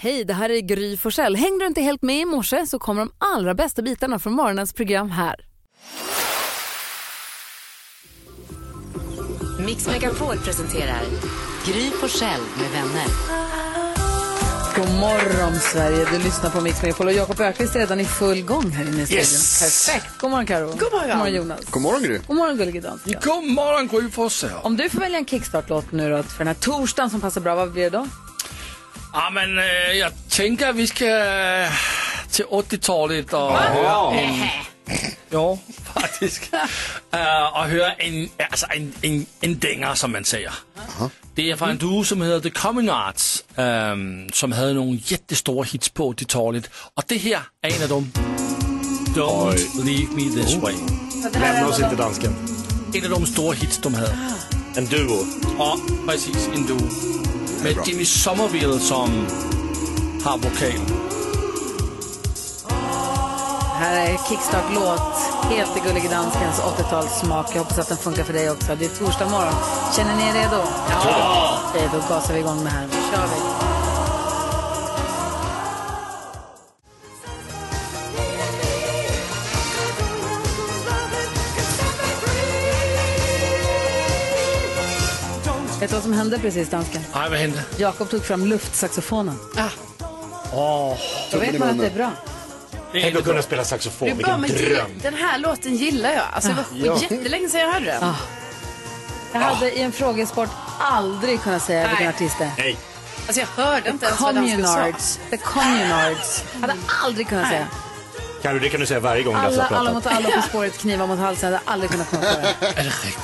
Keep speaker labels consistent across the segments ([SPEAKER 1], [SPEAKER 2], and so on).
[SPEAKER 1] Hej, det här är Gry Forssell. Hängde du inte helt med i morse så kommer de allra bästa bitarna från morgonens program här.
[SPEAKER 2] Mix Megapol presenterar Gry Forssell med vänner.
[SPEAKER 1] God morgon Sverige, du lyssnar på Mix Megapol och Jakob Ökvist är redan i full gång här inne i studion.
[SPEAKER 3] Yes.
[SPEAKER 1] Perfekt. God morgon Karo. God morgon. Jonas.
[SPEAKER 3] God morgon Gry.
[SPEAKER 1] God morgon gullige dansken.
[SPEAKER 3] God morgon Gry Forssell.
[SPEAKER 1] Om du får välja en kickstart-låt nu då för den här torsdagen som passar bra, vad blir det då?
[SPEAKER 3] Ja men eh, jag tänker att vi ska eh, till 80-talet och höra en... Ja, faktiskt. Eh, och höra en, alltså en, en, en dängare som man säger. Det är från en duo som heter The Coming Arts ehm, som hade några jättestora hits på 80-talet. Och det här är en av dem. Don't leave me this way.
[SPEAKER 4] Lämna oss inte dansken. Ah.
[SPEAKER 3] En av de stora hits de hade.
[SPEAKER 4] En duo.
[SPEAKER 3] Ja, precis. En duo. Med Jimmy Somerville som har vokal.
[SPEAKER 1] Här är kickstart-låt, helt i gullige danskens 80-talssmak. Jag hoppas att den funkar för dig också. Det är torsdag morgon. Känner ni er redo? Ja! Okej, då gasar vi igång med här. Nu kör vi. Vet du vad som hände precis, dansken?
[SPEAKER 3] Nej, vad hände?
[SPEAKER 1] Jakob tog fram luftsaxofonen.
[SPEAKER 5] Ah.
[SPEAKER 3] Åh,
[SPEAKER 1] Då vet man att det är bra.
[SPEAKER 3] det är
[SPEAKER 4] Tänk
[SPEAKER 3] inte
[SPEAKER 4] att
[SPEAKER 3] bra.
[SPEAKER 4] kunna spela saxofon,
[SPEAKER 5] Bra,
[SPEAKER 4] vilken
[SPEAKER 5] men
[SPEAKER 4] dröm.
[SPEAKER 5] det, den här låten gillar jag. Alltså, det
[SPEAKER 1] Ah.
[SPEAKER 5] var
[SPEAKER 4] Ja.
[SPEAKER 5] jättelänge sedan jag hörde den.
[SPEAKER 1] Jag hade i en frågesport aldrig kunnat säga vilken
[SPEAKER 5] Nej.
[SPEAKER 1] artist det är.
[SPEAKER 4] Nej,
[SPEAKER 5] Alltså, jag hörde inte ens vad dansken sa.
[SPEAKER 1] Communards. The Communards. Jag hade aldrig kunnat säga.
[SPEAKER 4] kan du, det kan du säga varje gång Lasse
[SPEAKER 1] Alla,
[SPEAKER 4] har
[SPEAKER 1] alla
[SPEAKER 4] pratat.
[SPEAKER 1] mot alla På spåret, knivar mot halsen. Jag hade aldrig kunnat komma på det.
[SPEAKER 3] Är det riktigt?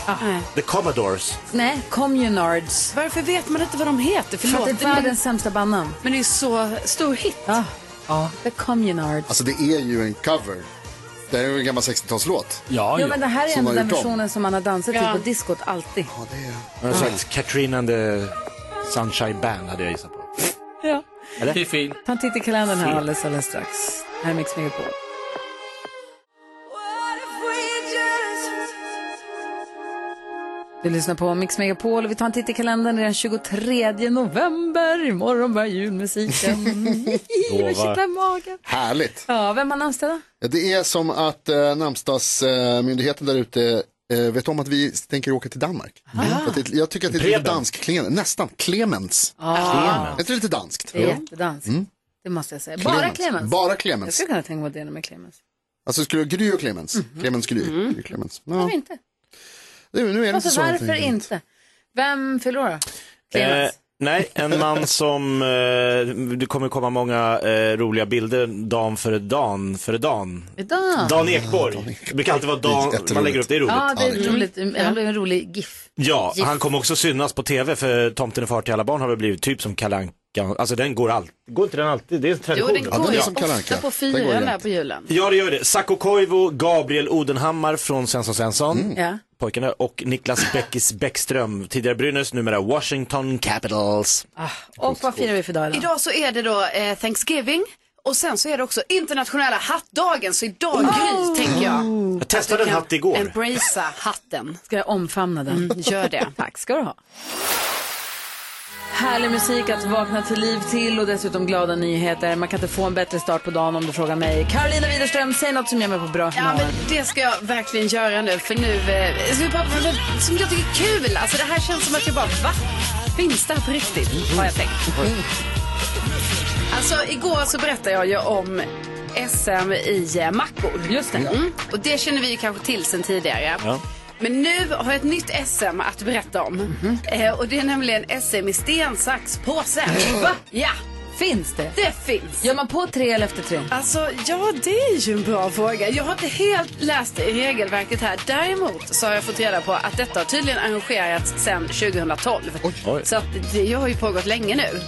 [SPEAKER 4] The Commodores.
[SPEAKER 1] Nej, Communards.
[SPEAKER 5] Varför vet man inte vad de heter?
[SPEAKER 1] För att
[SPEAKER 5] Förlåt,
[SPEAKER 1] det är världens sämsta bandnamn.
[SPEAKER 5] men det är så stor hit.
[SPEAKER 1] Ja. The Communards.
[SPEAKER 6] Alltså det är ju en cover. Det här är ju en gammal 60-talslåt.
[SPEAKER 3] Ja,
[SPEAKER 1] Jo,
[SPEAKER 3] ja.
[SPEAKER 1] men det här är
[SPEAKER 6] Som
[SPEAKER 1] ändå
[SPEAKER 6] har
[SPEAKER 1] den
[SPEAKER 6] gjort om.
[SPEAKER 1] versionen som man har dansat till på diskot alltid.
[SPEAKER 6] Ja, det är...
[SPEAKER 4] Någon slags Katrina and the Sunshine Band hade jag gissat på.
[SPEAKER 1] Ja.
[SPEAKER 3] det är fint.
[SPEAKER 1] Ta en titt i kalendern här alldeles, alldeles strax. Här är Mix Megapol. Du lyssnar på Mix Megapol och vi tar en titt i kalendern Det är den 23 november. Imorgon börjar julmusiken. Det kittlar i magen.
[SPEAKER 6] Härligt.
[SPEAKER 1] Ja, vem har namnsdag då?
[SPEAKER 6] Ja, Det är som att eh, namnsdagsmyndigheten eh, myndigheten där ute eh, vet om att vi tänker åka till Danmark. För Att det, jag tycker att det är lite
[SPEAKER 4] Preben.
[SPEAKER 6] dansk, Clemen- nästan Clemens. Är inte det lite danskt?
[SPEAKER 1] Ah.
[SPEAKER 6] Mm.
[SPEAKER 1] Det är jättedansk. Det måste jag säga. Bara Clemens.
[SPEAKER 6] Bara
[SPEAKER 1] Jag
[SPEAKER 6] Clemens.
[SPEAKER 1] skulle kunna tänka mig att det är med Clemens.
[SPEAKER 6] Alltså skulle Gry och Clemens.
[SPEAKER 1] Mm.
[SPEAKER 6] Clemens Gry. Gry Clemens. Ja.
[SPEAKER 1] Varför inte?
[SPEAKER 6] Nu, nu är det inte
[SPEAKER 1] Alltså,
[SPEAKER 6] så. helt
[SPEAKER 1] varför
[SPEAKER 6] enkelt.
[SPEAKER 1] inte? Vem fyller år då?
[SPEAKER 7] Eh,
[SPEAKER 1] Clemens.
[SPEAKER 7] nej, en man som, eh, det kommer komma många eh, roliga bilder dan för dan för dan.
[SPEAKER 1] Idag.
[SPEAKER 7] Dan Ekborg. Det brukar alltid vara
[SPEAKER 6] Det är
[SPEAKER 7] Dan,
[SPEAKER 6] jätteroligt.
[SPEAKER 7] man lägger upp det, det är roligt.
[SPEAKER 1] Ja, det är roligt. Han blev en rolig GIF.
[SPEAKER 7] Ja, han kommer också synas på tv för Tomten är far till alla barn har väl blivit typ som Kalle Anka. Alltså den går alltid, går inte den alltid? Det är en
[SPEAKER 5] Jo,
[SPEAKER 7] tradition.
[SPEAKER 5] det
[SPEAKER 6] Ja,
[SPEAKER 5] går
[SPEAKER 6] det
[SPEAKER 5] ju
[SPEAKER 6] är som Kalle Anka.
[SPEAKER 5] ofta på
[SPEAKER 6] Det går ju
[SPEAKER 5] fyran där
[SPEAKER 6] inte.
[SPEAKER 5] på julen.
[SPEAKER 7] Ja, det gör det. Sacco Koivu, Gabriel Odenhammar från Svensson Svensson,
[SPEAKER 6] Mm.
[SPEAKER 1] Ja.
[SPEAKER 7] pojkarna, och Niklas Bäckis Bäckström, tidigare Brynäs, numera Washington Capitals.
[SPEAKER 5] Ah.
[SPEAKER 1] Och vad firar vi för dag idag?
[SPEAKER 5] Idag så är det då eh, Thanksgiving och sen så är det också internationella hattdagen. Så idag,
[SPEAKER 1] Oh.
[SPEAKER 5] Gry, tänker jag.
[SPEAKER 7] Jag testade en hatt igår.
[SPEAKER 5] Embracea hatten.
[SPEAKER 1] Mm. Ska jag omfamna den?
[SPEAKER 5] Gör det.
[SPEAKER 1] Tack ska du ha. Härlig musik att vakna till liv till och dessutom glada nyheter. Man kan inte få en bättre start på dagen om du frågar mig. Carolina Widerström, säg något som gör mig på bra
[SPEAKER 5] Ja,
[SPEAKER 1] humör.
[SPEAKER 5] men det ska jag verkligen göra nu. För nu eh, ska vi prata om det som jag tycker är kul. Alltså, det här känns som att jag bara, va? Finns det här på riktigt? Har jag tänkt. Alltså, igår så berättade jag ju om SM i eh, mackor.
[SPEAKER 1] Just det.
[SPEAKER 5] Mm. Och det känner vi ju kanske till sen tidigare.
[SPEAKER 7] Ja.
[SPEAKER 5] Men nu har jag ett nytt SM att berätta om.
[SPEAKER 1] Mhm.
[SPEAKER 5] Eh, och det är nämligen SM i sten, sax, påse. Va? Ja,
[SPEAKER 1] Finns det?
[SPEAKER 5] det finns.
[SPEAKER 1] Gör man på tre eller efter tre?
[SPEAKER 5] Alltså, ja, det är ju en bra fråga. Jag har inte helt läst i regelverket här. Däremot så har jag fått reda på att detta har tydligen arrangerats sedan 2012. Så att det har ju pågått länge nu.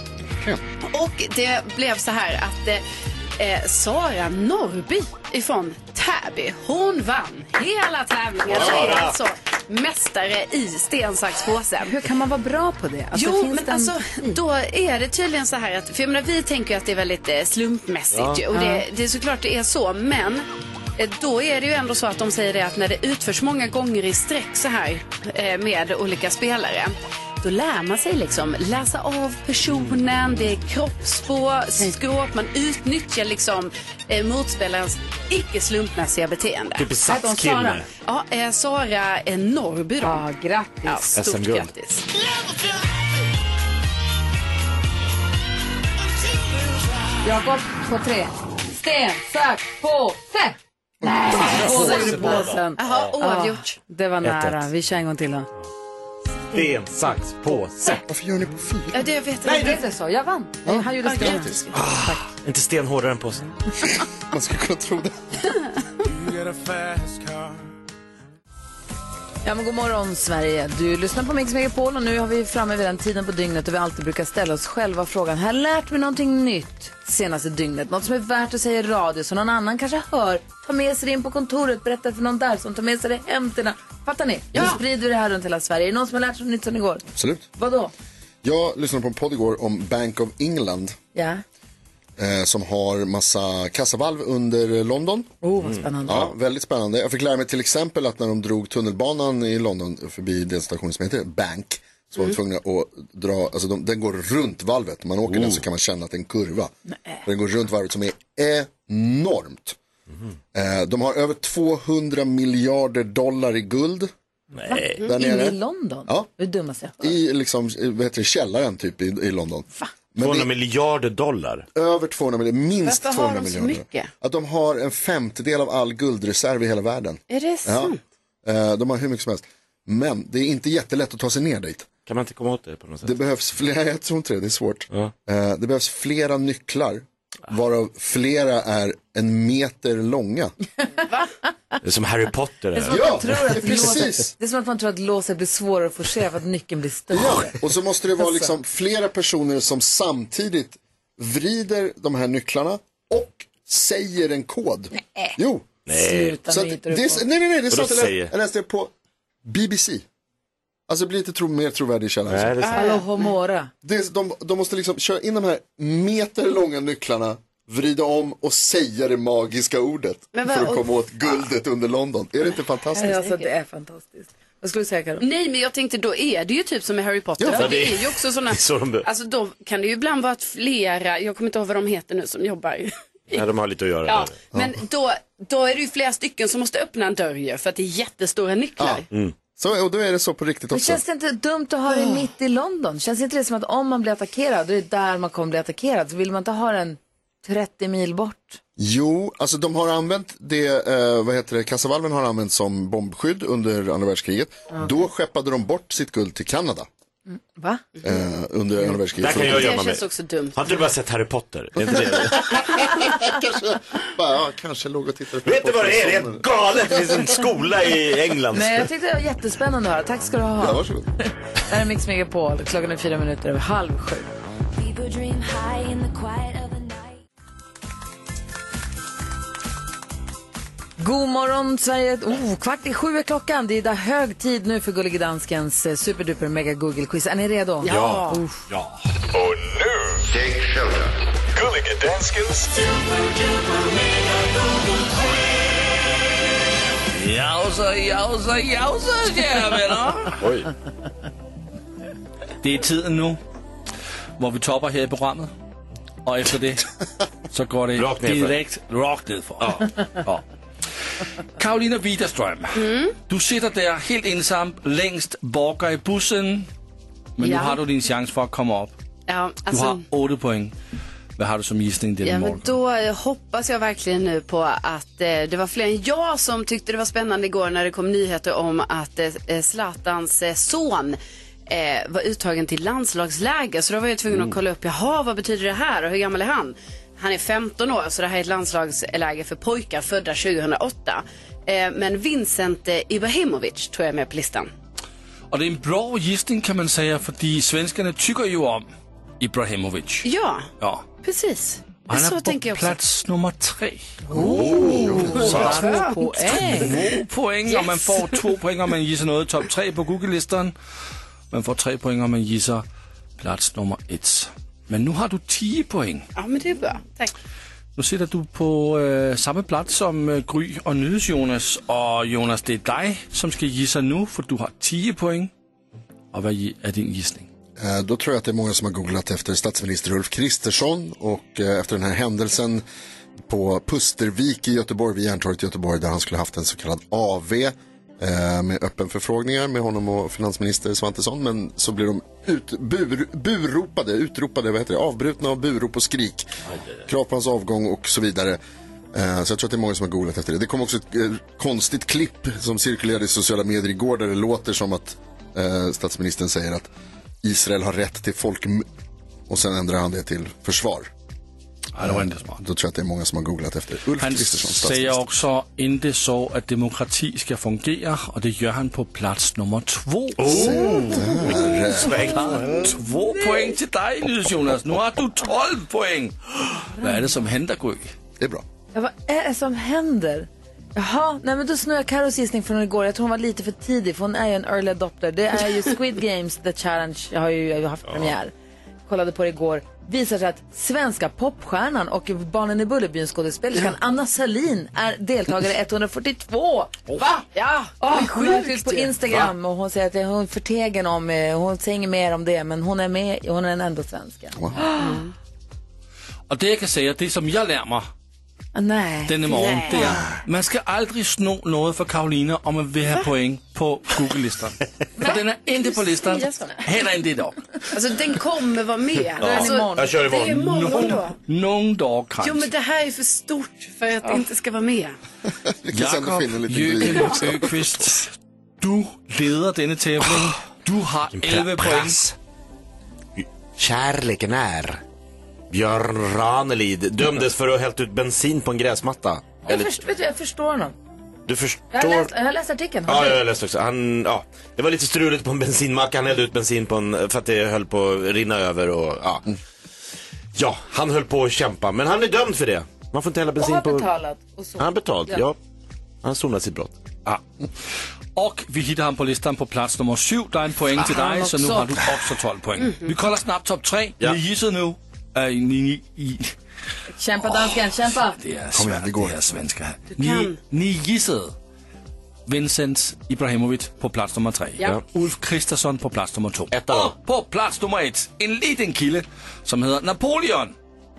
[SPEAKER 5] Och det blev så här att eh, eh, Sara Norrby ifrån Täby, hon vann hela tävlingen. Så är alltså mästare i sten, sax, påse.
[SPEAKER 1] Hur kan man vara bra på det? Alltså,
[SPEAKER 5] Jo,
[SPEAKER 1] finns
[SPEAKER 5] men
[SPEAKER 1] det en-
[SPEAKER 5] alltså då är det tydligen så här att, för jag menar vi tänker ju att det är väldigt eh, slumpmässigt ju, och det, det är såklart det är så, men eh, då är det ju ändå så att de säger det att när det utförs många gånger i sträck så här eh, med olika spelare då lär man sig liksom läsa av personen, det är kroppsspråk, skråp, man utnyttjar liksom eh, motspelarens icke slumpmässiga beteende.
[SPEAKER 7] Typ i
[SPEAKER 1] Här kom
[SPEAKER 7] Satskilne.
[SPEAKER 1] Sara.
[SPEAKER 5] Ja, eh, Sara eh, Norrby då.
[SPEAKER 1] Ja, grattis.
[SPEAKER 5] Ja, stort
[SPEAKER 7] SM-guld.
[SPEAKER 5] grattis.
[SPEAKER 1] Jakob på tre. Sten, sax, påse! Nej, båda gjorde påsen.
[SPEAKER 5] Jaha, oavgjort.
[SPEAKER 1] Det var nära.
[SPEAKER 7] ett.
[SPEAKER 1] Vi kör en gång till då.
[SPEAKER 7] Sten, sax, påse.
[SPEAKER 6] Varför gör ni på fyra?
[SPEAKER 5] Ja, det jag vet
[SPEAKER 1] Nej,
[SPEAKER 5] inte.
[SPEAKER 1] det är så. Jag vann. Han gjorde sten.
[SPEAKER 6] Grattis.
[SPEAKER 7] Ah, Inte sten hårdare än påse.
[SPEAKER 6] Man skulle kunna tro det.
[SPEAKER 1] Ja, men god morgon, Sverige. Du lyssnar på Mix Megapol och nu har vi framme vid den tiden på dygnet då vi alltid brukar ställa oss själva frågan. Har jag lärt mig någonting nytt senaste dygnet? Något som är värt att säga i radio så någon annan kanske hör. Ta med sig det in på kontoret, berätta för någon där som tar med sig det hem till någon. Fattar ni? Ja. Nu sprider vi det här runt hela Sverige. Är det någon som har lärt sig något nytt sedan igår?
[SPEAKER 6] Absolut.
[SPEAKER 1] Vadå?
[SPEAKER 6] Jag lyssnade på en podd igår om Bank of England
[SPEAKER 1] Ja.
[SPEAKER 6] eh, som har massa kassavalv under London. Mm.
[SPEAKER 1] Oh, vad spännande.
[SPEAKER 6] Ja, väldigt spännande. Jag fick lära mig till exempel att när de drog tunnelbanan i London förbi den station som heter Bank så var
[SPEAKER 1] Mm.
[SPEAKER 6] de tvungna att dra, alltså de, den går runt valvet. När man åker den så kan man känna att det är en kurva. Den går runt valvet som är enormt. Eh, de har över 200 miljarder dollar i guld där
[SPEAKER 1] Inne i
[SPEAKER 6] nere.
[SPEAKER 1] London?
[SPEAKER 6] Ja.
[SPEAKER 1] Det är dummaste jag hört.
[SPEAKER 6] I liksom, eh, vad heter det, källaren typ i, i London. Men
[SPEAKER 7] 200
[SPEAKER 6] det
[SPEAKER 7] miljarder dollar.
[SPEAKER 6] är över 200 miljarder, minst
[SPEAKER 5] Varför har
[SPEAKER 6] 200
[SPEAKER 5] de så
[SPEAKER 6] miljarder.
[SPEAKER 5] mycket?
[SPEAKER 6] Att de har en femtedel av all guldreserv i hela världen.
[SPEAKER 5] Är det
[SPEAKER 6] Ja.
[SPEAKER 5] sant?
[SPEAKER 6] Eh, De har hur mycket som helst. Men det är inte jättelätt att ta sig ner dit.
[SPEAKER 7] Kan man inte komma åt det på något sätt?
[SPEAKER 6] Det behövs flera, jag tror inte det, det är svårt.
[SPEAKER 7] Ja.
[SPEAKER 6] Eh, Det behövs flera nycklar, varav flera är en meter långa.
[SPEAKER 7] Det är som Harry Potter.
[SPEAKER 1] Det är som att
[SPEAKER 6] Ja,
[SPEAKER 1] man tror att
[SPEAKER 6] det är precis.
[SPEAKER 1] låset- det är som att man tror att låset blir svårare att forcera för att nyckeln blir större.
[SPEAKER 6] Ja, och så måste det vara
[SPEAKER 1] Alltså.
[SPEAKER 6] liksom flera personer som samtidigt vrider de här nycklarna och säger en kod. Nej. Jo.
[SPEAKER 1] Sluta
[SPEAKER 6] Så
[SPEAKER 1] nu
[SPEAKER 6] att
[SPEAKER 1] hittar du
[SPEAKER 6] det, är-
[SPEAKER 1] på.
[SPEAKER 6] nej, nej, nej, det är sant. Jag
[SPEAKER 7] säger?
[SPEAKER 6] läste- Jag läste det på BBC. Alltså det blir inte tro, mer trovärdig källa. än så.
[SPEAKER 7] Nej, det är sant.
[SPEAKER 1] Hallå homora.
[SPEAKER 6] Det, de, de måste liksom köra in de här meterlånga nycklarna, vrida om och säga det magiska ordet
[SPEAKER 5] Men vad-
[SPEAKER 6] för att komma åt guldet under London. Är det inte fantastiskt?
[SPEAKER 1] Alltså det är fantastiskt. Vad skulle du säga Karo?
[SPEAKER 5] Nej, men jag tänkte då är det ju typ som med Harry Potter.
[SPEAKER 6] Ja,
[SPEAKER 5] för
[SPEAKER 6] för
[SPEAKER 5] det
[SPEAKER 7] det-
[SPEAKER 5] är ju också sådana,
[SPEAKER 7] det är så de bör-
[SPEAKER 5] alltså då kan det ju ibland vara att flera, jag kommer inte ihåg vad de heter nu som jobbar.
[SPEAKER 7] Nej, de har lite att göra.
[SPEAKER 5] Ja,
[SPEAKER 7] där.
[SPEAKER 5] men då, då är det ju flera stycken som måste öppna en dörr ju, för att det är jättestora nycklar.
[SPEAKER 6] Så, och då är det så på riktigt
[SPEAKER 1] Men
[SPEAKER 6] också. Ah.
[SPEAKER 1] känns Mm. det inte dumt att ha det mitt i London? Känns inte det som att om man blir attackerad, då är det där man kommer bli attackerad. Så vill man inte ha den 30 mil bort?
[SPEAKER 6] Jo, alltså de har använt det, eh, vad heter det, kassavalven har använt som bombskydd under andra världskriget. Då skeppade de bort sitt guld till Kanada
[SPEAKER 1] Va?
[SPEAKER 6] eh, under andra
[SPEAKER 7] Där
[SPEAKER 6] världskriget.
[SPEAKER 7] kan jag
[SPEAKER 5] Mhm. Det
[SPEAKER 7] gömma mig.
[SPEAKER 5] känns också dumt.
[SPEAKER 7] Har inte du bara sett Harry Potter? Är inte det?
[SPEAKER 6] kanske, bara, ja, kanske låg och tittade på
[SPEAKER 7] Vet du vad det är? Det är
[SPEAKER 6] Potter-
[SPEAKER 7] helt galet. Det finns en skola i England.
[SPEAKER 1] Nej, jag tyckte det var jättespännande att höra. Tack ska du
[SPEAKER 6] Ja,
[SPEAKER 1] ha.
[SPEAKER 6] varsågod.
[SPEAKER 1] Det här är Mix Megapol. Klockan är fyra minuter över halv sju.
[SPEAKER 8] People dream high in the quiet of the night.
[SPEAKER 1] God morgon Sverige. Oh, kvart i sju är klockan. Det är där hög tid nu för Gullige Danskens eh, superduper mega Google quiz. Är ni redo? Oh,
[SPEAKER 5] Ja.
[SPEAKER 9] Och nu, take shelter. Gullige Danskens...
[SPEAKER 3] Jausa, jausa, jausa, kära venner. Det er tiden nu, hvor vi topper her i programmet. Og efter det, så går det
[SPEAKER 7] Rock ned for.
[SPEAKER 3] direkt rock ned for. Ja. Karolina Widerstrøm,
[SPEAKER 5] Mm.
[SPEAKER 3] du sitter der helt ensam, længst borger i bussen. Men
[SPEAKER 5] Ja.
[SPEAKER 3] nu har du din chance for at komme op.
[SPEAKER 5] Ja,
[SPEAKER 3] Du
[SPEAKER 5] alltså,
[SPEAKER 3] har 8 point. Hvad har du som gissning denne
[SPEAKER 5] ja, men
[SPEAKER 3] morgen?
[SPEAKER 5] då eh, hoppas jag verkligen nu på att eh, det var fler än jag som tyckte det var spännande igår när det kom nyheter om att eh, eh, Zlatans eh, son eh, var uttagen till landslagsläger. Så då var jag tvungen
[SPEAKER 3] Mm.
[SPEAKER 5] att kolla upp, jaha, vad betyder det här och hur gammal är han? Han är 15 år, så det här är ett landslagsläger för pojkar födda 2008. Eh, men Vincent eh, Ibrahimovic tror jag är med på listan.
[SPEAKER 3] Og det er en bra gissning, kan man säga, fordi svenskerne tykker jo om Ibrahimovic.
[SPEAKER 5] Ja,
[SPEAKER 3] Ja.
[SPEAKER 5] precis.
[SPEAKER 3] Han
[SPEAKER 5] så
[SPEAKER 3] är
[SPEAKER 5] tänker
[SPEAKER 3] på
[SPEAKER 5] jag också.
[SPEAKER 3] plats nummer tre. Oh.
[SPEAKER 1] Två poäng.
[SPEAKER 3] Två poäng om man får två poäng om man gissar något topp tre på Google-listan. Man får tre poäng om man gissar plats nummer ett. Men nu har du 10 poäng.
[SPEAKER 5] Ja, men det är bra. Tack.
[SPEAKER 3] Nu sitter du på øh, samma plats som øh, Gry och Nydes Jonas. Och Jonas, det är dig som ska gissa nu, för du har 10 poäng. Och vad gi- är din gissning?
[SPEAKER 6] Eh, Då tror jag att det är många som har googlat efter statsminister Ulf Kristersson och eh, efter den här händelsen på Pustervik i Göteborg, vid Järntorget i Göteborg, där han skulle haft en så kallad AV eh, med öppen förfrågningar med honom och finansminister Svantesson. Men så blir de ut, bur, burropade, utropade, vad heter det, avbrutna av burop och skrik. Krav på hans avgång och så vidare. Eh, Så jag tror att det är många som har googlat efter det. Det kom också ett eh, konstigt klipp som cirkulerade i sociala medier igår där det låter som att eh, statsministern säger att Israel har rätt till folkmord. Och sen ändrar han det till försvar. Eh,
[SPEAKER 3] Nej, det var inte smart.
[SPEAKER 6] Då tror jag att det är många som har googlat efter Ulf
[SPEAKER 3] Han
[SPEAKER 6] Kristersson,
[SPEAKER 3] säger
[SPEAKER 6] statsminister.
[SPEAKER 3] också inte så att demokrati ska fungera och det gör han på plats nummer två. Två poäng till dig, Nils Jonas. Nu har du 12 poäng. Vad är det som händer, Gry?
[SPEAKER 6] Det är bra.
[SPEAKER 1] Ja, vad är det som händer? Jaha, nej men då snor jag Carros gissning från igår. Jag tror hon var lite för tidig för hon är ju en early adopter. Det är ju Squid Games The Challenge, jag har ju jag har ju haft premiär. Kollade på det igår. Visar sig att svenska popstjärnan och Barnen i Bullerbyn skådespelerskan Anna Salin är deltagare 142. Va?
[SPEAKER 5] Ja,
[SPEAKER 1] Oh,
[SPEAKER 5] vad
[SPEAKER 1] hon har lagt ut
[SPEAKER 5] sjukt
[SPEAKER 1] på
[SPEAKER 5] ju.
[SPEAKER 1] Instagram och hon säger att det- hon är förtegen om, eh, hon säger inget mer om det men hon är med, hon är ändå svenska.
[SPEAKER 3] Och Mm. det jag kan säga, det som jag lär mig
[SPEAKER 1] Ah, nej.
[SPEAKER 3] denne morgon, det är man ska aldrig sno något från Karolina om man vill ha poäng på Google-listan. För den är inte på listan,
[SPEAKER 5] säger sådär.
[SPEAKER 3] heller inte idag.
[SPEAKER 5] Alltså den kommer vara med. Alltså,
[SPEAKER 1] imorgon.
[SPEAKER 7] Jag kör
[SPEAKER 5] det är
[SPEAKER 7] imorgon.
[SPEAKER 5] imorgon då.
[SPEAKER 3] Någon dag
[SPEAKER 5] Jo men
[SPEAKER 3] kanske.
[SPEAKER 5] det här är för stort för att det inte ska vara med.
[SPEAKER 6] Vi kan sända
[SPEAKER 3] Jakob
[SPEAKER 6] finna lite
[SPEAKER 3] Jürgen
[SPEAKER 6] grin också.
[SPEAKER 3] Öqvist, du leder denne tävling. Du har 11 poäng.
[SPEAKER 7] Kärleken är. Björn Ranelid dömdes för att ha hällt ut bensin på en gräsmatta.
[SPEAKER 1] Jag, först, vet du, jag förstår honom.
[SPEAKER 7] Du
[SPEAKER 1] Jag har
[SPEAKER 7] förstår.
[SPEAKER 1] läst, jag har läst artikeln. Har
[SPEAKER 7] Ja,
[SPEAKER 1] du?
[SPEAKER 7] jag läste också. Han, ja. Det var lite struligt på en bensinmack. Han hällde ut bensin på en, för att det höll på att rinna över och ja. Ja, han höll på att kämpa. Men han är dömd för det. Man får inte hälla
[SPEAKER 1] Och
[SPEAKER 7] bensin
[SPEAKER 1] har
[SPEAKER 7] på...
[SPEAKER 1] betalat. Och så.
[SPEAKER 7] Han har betalt, ja. Han sonade sitt brott. Ja.
[SPEAKER 3] Och vi hittar ham på listan på plats nummer syv. Der er en point till dig, så nu har du också 12 poäng. Vi kollar snabbt topp tre.
[SPEAKER 7] Ja.
[SPEAKER 3] Ni gissede nu. Äh, ni, ni, i,
[SPEAKER 1] Kämpa dansken, kämpa.
[SPEAKER 3] det är
[SPEAKER 6] Kom igen,
[SPEAKER 3] svært,
[SPEAKER 6] det går.
[SPEAKER 3] det er svenska. Ni, ni gissede Vincent Ibrahimovic på plats nummer tre.
[SPEAKER 5] Ja.
[SPEAKER 3] Ulf Kristersson på plats nummer två.
[SPEAKER 7] Ett
[SPEAKER 3] Och
[SPEAKER 7] av
[SPEAKER 3] på plats nummer ett, en liten kille, som heter Napoleon.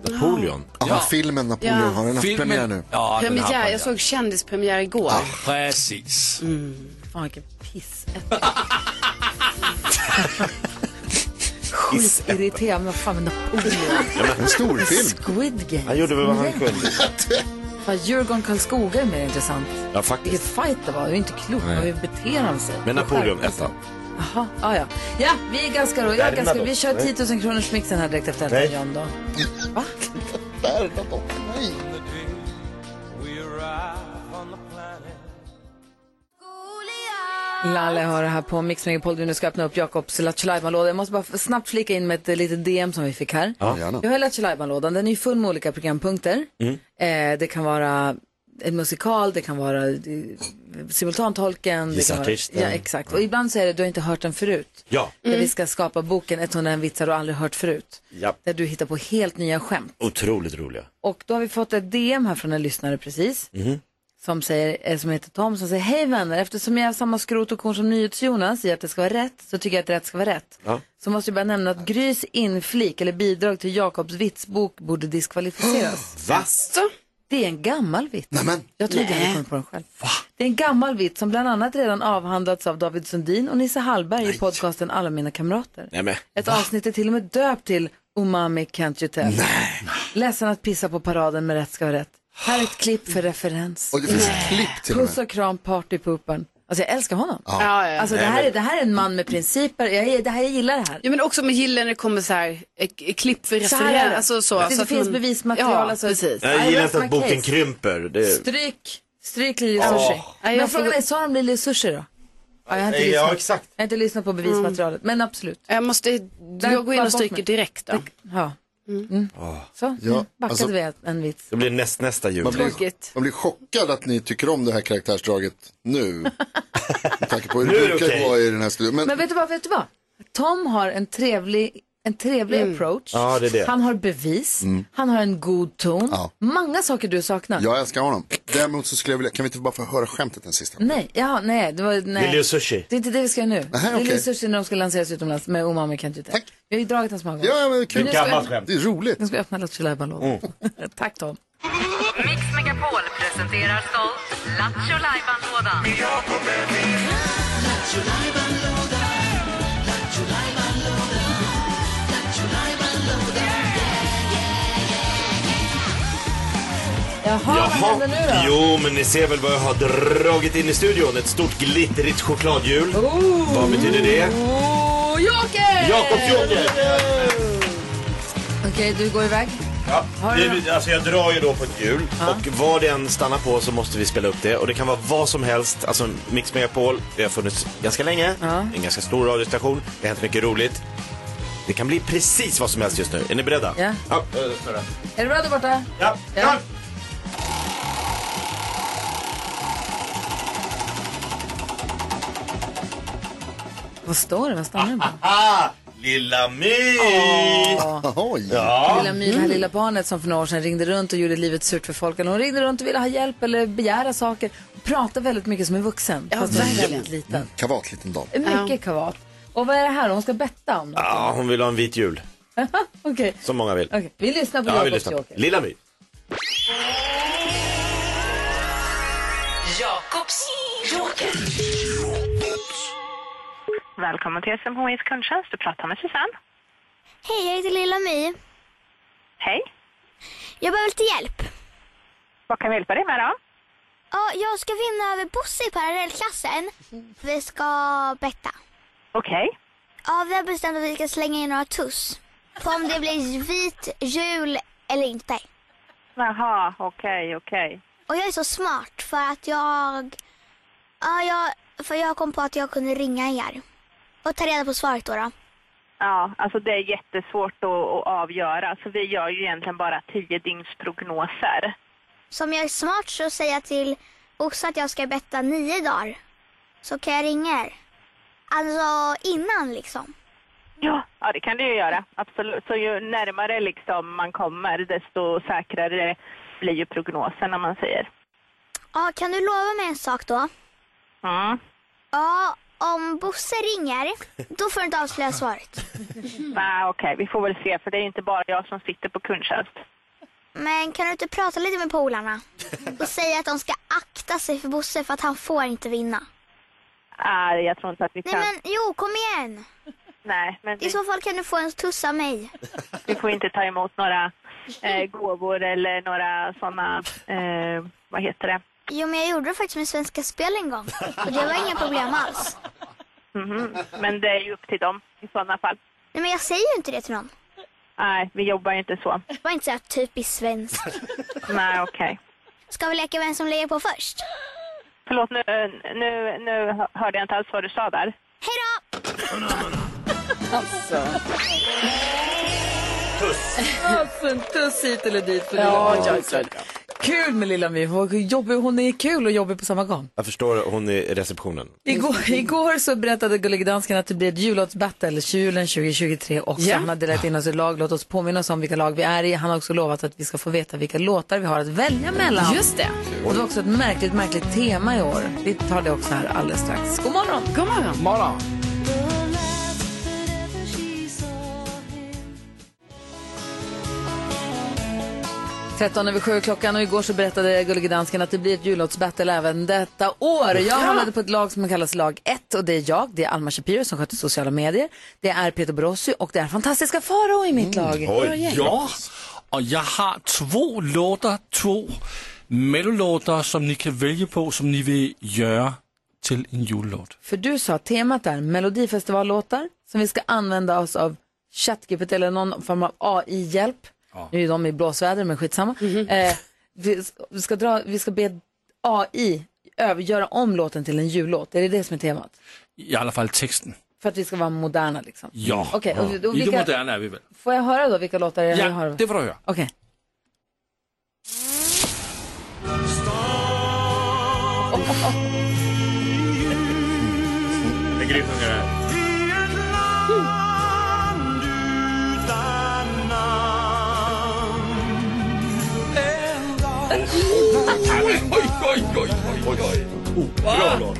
[SPEAKER 7] Napoleon.
[SPEAKER 6] Ja, filmen Napoleon,
[SPEAKER 5] Ja.
[SPEAKER 6] har den haft premiär nu?
[SPEAKER 3] Ja, den har
[SPEAKER 5] Premiär,
[SPEAKER 3] premiär.
[SPEAKER 5] jag såg kändispremiär igår.
[SPEAKER 3] Præcis.
[SPEAKER 1] Fan vilken piss.
[SPEAKER 7] Kiss.
[SPEAKER 1] Irriterad. Men fan med Napoleon.
[SPEAKER 6] En stor film.
[SPEAKER 1] Squid Game.
[SPEAKER 7] Han gjorde väl vad han kunde.
[SPEAKER 1] Fan, Djurgården Karlskoga är mer intressant.
[SPEAKER 7] Ja, faktiskt.
[SPEAKER 1] Vilken fight det var. Det var inte klokt.
[SPEAKER 7] Nej.
[SPEAKER 1] Hur beter han sig?
[SPEAKER 7] Men Napoleon, ett av
[SPEAKER 1] Jaha, ah, ja. Ja, vi är ganska roliga. Jag är
[SPEAKER 7] Värmland
[SPEAKER 1] ganska, vi
[SPEAKER 7] också,
[SPEAKER 1] kör
[SPEAKER 7] nej.
[SPEAKER 1] 10 000 kronors mixen här direkt efter Elton
[SPEAKER 7] Nej.
[SPEAKER 1] John då. Va? Lalle har det här på Mix Megapol. Vi nu ska öppna upp Jakobs Lattjo Lajban-låda. Jag måste bara f- snabbt flika in med ett eh, litet DM som vi fick här.
[SPEAKER 6] Gärna.
[SPEAKER 1] Jag har Lattjo Lajban-lådan. Den är ju full med olika programpunkter.
[SPEAKER 3] Mm.
[SPEAKER 1] Eh, det kan vara en musikal, det kan vara eh, simultantolken. det kan vara-
[SPEAKER 7] Gissartisten. Mm.
[SPEAKER 1] Ja, exakt. Och ibland så är det, du har inte hört den förut.
[SPEAKER 7] Ja.
[SPEAKER 9] Mm.
[SPEAKER 1] Där vi ska skapa boken 101 vitsar du aldrig hört förut.
[SPEAKER 7] ja.
[SPEAKER 1] Där du hittar på helt nya skämt.
[SPEAKER 7] Otroligt roliga. Mhm.
[SPEAKER 1] Och då har vi fått ett DM här från en lyssnare precis. Som, säger, eh, som heter Tom som säger, hej vänner, eftersom jag är samma skrot och korn som NyhetsJonas i att det ska vara rätt, så tycker jag att rätt ska vara rätt.
[SPEAKER 7] Ja.
[SPEAKER 1] Så måste jag bara nämna att Grys inflik eller bidrag till Jakobs vitsbok borde diskvalificeras.
[SPEAKER 7] Va?
[SPEAKER 5] Så,
[SPEAKER 1] Det är en gammal vits.
[SPEAKER 6] Nämen.
[SPEAKER 1] Jag trodde
[SPEAKER 2] Eh.
[SPEAKER 1] jag hade kommit på den själv. Det är en gammal vits som bland annat redan avhandlats av David Sundin och Nisse Hallberg i podcasten Alla mina kamrater.
[SPEAKER 7] Nej men.
[SPEAKER 1] Ett avsnitt är till och med döpt till Umami Can't You Tell. Ledsen att pissa på paraden med rätt ska vara rätt. Här är ett klipp för referens.
[SPEAKER 6] Och det finns ett klipp till och
[SPEAKER 1] Puss
[SPEAKER 6] med.
[SPEAKER 1] och kram partypoopern. Alltså jag älskar honom.
[SPEAKER 5] ja, ja.
[SPEAKER 1] Alltså det här, är, det här är en man med principer. Jag, det här, jag gillar det här.
[SPEAKER 5] Jo men också med gillar när det kommer så här eh, eh, klipp för
[SPEAKER 1] Så här är
[SPEAKER 5] referens.
[SPEAKER 1] det.
[SPEAKER 5] Alltså, så,
[SPEAKER 1] det
[SPEAKER 5] så att
[SPEAKER 1] finns
[SPEAKER 5] man-
[SPEAKER 1] bevismaterial.
[SPEAKER 5] Ja,
[SPEAKER 1] alltså.
[SPEAKER 5] precis.
[SPEAKER 7] Jag
[SPEAKER 1] I
[SPEAKER 7] gillar
[SPEAKER 1] rest
[SPEAKER 7] inte
[SPEAKER 1] my
[SPEAKER 7] att boken
[SPEAKER 1] case.
[SPEAKER 7] krymper. Det...
[SPEAKER 1] Stryk, stryk Lili Sushi.
[SPEAKER 5] Nej,
[SPEAKER 1] Men
[SPEAKER 5] jag får-
[SPEAKER 1] frågan är, sa de Lili Sushi då? Ja, jag, har inte
[SPEAKER 7] Nej,
[SPEAKER 1] lyssnat.
[SPEAKER 7] ja, exakt.
[SPEAKER 1] jag har inte lyssnat på bevismaterialet, men absolut.
[SPEAKER 5] Jag måste, jag går in
[SPEAKER 1] bara
[SPEAKER 5] och
[SPEAKER 1] bort
[SPEAKER 5] stryker
[SPEAKER 1] med-
[SPEAKER 5] direkt då.
[SPEAKER 1] Ja. Mm. Så,
[SPEAKER 6] Ja,
[SPEAKER 1] nu backade
[SPEAKER 6] alltså-
[SPEAKER 1] vi en vits.
[SPEAKER 7] Det blir näst, nästa jul.
[SPEAKER 5] Tråkigt.
[SPEAKER 6] Man blir chockad att ni tycker om det här karaktärsdraget nu. Med tanke på hur
[SPEAKER 7] Nu är
[SPEAKER 6] det
[SPEAKER 7] det
[SPEAKER 6] brukar
[SPEAKER 7] okej.
[SPEAKER 6] vara i den här studion. Men,
[SPEAKER 1] Men vet du vad, vet du vad? Tom har en trevlig, en trevlig
[SPEAKER 5] Mm.
[SPEAKER 1] approach.
[SPEAKER 7] Ja, det är det.
[SPEAKER 1] Han har bevis, han har en god ton.
[SPEAKER 6] Mm. Ja.
[SPEAKER 1] Många saker du saknar.
[SPEAKER 6] jag älskar honom. Däremot så skulle jag vilja, kan vi inte bara få höra skämtet den sista?
[SPEAKER 1] Nej, ja, nej, det var, nej.
[SPEAKER 7] Lili och Sushi.
[SPEAKER 1] Det är inte det vi ska göra nu.
[SPEAKER 6] Aha,
[SPEAKER 1] Lili
[SPEAKER 6] okej.
[SPEAKER 1] och Sushi när de ska lanseras utomlands med Umami kan inte
[SPEAKER 6] Tack.
[SPEAKER 1] Vi har ju dragit den så många gånger.
[SPEAKER 6] Ja, men
[SPEAKER 7] Det är
[SPEAKER 6] kul.
[SPEAKER 7] ett
[SPEAKER 1] ska
[SPEAKER 7] gammalt
[SPEAKER 1] jag-
[SPEAKER 7] skämt. Mm.
[SPEAKER 6] Det är roligt.
[SPEAKER 1] Nu ska jag öppna Lattjo Lajban-lådan. Tack Tom.
[SPEAKER 2] Mix Megapol presenterar stolt Lattjo Lajban-lådan.
[SPEAKER 1] Jaha, vad händer nu då?
[SPEAKER 7] Jo, men ni ser väl vad jag har dragit in i studion. Ett stort glittrigt chokladhjul. Vad betyder det?
[SPEAKER 1] Oh, Joker!
[SPEAKER 7] Jakob Joker!
[SPEAKER 1] Okej, du går iväg.
[SPEAKER 7] Ja,
[SPEAKER 1] Har du
[SPEAKER 7] det, alltså jag drar ju då på ett hjul och vad den stannar på så måste vi spela upp det och det kan vara vad som helst. Alltså Mix Megapol, det har funnits ganska länge, en ganska stor radiostation, det har hänt mycket roligt. Det kan bli precis vad som helst just nu. Är ni beredda?
[SPEAKER 1] Ja.
[SPEAKER 7] Ja, eh, snurra.
[SPEAKER 1] Är du bra där borta?
[SPEAKER 7] ja. ja.
[SPEAKER 1] Vad står det? Vad stannar den på?
[SPEAKER 7] Ah, lilla My!
[SPEAKER 6] Oj.
[SPEAKER 7] Ja.
[SPEAKER 1] Lilla My, det här lilla barnet som för några år sedan ringde runt och gjorde livet surt för folk. Hon ringde runt och ville ha hjälp eller begära saker. Hon pratar väldigt mycket som en vuxen.
[SPEAKER 5] Ja,
[SPEAKER 1] fast hon är
[SPEAKER 5] verkligen.
[SPEAKER 1] väldigt liten.
[SPEAKER 6] Mm. Kavat liten dam.
[SPEAKER 1] Mycket kavat. Och vad är det här? Hon ska betta om något.
[SPEAKER 7] Ja, hon vill ha en vit jul,
[SPEAKER 1] Okej,
[SPEAKER 7] som många vill.
[SPEAKER 1] okej. vi lyssnar på
[SPEAKER 7] Ja, vi
[SPEAKER 1] Jakobs
[SPEAKER 7] lyssnar. på.
[SPEAKER 1] Joker.
[SPEAKER 7] Lilla My.
[SPEAKER 2] Jakobs Joker.
[SPEAKER 10] Välkommen till SMHIs kundtjänst. Du pratar med Susanne.
[SPEAKER 8] Hej, jag heter Lilla My.
[SPEAKER 10] Hej.
[SPEAKER 8] Jag behöver lite hjälp.
[SPEAKER 10] Vad kan vi hjälpa dig med då?
[SPEAKER 8] Ja, jag ska vinna över Bosse i parallellklassen. Vi ska betta.
[SPEAKER 10] Okej.
[SPEAKER 8] Ja, vi har bestämt att vi ska slänga in några tuss. På om det blir vit jul eller inte.
[SPEAKER 10] Jaha, okej, okej.
[SPEAKER 8] Och jag är så smart för att jag... Ja, jag, för jag kom på att jag kunde ringa er. Och ta reda på svaret då. då.
[SPEAKER 10] Ja, alltså det är jättesvårt att, att avgöra. Så vi gör ju egentligen bara tio dygnsprognoser.
[SPEAKER 8] Så om jag är smart så säger jag till Oxe att jag ska betta nio dagar. Så kan jag ringa er. Alltså innan liksom.
[SPEAKER 10] Ja. ja, det kan du ju göra. Absolut. Så ju närmare liksom man kommer, desto säkrare blir ju prognosen, om man säger.
[SPEAKER 8] Ja, kan du lova mig en sak då?
[SPEAKER 10] Mm.
[SPEAKER 8] Ja, om Bosse ringer, då får du inte avslöja svaret. Mm.
[SPEAKER 10] Nej, Ah, okej, vi får väl se. För det är ju inte bara jag som sitter på kundtjänst.
[SPEAKER 8] Men kan du inte prata lite med polarna och säga att de ska akta sig för Bosse för att han får inte vinna?
[SPEAKER 10] Nej, Äh, jag tror inte att vi
[SPEAKER 8] Nej
[SPEAKER 10] kan.
[SPEAKER 8] men jo, kom igen!
[SPEAKER 10] Nej, men
[SPEAKER 8] I
[SPEAKER 10] vi-
[SPEAKER 8] så fall kan du få en tuss av mig.
[SPEAKER 10] Vi får inte ta emot några
[SPEAKER 8] Mm.
[SPEAKER 10] eh, gåvor eller några sådana, eh, vad heter det?
[SPEAKER 8] Jo, men jag gjorde det faktiskt med Svenska Spel en gång och det var inga problem alls.
[SPEAKER 10] Mhm. Men det är ju upp till dem i sådana fall.
[SPEAKER 8] Nej men jag säger ju inte det till någon.
[SPEAKER 10] Nej, vi jobbar ju inte så.
[SPEAKER 8] Det var inte så här typiskt svenskt.
[SPEAKER 10] Nej, okej.
[SPEAKER 8] Ska vi leka vem som lägger på först?
[SPEAKER 10] Förlåt, nu, nu, nu hörde jag inte alls vad du sa där.
[SPEAKER 8] Hej då!
[SPEAKER 1] Alltså, en tuss hit eller dit för Lilla My. Kul med Lilla My. Hon, var jobbig. hon är kul och jobbig på samma gång.
[SPEAKER 7] Jag förstår, hon är i receptionen.
[SPEAKER 1] Igår, igår så berättade Gullige Dansken att det blir ett jullåtsbattle julen 2023 också. Han har delat in oss i lag, låt oss påminna oss om vilka lag vi är i. Han har också lovat att vi ska få veta vilka låtar vi har att välja mellan.
[SPEAKER 5] Just det.
[SPEAKER 1] Och det var också ett märkligt, märkligt tema i år. Vi tar det också här alldeles strax. God morgon!
[SPEAKER 5] God morgon.
[SPEAKER 8] Hej
[SPEAKER 1] 13 över 7 klockan och igår så berättade Gullige Dansken att det blir ett jullåtsbattle även detta år. Jag hamnade på ett lag som kallas lag 1 och det är jag, det är Alma Shapiro som sköter sociala medier, det är Peter Borossi och det är fantastiska Farao i mitt lag.
[SPEAKER 7] Oj.
[SPEAKER 3] Mm. Ja, och jag har två låtar, två mellolåtar som ni kan välja på som ni vill göra till en jullåt.
[SPEAKER 1] För du sa att temat är melodifestivallåtar som vi ska använda oss av ChatGPT eller någon form av AI-hjälp. Nu är de i blåsväder men skitsamma.
[SPEAKER 3] Mhm.
[SPEAKER 1] Eh, vi, vi, ska dra, vi ska be AI över- göra om låten till en jullåt. Är det det som är temat?
[SPEAKER 3] I alla fall texten.
[SPEAKER 1] För att vi ska vara moderna liksom.
[SPEAKER 3] Ja,
[SPEAKER 1] Okej, och- och
[SPEAKER 3] i det
[SPEAKER 1] vilka-
[SPEAKER 3] moderna är vi väl.
[SPEAKER 1] Får jag höra då vilka låtar det är jag
[SPEAKER 3] Ja,
[SPEAKER 1] har?
[SPEAKER 3] det får du höra.
[SPEAKER 1] Okej.
[SPEAKER 7] Det är grymt att göra det här.
[SPEAKER 3] Oj, oj, oj, oj, oj, oj. Bra låt.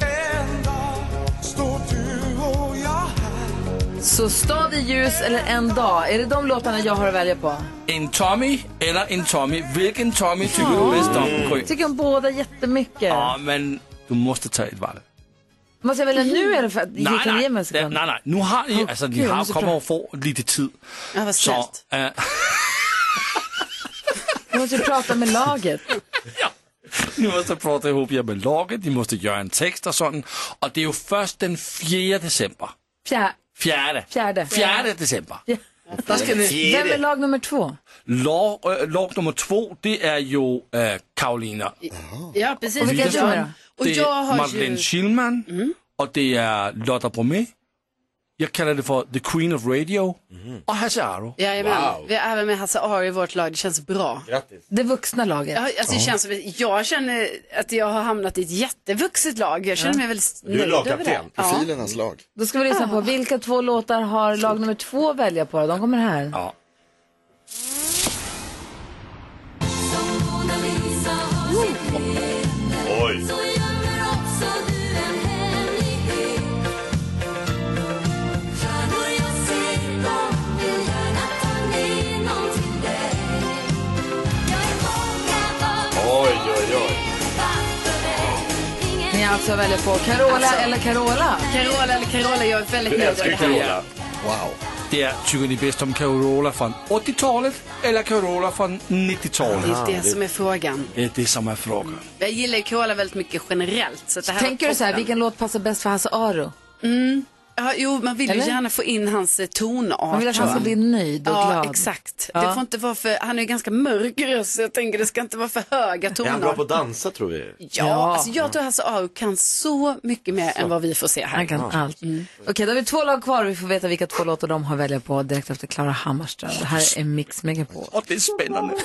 [SPEAKER 1] Så stad i ljus eller en dag, är det de låtarna jag har att välja på?
[SPEAKER 3] En Tommy eller en Tommy. Vilken Tommy tycker du bäst om? Gry?
[SPEAKER 1] Tycker om båda jättemycket.
[SPEAKER 3] Ja, men du måste ta ett val.
[SPEAKER 1] Måste jag välja nu eller för att
[SPEAKER 3] Nej,
[SPEAKER 1] gick jag
[SPEAKER 3] nej,
[SPEAKER 1] ge mig en sekund?
[SPEAKER 3] nej, nej. Nu har ni, alltså, ni
[SPEAKER 1] Gud,
[SPEAKER 3] har
[SPEAKER 1] måste
[SPEAKER 3] kommer
[SPEAKER 1] prata.
[SPEAKER 3] att få lite tid.
[SPEAKER 1] Ja, vad
[SPEAKER 3] Så,
[SPEAKER 1] snällt.
[SPEAKER 3] eh,
[SPEAKER 1] Jag måste ju prata med laget.
[SPEAKER 3] ni måste prata ihop er med laget, ni måste göra en text och sånt. Och det är ju först den 4 december.
[SPEAKER 1] Fjär,
[SPEAKER 3] Fjärde.
[SPEAKER 1] fjärde.
[SPEAKER 3] Fjärde december. Där ska ni...
[SPEAKER 1] Vem är lag nummer två?
[SPEAKER 3] Lag, äh, lag nummer två, det är ju äh, Karolina
[SPEAKER 5] Ja, precis.
[SPEAKER 3] Och vilka
[SPEAKER 5] Ja.
[SPEAKER 3] är det då?
[SPEAKER 5] Och
[SPEAKER 3] Det
[SPEAKER 5] jag
[SPEAKER 3] är
[SPEAKER 5] har
[SPEAKER 3] Madeleine
[SPEAKER 5] ju...
[SPEAKER 3] Schillman och det är Lotta Bromé. Jag kallar det för The Queen of Radio och Hasse Aro.
[SPEAKER 5] Jajamän. Vi har även med Hasse Aro i vårt lag. Det känns bra.
[SPEAKER 3] Grattis.
[SPEAKER 1] Det vuxna laget.
[SPEAKER 5] Ja, alltså, det känns som, att- jag känner att jag har hamnat i ett jättevuxet lag. Jag känner mig väldigt nöjd över det. Ja.
[SPEAKER 6] Profilernas lag.
[SPEAKER 1] Då ska vi lyssna
[SPEAKER 5] Ah.
[SPEAKER 1] på vilka två låtar har lag nummer två att välja på? De kommer här.
[SPEAKER 3] Ja.
[SPEAKER 9] Oj.
[SPEAKER 7] Oj, oj, oj.
[SPEAKER 1] Ni har alltså att välja på Carola
[SPEAKER 5] Alltså.
[SPEAKER 1] eller Carola.
[SPEAKER 5] Carola eller Carola, jag är väldigt nöjd över det här.
[SPEAKER 3] Carola. Wow. Det är, tycker ni bäst om Carola från 80-talet eller Carola från 90-talet?
[SPEAKER 5] Det är det som är frågan.
[SPEAKER 3] Det är det som är frågan.
[SPEAKER 5] Jag gillar ju Carola väldigt mycket generellt. Så det här
[SPEAKER 1] Tänker
[SPEAKER 5] var
[SPEAKER 1] du så här,
[SPEAKER 5] toppen.
[SPEAKER 1] vilken låt passar bäst för Hasse Aro?
[SPEAKER 5] Mm. Ja, jo, man vill ju
[SPEAKER 1] Eller?
[SPEAKER 5] gärna få in hans eh, tonart.
[SPEAKER 1] Man vill att han
[SPEAKER 5] tror
[SPEAKER 1] ska
[SPEAKER 5] jag.
[SPEAKER 1] bli nöjd och
[SPEAKER 5] ja,
[SPEAKER 1] glad.
[SPEAKER 5] Exakt.
[SPEAKER 1] Ja.
[SPEAKER 5] Det får inte vara för, han är ju ganska mörk röst, så jag tänker det ska inte vara för höga
[SPEAKER 7] Är han bra
[SPEAKER 5] toner.
[SPEAKER 7] på att dansa tror vi?
[SPEAKER 5] Ja, Alltså, jag tror Hasse Aro kan så mycket mer än vad vi får se här. Mm.
[SPEAKER 1] Han kan allt. Okej, då har vi två lag kvar och vi får veta vilka två låtar de har att välja på direkt efter Klara Hammarström. Det här är Mix Megapol.
[SPEAKER 3] Och det är spännande.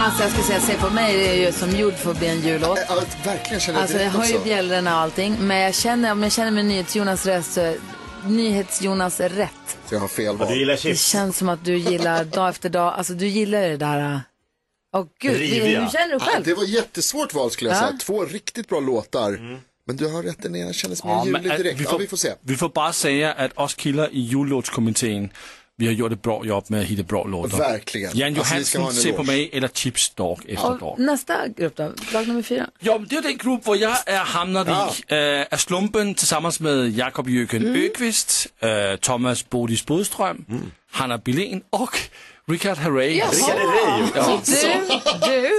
[SPEAKER 1] Alltså jag ska säga, se på mig, det är ju som gjord för att bli en jullåt.
[SPEAKER 6] Ja, verkligen känner jag
[SPEAKER 1] Alltså jag
[SPEAKER 6] direkt
[SPEAKER 1] har ju
[SPEAKER 6] också.
[SPEAKER 1] bjällrorna och allting, men jag känner, om jag känner mig NyhetsJonas rätt så, NyhetsJonas rätt.
[SPEAKER 6] Så jag har fel val.
[SPEAKER 7] Du gillar
[SPEAKER 1] Det
[SPEAKER 7] chips?
[SPEAKER 1] känns som att du gillar dag efter dag, alltså du gillar det där, åh gud,
[SPEAKER 7] Riviga.
[SPEAKER 1] hur känner du
[SPEAKER 6] Ja,
[SPEAKER 1] själv?
[SPEAKER 6] Ah, det var jättesvårt val skulle jag
[SPEAKER 1] Ja.
[SPEAKER 6] säga. Två riktigt bra låtar.
[SPEAKER 7] Mm.
[SPEAKER 6] Men du har rätt, den ena kändes mer
[SPEAKER 3] Ja, men,
[SPEAKER 6] julig
[SPEAKER 3] äh,
[SPEAKER 6] direkt.
[SPEAKER 3] vi
[SPEAKER 6] Ja,
[SPEAKER 3] får-
[SPEAKER 6] vi får se.
[SPEAKER 3] Vi får bara säga att oss killar i jullåtskommittén, vi har gjort ett bra jobb med att hitta bra låtar.
[SPEAKER 6] Verkligen.
[SPEAKER 3] Jan
[SPEAKER 6] Alltså, vi ska
[SPEAKER 3] Johansson,
[SPEAKER 6] ha en
[SPEAKER 3] Se på
[SPEAKER 6] eloge.
[SPEAKER 3] mig eller Chips Dog efter Dog.
[SPEAKER 1] Och nästa grupp då, lag nummer fyra.
[SPEAKER 3] Ja, men det är den grupp hvor jag är hamnat i äh, af slumpen tillsammans med Jakob Jøken mm. Öqvist, äh, Thomas Bodis Bodström,
[SPEAKER 6] Mm.
[SPEAKER 3] Hanna Billén och Richard Herrey.
[SPEAKER 7] Vilka är det ju?
[SPEAKER 3] Ja.
[SPEAKER 1] Du, du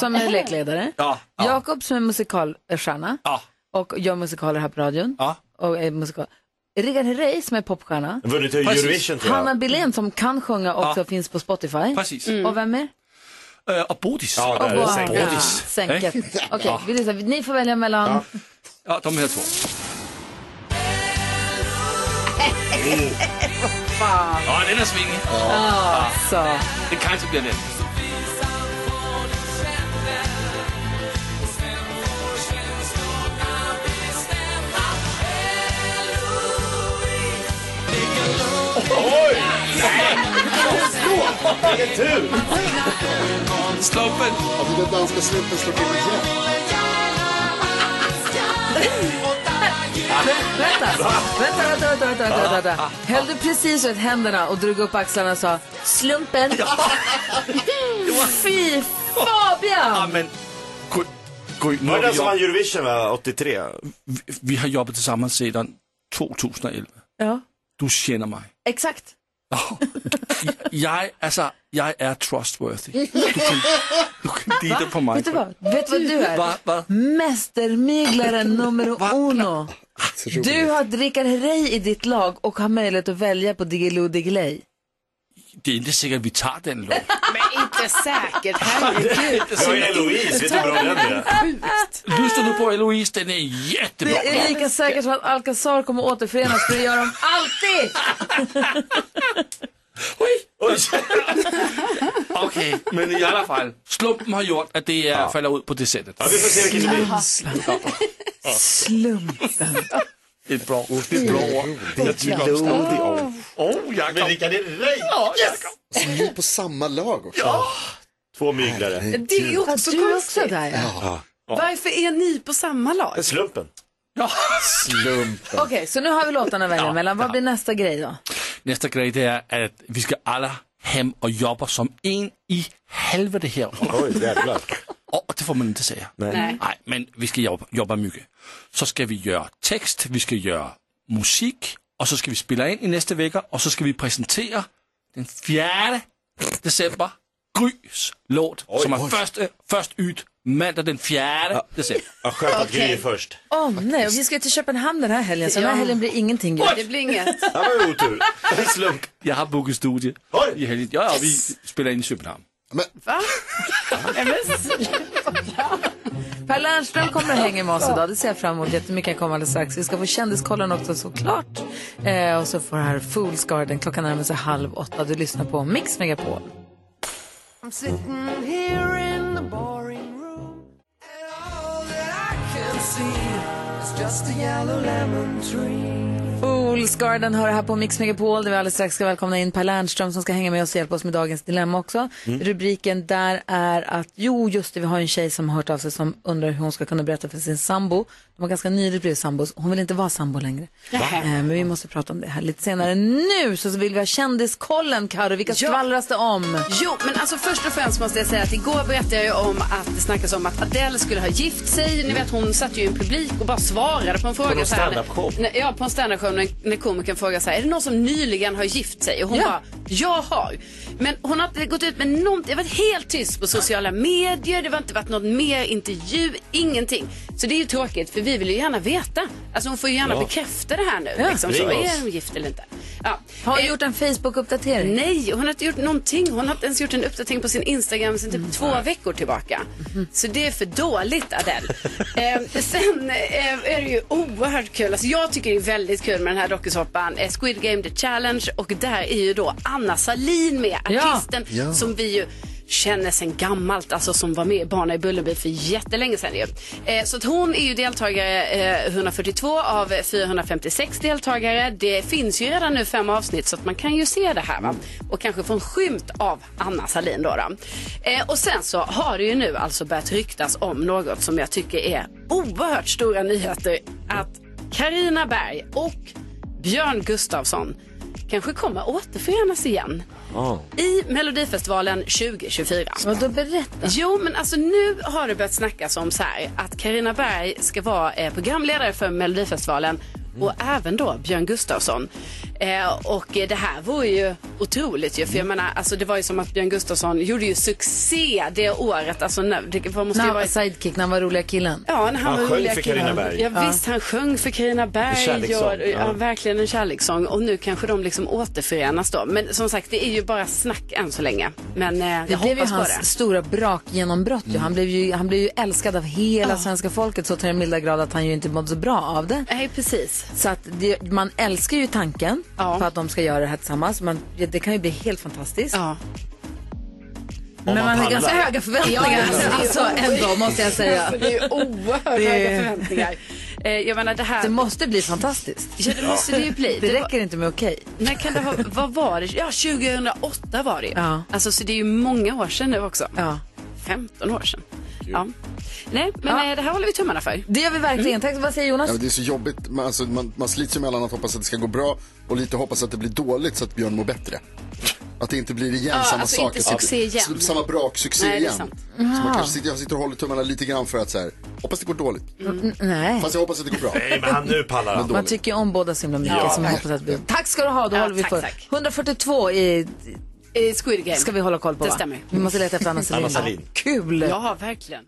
[SPEAKER 1] som är lekledare,
[SPEAKER 3] Ja, ja.
[SPEAKER 1] Jakob som är musikalstjärna
[SPEAKER 3] Ja.
[SPEAKER 1] och gör musikaler här på radion.
[SPEAKER 3] Ja.
[SPEAKER 1] Och är musikal. Rickard Herrey som är popstjärna.
[SPEAKER 7] Vunnit Eurovision tror
[SPEAKER 1] Hanna
[SPEAKER 7] jag.
[SPEAKER 1] Billén som kan sjunga också
[SPEAKER 3] Ja.
[SPEAKER 1] finns på Spotify. Mm.
[SPEAKER 3] Precis.
[SPEAKER 1] Och vem mer?
[SPEAKER 3] Äh, och Bodis.
[SPEAKER 7] Ja, där är det
[SPEAKER 1] Wow.
[SPEAKER 7] säkert.
[SPEAKER 1] Ja, Sänket. Okej, vi lyssnar. ni får välja mellan...
[SPEAKER 3] Eh? Ja, de här två. Ja, den är svingig.
[SPEAKER 1] Så.
[SPEAKER 3] Det kanske blir den.
[SPEAKER 7] Oj! Nej! Vilken tur!
[SPEAKER 3] Slumpen!
[SPEAKER 6] Alltså den danska slumpen slår till igen.
[SPEAKER 1] Vänta. vänta, vänta, vänta, vänta, vänta, vänta. Höll du precis ut händerna och drog upp axlarna och sa slumpen? Fy
[SPEAKER 3] Ja,
[SPEAKER 1] Fabian!
[SPEAKER 3] men... Gry, Gry, nu
[SPEAKER 7] Var
[SPEAKER 3] har
[SPEAKER 7] det
[SPEAKER 3] vi,
[SPEAKER 7] den som vann
[SPEAKER 3] jobb...
[SPEAKER 7] Eurovision va? 83?
[SPEAKER 3] vi, vi har jobbat tillsammans sedan 2011.
[SPEAKER 1] Ja,
[SPEAKER 3] Du känner mig.
[SPEAKER 1] exakt.
[SPEAKER 3] Jag, alltså, jag är trustworthy. Du kan, du kan lita på mig.
[SPEAKER 1] Vet du vad? Vet du vad du är?
[SPEAKER 3] Va, va?
[SPEAKER 1] Mästermyglaren nummer uno. Du har Rickard Herrey i ditt lag och har möjlighet att välja på Diggiloo Diggiley.
[SPEAKER 3] Det är inte säkert att vi tar den låten.
[SPEAKER 5] Men inte säkert, herregud.
[SPEAKER 7] Det var ju Eloise, vet du hur bra den är?
[SPEAKER 3] Lyssna nu på Eloise, den är jättebra.
[SPEAKER 1] Det är lika säkert som att Alcazar kommer att återförenas för det gör de alltid!
[SPEAKER 3] Oj. Okej, men i alla fall. Slumpen har gjort att det eh, är, faller ut på det sättet.
[SPEAKER 7] Ja, vi får se vilken det blir.
[SPEAKER 1] Slumpen.
[SPEAKER 3] ett bra ord.
[SPEAKER 7] Det är ett bra ord.
[SPEAKER 3] Jag tycker om
[SPEAKER 7] Blodig
[SPEAKER 3] det.
[SPEAKER 7] ord.
[SPEAKER 3] Oh, Jakob.
[SPEAKER 7] Men Rickard, det räcker!
[SPEAKER 3] Ja, Jakob.
[SPEAKER 6] Som Alltså, är på samma lag också.
[SPEAKER 3] Ja.
[SPEAKER 7] Två myglare.
[SPEAKER 5] Det är ju också
[SPEAKER 1] Du är
[SPEAKER 5] konstigt.
[SPEAKER 1] också där ja.
[SPEAKER 7] Ja.
[SPEAKER 5] Varför är ni på samma lag?
[SPEAKER 7] Det är Slumpen.
[SPEAKER 6] Slumpen.
[SPEAKER 1] Okej, så nu har vi låtarna att välja
[SPEAKER 3] Ja,
[SPEAKER 1] mellan. Vad blir nästa grej då?
[SPEAKER 3] Nästa grej det är att vi ska alla hem och jobba som en i helvete här.
[SPEAKER 7] Oj, jävlar.
[SPEAKER 3] Och det får man inte säga.
[SPEAKER 5] Nej.
[SPEAKER 3] Nej, men vi ska jobba, jobba mycket. Så ska vi göra text, vi ska göra musik och så ska vi spela in i nästa vecka och så ska vi presentera den 4 december Grys låt som øh, är först, först ut måndag den 4 december.
[SPEAKER 7] Ja, skönt att Gry är först.
[SPEAKER 1] Åh nej, och vi ska till Köpenhamn den här helgen, så den här
[SPEAKER 5] Ja.
[SPEAKER 1] helgen blir ingenting. Gry.
[SPEAKER 5] Det blir inget.
[SPEAKER 7] Det var ju otur. Det är slump.
[SPEAKER 3] Jag har bokat studio
[SPEAKER 7] Oj!
[SPEAKER 3] i helgen. Ja, ja, vi spelar in i Köpenhamn.
[SPEAKER 1] Per Lernström kommer och hänger med oss idag. Det ser jag fram emot jättemycket. Han kommer alldeles strax. Vi ska få kändiskollen också såklart. Eh, och så får här Fools Garden. Klockan närmar sig halv åtta. Du lyssnar på Mix Megapol. Fools Garden hör här på Mix Megapol där vi alldeles strax ska välkomna in Per Lernström som ska hänga med oss och hjälpa oss med dagens dilemma också.
[SPEAKER 5] Mm.
[SPEAKER 1] Rubriken där är att, jo just det, vi har en tjej som har hört av sig som undrar hur hon ska kunna berätta för sin sambo. De har ganska nyligen blivit sambos, hon vill inte vara sambo längre. Eh, men vi måste prata om det här lite senare. Nu så vill vi ha kändiskollen Karo, vilka
[SPEAKER 5] Ja.
[SPEAKER 1] skvallras det om?
[SPEAKER 5] Jo, men alltså först och främst måste jag säga att igår berättade jag ju om att det snackas om att Adele skulle ha gift sig. Ni vet hon satt ju i en publik och bara svarade på en fråga.
[SPEAKER 7] någon
[SPEAKER 5] så här-
[SPEAKER 7] stand-up-show?
[SPEAKER 5] Nej, Ja, på en standup-show när, när komikern frågar så här, är det någon som nyligen har gift sig? Och hon
[SPEAKER 1] Ja.
[SPEAKER 5] bara, jag har. Men hon har inte gått ut med någonting, det har varit helt tyst på sociala medier, det har inte varit någon mer intervju, ingenting. Så det är ju tråkigt för vi vill ju gärna veta. Alltså hon får ju gärna bekräfta det här nu. Liksom, så,
[SPEAKER 7] ring oss.
[SPEAKER 5] är hon gift eller inte? Ja.
[SPEAKER 1] Har hon
[SPEAKER 5] Eh,
[SPEAKER 1] gjort en Facebook-uppdatering?
[SPEAKER 5] Nej, hon har inte gjort någonting. Hon har inte ens gjort en uppdatering på sin Instagram sedan typ
[SPEAKER 1] Mm.
[SPEAKER 5] två veckor tillbaka.
[SPEAKER 1] Mm-hmm.
[SPEAKER 5] Så det är för dåligt, Adele. eh, sen eh, är det ju oerhört kul. Alltså, jag tycker det är väldigt kul med den här dokusåpan eh, Squid Game The Challenge och där är ju då Anna Salin med,
[SPEAKER 1] Ja.
[SPEAKER 5] artisten som vi ju känner sen gammalt, alltså som var med i Barnen i Bullerby för jättelänge sedan ju. Eh, så att hon är ju deltagare eh, 142 av 456 deltagare. Det finns ju redan nu fem avsnitt så att man kan ju se det här va? och kanske få en skymt av Anna Salin då. då. Eh, och sen så har det ju nu alltså börjat ryktas om något som jag tycker är oerhört stora nyheter att Karina Berg och Björn Gustafsson kanske kommer återförenas igen i Melodifestivalen 2024.
[SPEAKER 1] Vadå berätta?
[SPEAKER 5] Jo, men alltså nu har det börjat snackas om så här att Karina Berg ska vara eh, programledare för Melodifestivalen och även då Björn Gustafsson. Eh, och eh, det här vore ju otroligt ju, för jag menar, alltså det var ju som att Björn Gustafsson gjorde ju succé det året. Alltså, när- det vad måste ju
[SPEAKER 1] När alltså- han
[SPEAKER 5] vara
[SPEAKER 1] var sidekick, när han var roliga killen.
[SPEAKER 5] Ja, när han,
[SPEAKER 7] Han
[SPEAKER 5] var
[SPEAKER 7] sjöng
[SPEAKER 5] roliga
[SPEAKER 7] för Carina
[SPEAKER 5] killar.
[SPEAKER 7] Berg.
[SPEAKER 5] Ja, visst, han sjöng för Carina
[SPEAKER 7] En
[SPEAKER 5] Berg.
[SPEAKER 7] kärlekssång,
[SPEAKER 5] Ja, ja.
[SPEAKER 7] ja.
[SPEAKER 5] verkligen en kärlekssång. Och nu kanske de liksom återförenas då. Men som sagt, det är ju bara snack än så länge. Men eh,
[SPEAKER 1] Det
[SPEAKER 5] jag
[SPEAKER 1] blev ju
[SPEAKER 5] hoppas på
[SPEAKER 1] hans
[SPEAKER 5] det. Mm.
[SPEAKER 1] stora brakgenombrott. ju. Han, blev ju, han blev ju älskad av hela svenska folket så till den milda grad att han ju inte mådde så bra av det.
[SPEAKER 5] Nej, precis.
[SPEAKER 1] Så att det, man älskar ju tanken
[SPEAKER 5] Ja.
[SPEAKER 1] på att de ska göra det här tillsammans. Man, ja, det kan ju bli helt fantastiskt.
[SPEAKER 5] Ja.
[SPEAKER 1] Men man,
[SPEAKER 7] man
[SPEAKER 1] har
[SPEAKER 7] pallar.
[SPEAKER 1] ganska höga förväntningar alltså, ändå måste jag säga.
[SPEAKER 5] Det är oerhört höga förväntningar. Eh, jag menar det här.
[SPEAKER 1] Det måste bli fantastiskt.
[SPEAKER 5] Ja, det måste det ju bli.
[SPEAKER 1] Det
[SPEAKER 5] Det var-
[SPEAKER 1] räcker inte med okej.
[SPEAKER 5] När kan det ha, vad var det? Ja, 2008 var det ju.
[SPEAKER 1] Ja.
[SPEAKER 5] Alltså, så det är ju många år sedan nu också.
[SPEAKER 1] Ja.
[SPEAKER 5] 15 år sedan. Ja. Nej, men eh, det här håller vi tummarna för. Mm.
[SPEAKER 1] Det gör vi verkligen. Tack, vad säger Jonas?
[SPEAKER 6] Ja, men det är så jobbigt, man, alltså, man, man slits ju mellan att hoppas att det ska gå bra och lite hoppas att det blir dåligt så att Björn mår bättre. Att det inte blir igen
[SPEAKER 5] Ja,
[SPEAKER 6] samma
[SPEAKER 5] alltså
[SPEAKER 6] sak.
[SPEAKER 5] inte
[SPEAKER 6] Att det-
[SPEAKER 5] succé igen.
[SPEAKER 6] s- Samma braksuccé
[SPEAKER 5] Nej, det är
[SPEAKER 6] igen.
[SPEAKER 5] sant.
[SPEAKER 6] Så man kanske sitter, jag sitter och håller tummarna lite grann för att så här, hoppas det går dåligt.
[SPEAKER 5] Mm.
[SPEAKER 1] Nej.
[SPEAKER 6] Fast jag hoppas att det går bra.
[SPEAKER 7] Nej, men han nu pallar han.
[SPEAKER 1] Man tycker ju om båda så himla mycket.
[SPEAKER 5] Ja,
[SPEAKER 1] som man hoppas att vi... Tack ska du ha, då
[SPEAKER 5] Ja,
[SPEAKER 1] håller vi
[SPEAKER 5] tack,
[SPEAKER 1] för.
[SPEAKER 5] tack.
[SPEAKER 1] 142 i,
[SPEAKER 5] Eh, Squid Game.
[SPEAKER 1] ska vi hålla koll på
[SPEAKER 5] Det
[SPEAKER 1] va?
[SPEAKER 5] stämmer.
[SPEAKER 1] Vi måste leta efter Anna Selin.
[SPEAKER 7] Anna Selin.
[SPEAKER 1] Kul!
[SPEAKER 5] Ja, verkligen.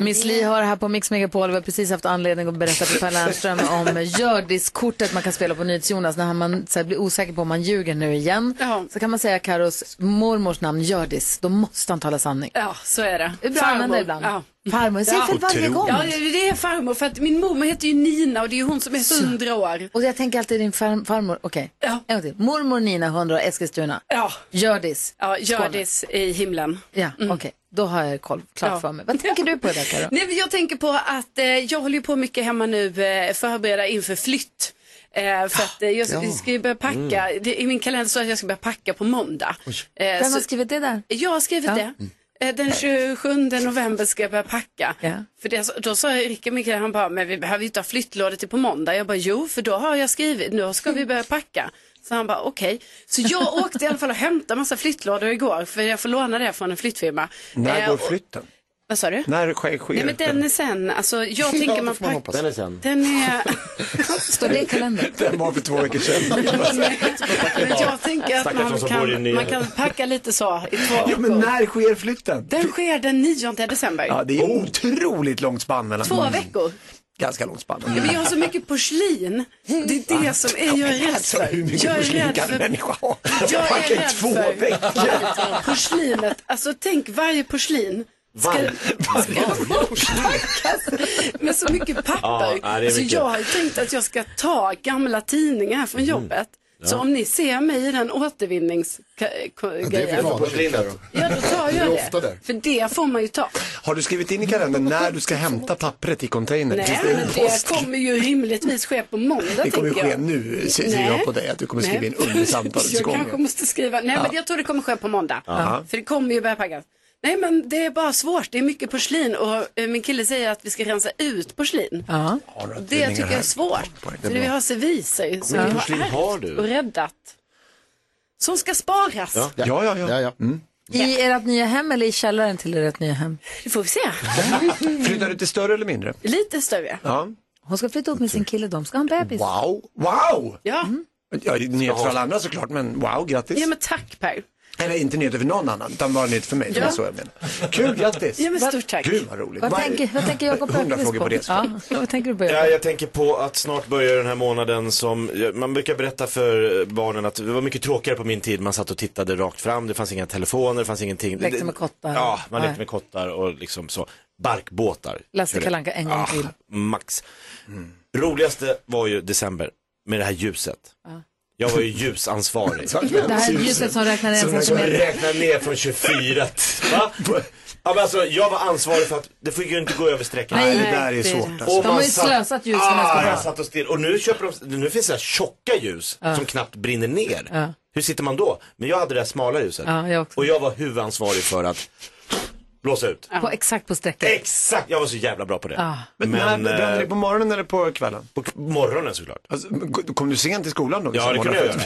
[SPEAKER 1] Miss Li har här på Mix Megapol. Vi har precis haft anledning att berätta för Per Lernström om Hjördis-kortet man kan spela på NyhetsJonas. När man så här, blir osäker på om man ljuger nu igen
[SPEAKER 5] Ja.
[SPEAKER 1] så kan man säga Karos mormors namn Hjördis. Då måste han tala sanning.
[SPEAKER 5] Ja, så är det.
[SPEAKER 1] Det är bra att
[SPEAKER 5] Farmor.
[SPEAKER 1] använda ibland.
[SPEAKER 5] Ja,
[SPEAKER 1] Farmor säger fel varje gång.
[SPEAKER 5] Ja, det är farmor. För att min mormor heter ju Nina och det är ju hon som är hundra år.
[SPEAKER 1] Och jag tänker alltid din farm, farmor, okej. En gång till. Mormor Nina, 100 år, Eskilstuna.
[SPEAKER 5] Ja.
[SPEAKER 1] Gördis.
[SPEAKER 5] Ja,
[SPEAKER 1] Skåne.
[SPEAKER 5] Hjördis i himlen.
[SPEAKER 1] Ja, okej. Då har jag koll klart
[SPEAKER 5] Mm. Ja.
[SPEAKER 1] för mig. Vad tänker du på det Karo?
[SPEAKER 5] Nej, men jag tänker på att eh, jag håller ju på mycket hemma nu, eh, förbereda inför flytt. Eh, för att eh, jag ska,
[SPEAKER 1] Ja.
[SPEAKER 5] ska ju börja packa,
[SPEAKER 11] Mm.
[SPEAKER 5] det, i min kalender står att jag ska börja packa på måndag. Eh,
[SPEAKER 1] Vem har
[SPEAKER 5] så-
[SPEAKER 1] skrivit det där?
[SPEAKER 5] Jag har skrivit det.
[SPEAKER 11] Mm.
[SPEAKER 5] Eh, Den 27 november ska jag börja packa. För det, då sa Rickard min kille, han bara, men vi behöver ju inte ha flyttlådor till på måndag. Jag bara, jo, för då har jag skrivit, nu ska vi börja packa. Så han bara, okej. Så jag åkte i alla fall och hämtade massa flyttlådor igår, för jag får låna det från en flyttfirma. Eh,
[SPEAKER 11] När går
[SPEAKER 5] och-
[SPEAKER 11] flytten?
[SPEAKER 5] Vad sa du?
[SPEAKER 11] När sker sker
[SPEAKER 5] Nej men den är
[SPEAKER 11] flytten?
[SPEAKER 5] sen, alltså jag
[SPEAKER 11] Ja,
[SPEAKER 5] tänker
[SPEAKER 11] det
[SPEAKER 5] man
[SPEAKER 11] får man
[SPEAKER 5] packar.
[SPEAKER 11] hoppas. Den är sen.
[SPEAKER 5] Den är... Står det i kalendern?
[SPEAKER 11] Den var för två veckor sedan.
[SPEAKER 5] Men jag tänker att
[SPEAKER 11] Stackars de
[SPEAKER 5] man
[SPEAKER 11] som bor i
[SPEAKER 5] kan,
[SPEAKER 11] nya-
[SPEAKER 5] man kan packa lite så i två
[SPEAKER 11] Ja, men
[SPEAKER 5] veckor.
[SPEAKER 11] när sker flytten?
[SPEAKER 5] Den sker den 9 december.
[SPEAKER 11] Ja, det är otroligt långt spann mellan... Mm.
[SPEAKER 5] Två veckor.
[SPEAKER 11] Ganska långt spann.
[SPEAKER 5] Ja, men jag har så mycket porslin. Det är det som är, jag är rädd
[SPEAKER 11] Alltså,
[SPEAKER 5] för.
[SPEAKER 11] hur mycket
[SPEAKER 5] Jag är
[SPEAKER 11] porslin
[SPEAKER 5] rädd
[SPEAKER 11] kan en
[SPEAKER 5] för
[SPEAKER 11] människa ha?
[SPEAKER 5] Jag
[SPEAKER 11] Man
[SPEAKER 5] är
[SPEAKER 11] kan ju
[SPEAKER 5] rädd
[SPEAKER 11] två
[SPEAKER 5] för-
[SPEAKER 11] veckor.
[SPEAKER 5] porslinet. Alltså tänk varje porslin. Ska,
[SPEAKER 11] Varje-
[SPEAKER 5] packas med så mycket
[SPEAKER 7] Ja,
[SPEAKER 5] papper.
[SPEAKER 7] ja, det är
[SPEAKER 5] alltså,
[SPEAKER 7] mycket. Mm.
[SPEAKER 5] jag har ju tänkt att jag ska ta gamla tidningar här från jobbet. Så
[SPEAKER 7] Ja.
[SPEAKER 5] om ni ser mig i den återvinningsgrejen,
[SPEAKER 11] porslinet.
[SPEAKER 5] ja då tar
[SPEAKER 11] Det är
[SPEAKER 5] jag
[SPEAKER 11] ofta
[SPEAKER 5] det.
[SPEAKER 11] där.
[SPEAKER 5] För det får man ju ta.
[SPEAKER 11] Har du skrivit in i kalendern när du ska hämta pappret i containern?
[SPEAKER 5] Nej,
[SPEAKER 11] Finns Mm. det en
[SPEAKER 5] men
[SPEAKER 11] post-
[SPEAKER 5] det kommer ju rimligtvis ske på måndag
[SPEAKER 11] Det kommer ju
[SPEAKER 5] tänker
[SPEAKER 11] ske
[SPEAKER 5] jag.
[SPEAKER 11] nu, ser ser
[SPEAKER 5] Nej.
[SPEAKER 11] jag på dig, att du kommer skriva in
[SPEAKER 5] Nej.
[SPEAKER 11] under
[SPEAKER 5] Jag kanske
[SPEAKER 11] samtalsgången.
[SPEAKER 5] måste skriva, nej
[SPEAKER 11] Ja.
[SPEAKER 5] men jag tror det kommer ske på måndag.
[SPEAKER 11] Ja.
[SPEAKER 5] För det kommer ju börja packas. Nej men det är bara svårt, det är mycket porslin och eh, min kille säger att vi ska rensa ut porslin.
[SPEAKER 1] Ja.
[SPEAKER 5] Och det tycker jag är svårt. För vi har serviser som
[SPEAKER 7] Hur mycket
[SPEAKER 5] vi
[SPEAKER 7] porslin
[SPEAKER 5] har ärvt
[SPEAKER 7] har du?
[SPEAKER 5] och räddat. Som ska sparas.
[SPEAKER 11] ja, ja. Mm. ja.
[SPEAKER 1] I ert nya hem eller i källaren till ert nya hem?
[SPEAKER 5] Det får vi se.
[SPEAKER 11] Flyttar du till större eller mindre?
[SPEAKER 5] Lite större.
[SPEAKER 11] Ja.
[SPEAKER 1] Hon ska flytta upp med sin kille, de ska ha en bebis.
[SPEAKER 11] Wow, Oh, wow! Mm.
[SPEAKER 5] Ja.
[SPEAKER 11] Ja, det är nyheter för alla andra såklart, men wow, grattis.
[SPEAKER 5] Ja men tack Per.
[SPEAKER 11] Eller inte nyheter för någon annan, utan bara nyheter för mig. Det
[SPEAKER 5] Ja.
[SPEAKER 11] var så jag menar. Kul, grattis!
[SPEAKER 5] Ja, men stort tack.
[SPEAKER 11] Gud vad roligt.
[SPEAKER 1] Vad tänker, vad tänker Jakob
[SPEAKER 11] Hundra
[SPEAKER 1] Öqvist
[SPEAKER 11] frågor på det.
[SPEAKER 1] Ja, vad tänker du på?
[SPEAKER 7] Ja, jag tänker på att snart börjar den här månaden som, man brukar berätta för barnen att det var mycket tråkigare på min tid, man satt och tittade rakt fram, det fanns inga telefoner, det fanns ingenting.
[SPEAKER 1] Lekte med kottar.
[SPEAKER 7] Ja, man
[SPEAKER 1] Nej.
[SPEAKER 7] lekte med kottar och liksom så. Barkbåtar.
[SPEAKER 1] Lasse
[SPEAKER 7] Körde.
[SPEAKER 1] Kalle Anka en gång
[SPEAKER 7] Ah,
[SPEAKER 1] till.
[SPEAKER 7] Max. Roligaste var ju december, med det här ljuset.
[SPEAKER 1] Ja.
[SPEAKER 7] Jag var ju ljusansvarig.
[SPEAKER 1] Det här ljuset som räknar ner
[SPEAKER 7] Som
[SPEAKER 1] från
[SPEAKER 7] som
[SPEAKER 1] 21.
[SPEAKER 7] räknar ner från 24. Va? Ja, men alltså, jag var ansvarig för att det får ju inte gå över strecket.
[SPEAKER 1] Nej, Nej, det där är det är svårt, det. alltså.
[SPEAKER 7] Och
[SPEAKER 1] De har
[SPEAKER 7] man
[SPEAKER 1] ju
[SPEAKER 7] satt-
[SPEAKER 1] slösat ljus för nästa
[SPEAKER 7] ah, jag
[SPEAKER 1] dag.
[SPEAKER 7] satt och still. Och nu, köper de, nu finns det här tjocka ljus
[SPEAKER 1] Ja.
[SPEAKER 7] som knappt brinner ner.
[SPEAKER 1] Ja.
[SPEAKER 7] Hur sitter man då? Men jag hade det här smala ljuset.
[SPEAKER 1] Ja, Ah, jag också.
[SPEAKER 7] och jag var huvudansvarig för att blåsa ut.
[SPEAKER 1] På, exakt på strecket.
[SPEAKER 7] Exakt, jag var så jävla bra på det. eh,
[SPEAKER 1] Ah.
[SPEAKER 11] Men, när brände det på morgonen eller på kvällen?
[SPEAKER 7] På morgonen såklart.
[SPEAKER 11] Alltså, g- kom du sent till skolan då? liksom,
[SPEAKER 7] Ja, det kunde jag göra.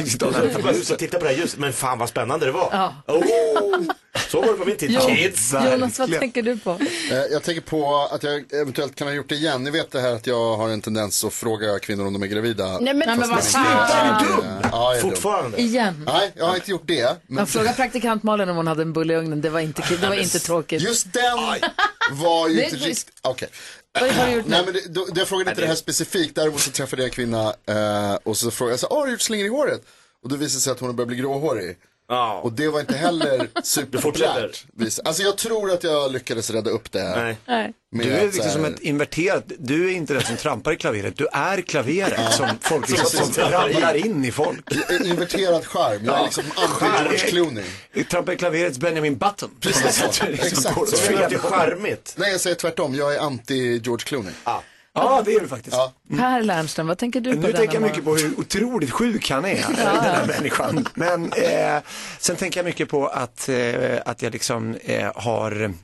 [SPEAKER 7] Jag bara satt och
[SPEAKER 11] göra.
[SPEAKER 7] tittade på det här ljuset, men fan vad spännande det var.
[SPEAKER 1] Ja.
[SPEAKER 7] Oh, så var det på min tid. Kids.
[SPEAKER 1] Jonas, vad tänker du på?
[SPEAKER 6] Eh, Jag tänker på att jag eventuellt kan ha gjort det igen. Ni vet det här att jag har en tendens att fråga kvinnor om de är gravida.
[SPEAKER 1] Nej, men- Nej, men vad
[SPEAKER 6] Fast
[SPEAKER 1] fan.
[SPEAKER 6] jag inte är. Eh,
[SPEAKER 1] Är du dum?
[SPEAKER 6] Ja, jag är dum.
[SPEAKER 7] Fortfarande?
[SPEAKER 1] Igen.
[SPEAKER 6] Nej, jag har inte gjort det. Men
[SPEAKER 1] Jag frågade praktikant Malin om hon hade en bulle i ugnen. Det var inte, kul. det var inte tråkigt.
[SPEAKER 6] Just den var ju
[SPEAKER 1] Det är
[SPEAKER 6] inte
[SPEAKER 1] just-
[SPEAKER 6] riktigt... Okej.
[SPEAKER 1] Vad har du gjort nu?
[SPEAKER 6] Nej, men det, då, jag frågade inte det här specifikt. Däremot så träffade jag en kvinna eh, och så frågade jag så här, "Ah, har du gjort slingor i håret? Och då visade det sig att hon började bli gråhårig. Och det var inte heller
[SPEAKER 7] fortsätter.
[SPEAKER 6] superpopulärt. Vis- Alltså jag tror att jag lyckades rädda upp det. här.
[SPEAKER 1] Nej.
[SPEAKER 6] Med
[SPEAKER 11] Du är
[SPEAKER 6] att
[SPEAKER 11] liksom
[SPEAKER 6] så här-
[SPEAKER 11] som ett inverterat, du är inte den som trampar i klaveret, du är klaveret som folk
[SPEAKER 6] Som-
[SPEAKER 11] liksom,
[SPEAKER 6] som
[SPEAKER 11] som
[SPEAKER 6] trampar i.
[SPEAKER 11] ramlar in i folk.
[SPEAKER 6] En eh, Inverterad skärm, jag är
[SPEAKER 11] Ja.
[SPEAKER 6] liksom
[SPEAKER 11] Skärm.
[SPEAKER 6] anti-George Clooney.
[SPEAKER 11] Trampar i klaverets Benjamin Button.
[SPEAKER 6] Precis så.
[SPEAKER 11] Det är liksom går
[SPEAKER 6] Exakt
[SPEAKER 11] åt
[SPEAKER 6] så.
[SPEAKER 11] fel håll.
[SPEAKER 6] Nej, jag säger tvärtom. Jag är anti-George Clooney.
[SPEAKER 11] Ah. Ja, det är du faktiskt.
[SPEAKER 1] Per Lernström, vad tänker du på
[SPEAKER 11] Mm. Nu
[SPEAKER 1] denna
[SPEAKER 11] tänker jag
[SPEAKER 1] morgon?
[SPEAKER 11] mycket på hur otroligt sjuk han är, den här människan. Men eh, sen tänker jag mycket på att, eh, att jag liksom eh, har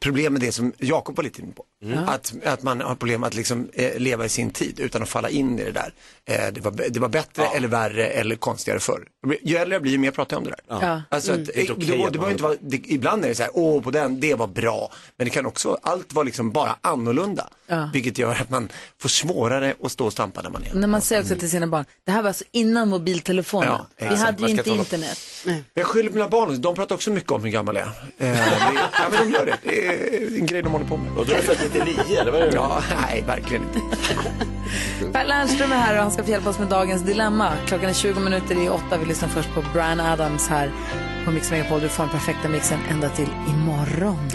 [SPEAKER 11] problem med det som Jakob var lite inne på. Att, att man har problem att liksom, eh, leva i sin tid utan att falla in i det där. Eh, det, var, b- det var bättre eller värre eller konstigare förr. Ju äldre jag blir, ju mer pratar jag om det där.
[SPEAKER 1] Ja.
[SPEAKER 11] Alltså,
[SPEAKER 1] Mm.
[SPEAKER 11] att,
[SPEAKER 1] Det är
[SPEAKER 11] eh,
[SPEAKER 1] inte okej
[SPEAKER 11] det,
[SPEAKER 1] att
[SPEAKER 11] var- det
[SPEAKER 1] man
[SPEAKER 11] var ju inte vara, det, ibland är det så här, åh på den, det var bra. Men det kan också, vara- allt var liksom bara annorlunda.
[SPEAKER 1] Ja. Mm.
[SPEAKER 11] Vilket gör att man får svårare att stå och stampa när man är
[SPEAKER 1] När man säger också till sina barn, det här var alltså innan mobiltelefonen.
[SPEAKER 11] Ja,
[SPEAKER 1] Vi
[SPEAKER 11] exakt.
[SPEAKER 1] hade ju
[SPEAKER 11] Man ska
[SPEAKER 1] inte
[SPEAKER 11] ta-
[SPEAKER 1] internet.
[SPEAKER 11] Jag skyller på mina barn, de pratar också mycket om hur gammal jag är. Eh, det- ja, men de gör det. Det är en grej de håller på med.
[SPEAKER 7] Och du är född 99 eller vad är det?
[SPEAKER 11] Ja, nej, verkligen inte.
[SPEAKER 1] Per Lernström är här och han ska få hjälpa oss med dagens dilemma. Klockan är 20 minuter i åtta. Vi lyssnar först på Brian Adams här
[SPEAKER 11] Oh.
[SPEAKER 1] på Mix Megapol. Du får den perfekta mixen ända till imorgon.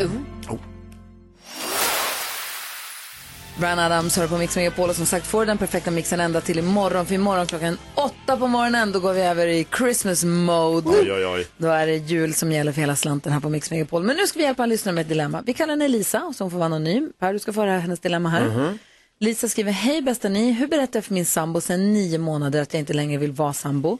[SPEAKER 1] Brian Adams hör på Mix Megapol och som sagt får du den perfekta mixen ända till imorgon. För imorgon klockan åtta på morgonen då går vi över i Christmas mode.
[SPEAKER 7] Oj, oj, oj.
[SPEAKER 1] Då är det jul som gäller för hela slanten här på Mix Megapol. Men nu ska vi hjälpa alla lyssnare med ett dilemma. Vi kallar henne Elisa som får vara anonym. Per, du ska få höra hennes dilemma här.
[SPEAKER 12] Mhm.
[SPEAKER 1] Lisa skriver, hej bästa ni, hur berättar jag för min sambo sedan nio månader att jag inte längre vill vara sambo?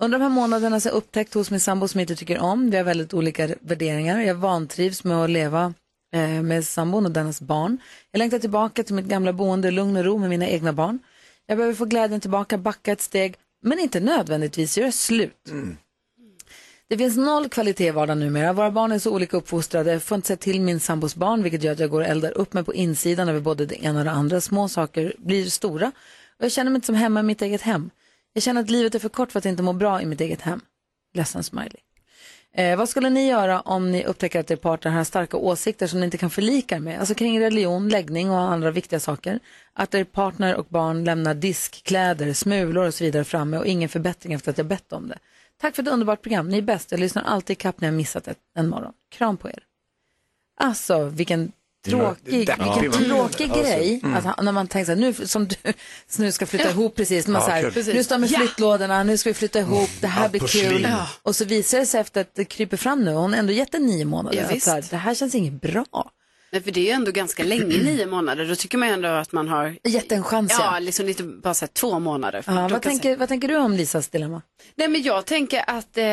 [SPEAKER 1] Under de här månaderna så har jag upptäckt hos min sambo som jag inte tycker om, vi har väldigt olika värderingar, jag vantrivs med att leva eh, med sambon och dennes barn. Jag längtar tillbaka till mitt gamla boende, lugn och ro med mina egna barn. Jag behöver få glädjen tillbaka, backa ett steg, men inte nödvändigtvis göra slut.
[SPEAKER 11] Mm.
[SPEAKER 1] Det finns noll kvalitet i vardagen numera. Våra barn är så olika uppfostrade. Jag får inte se till min sambos barn, vilket gör att jag går och eldar upp mig på insidan över både det ena och det andra. Små saker blir stora. Och jag känner mig inte som hemma i mitt eget hem. Jag känner att livet är för kort för att inte må bra i mitt eget hem. Ledsen smiley. Eh, vad skulle ni göra om ni upptäcker att er partner har starka åsikter som ni inte kan förlika er med? Alltså kring religion, läggning och andra viktiga saker. Att er partner och barn lämnar disk, kläder, smulor och så vidare framme och ingen förbättring efter att jag bett om det. Tack för ett underbart program. Ni är bäst. Jag lyssnar alltid ikapp när jag missat ett, en morgon. Kram på er. Alltså, vilken
[SPEAKER 12] Det var-
[SPEAKER 1] tråkig,
[SPEAKER 12] det där
[SPEAKER 1] vilken
[SPEAKER 12] var-
[SPEAKER 1] tråkig
[SPEAKER 12] Alltså,
[SPEAKER 1] grej.
[SPEAKER 12] mm.
[SPEAKER 1] Att han, när man tänker så här, nu, som du, så nu ska flytta
[SPEAKER 12] Ja.
[SPEAKER 1] ihop precis. Man
[SPEAKER 12] Ja,
[SPEAKER 1] så här,
[SPEAKER 12] kul.
[SPEAKER 1] nu står med
[SPEAKER 12] Ja.
[SPEAKER 1] flyttlådorna, nu ska vi flytta ihop, det här
[SPEAKER 12] allt
[SPEAKER 1] blir
[SPEAKER 12] porslin.
[SPEAKER 1] kul.
[SPEAKER 12] Mm. Ja.
[SPEAKER 1] Och så visar det sig efter att det kryper fram nu, hon har ändå gett det nio månader.
[SPEAKER 5] Ja,
[SPEAKER 1] att
[SPEAKER 5] visst.
[SPEAKER 1] så här, det här känns inget bra.
[SPEAKER 5] Nej, för det är ju ändå ganska länge, nio månader. Då tycker man ju ändå att man har...
[SPEAKER 1] Gett en chans,
[SPEAKER 5] ja. liksom lite bara så här, två månader. för
[SPEAKER 1] Ja,
[SPEAKER 5] att
[SPEAKER 1] vad,
[SPEAKER 5] plocka sig.
[SPEAKER 1] tänker, vad tänker du om Lisas dilemma?
[SPEAKER 5] Nej, men jag tänker att... Eh...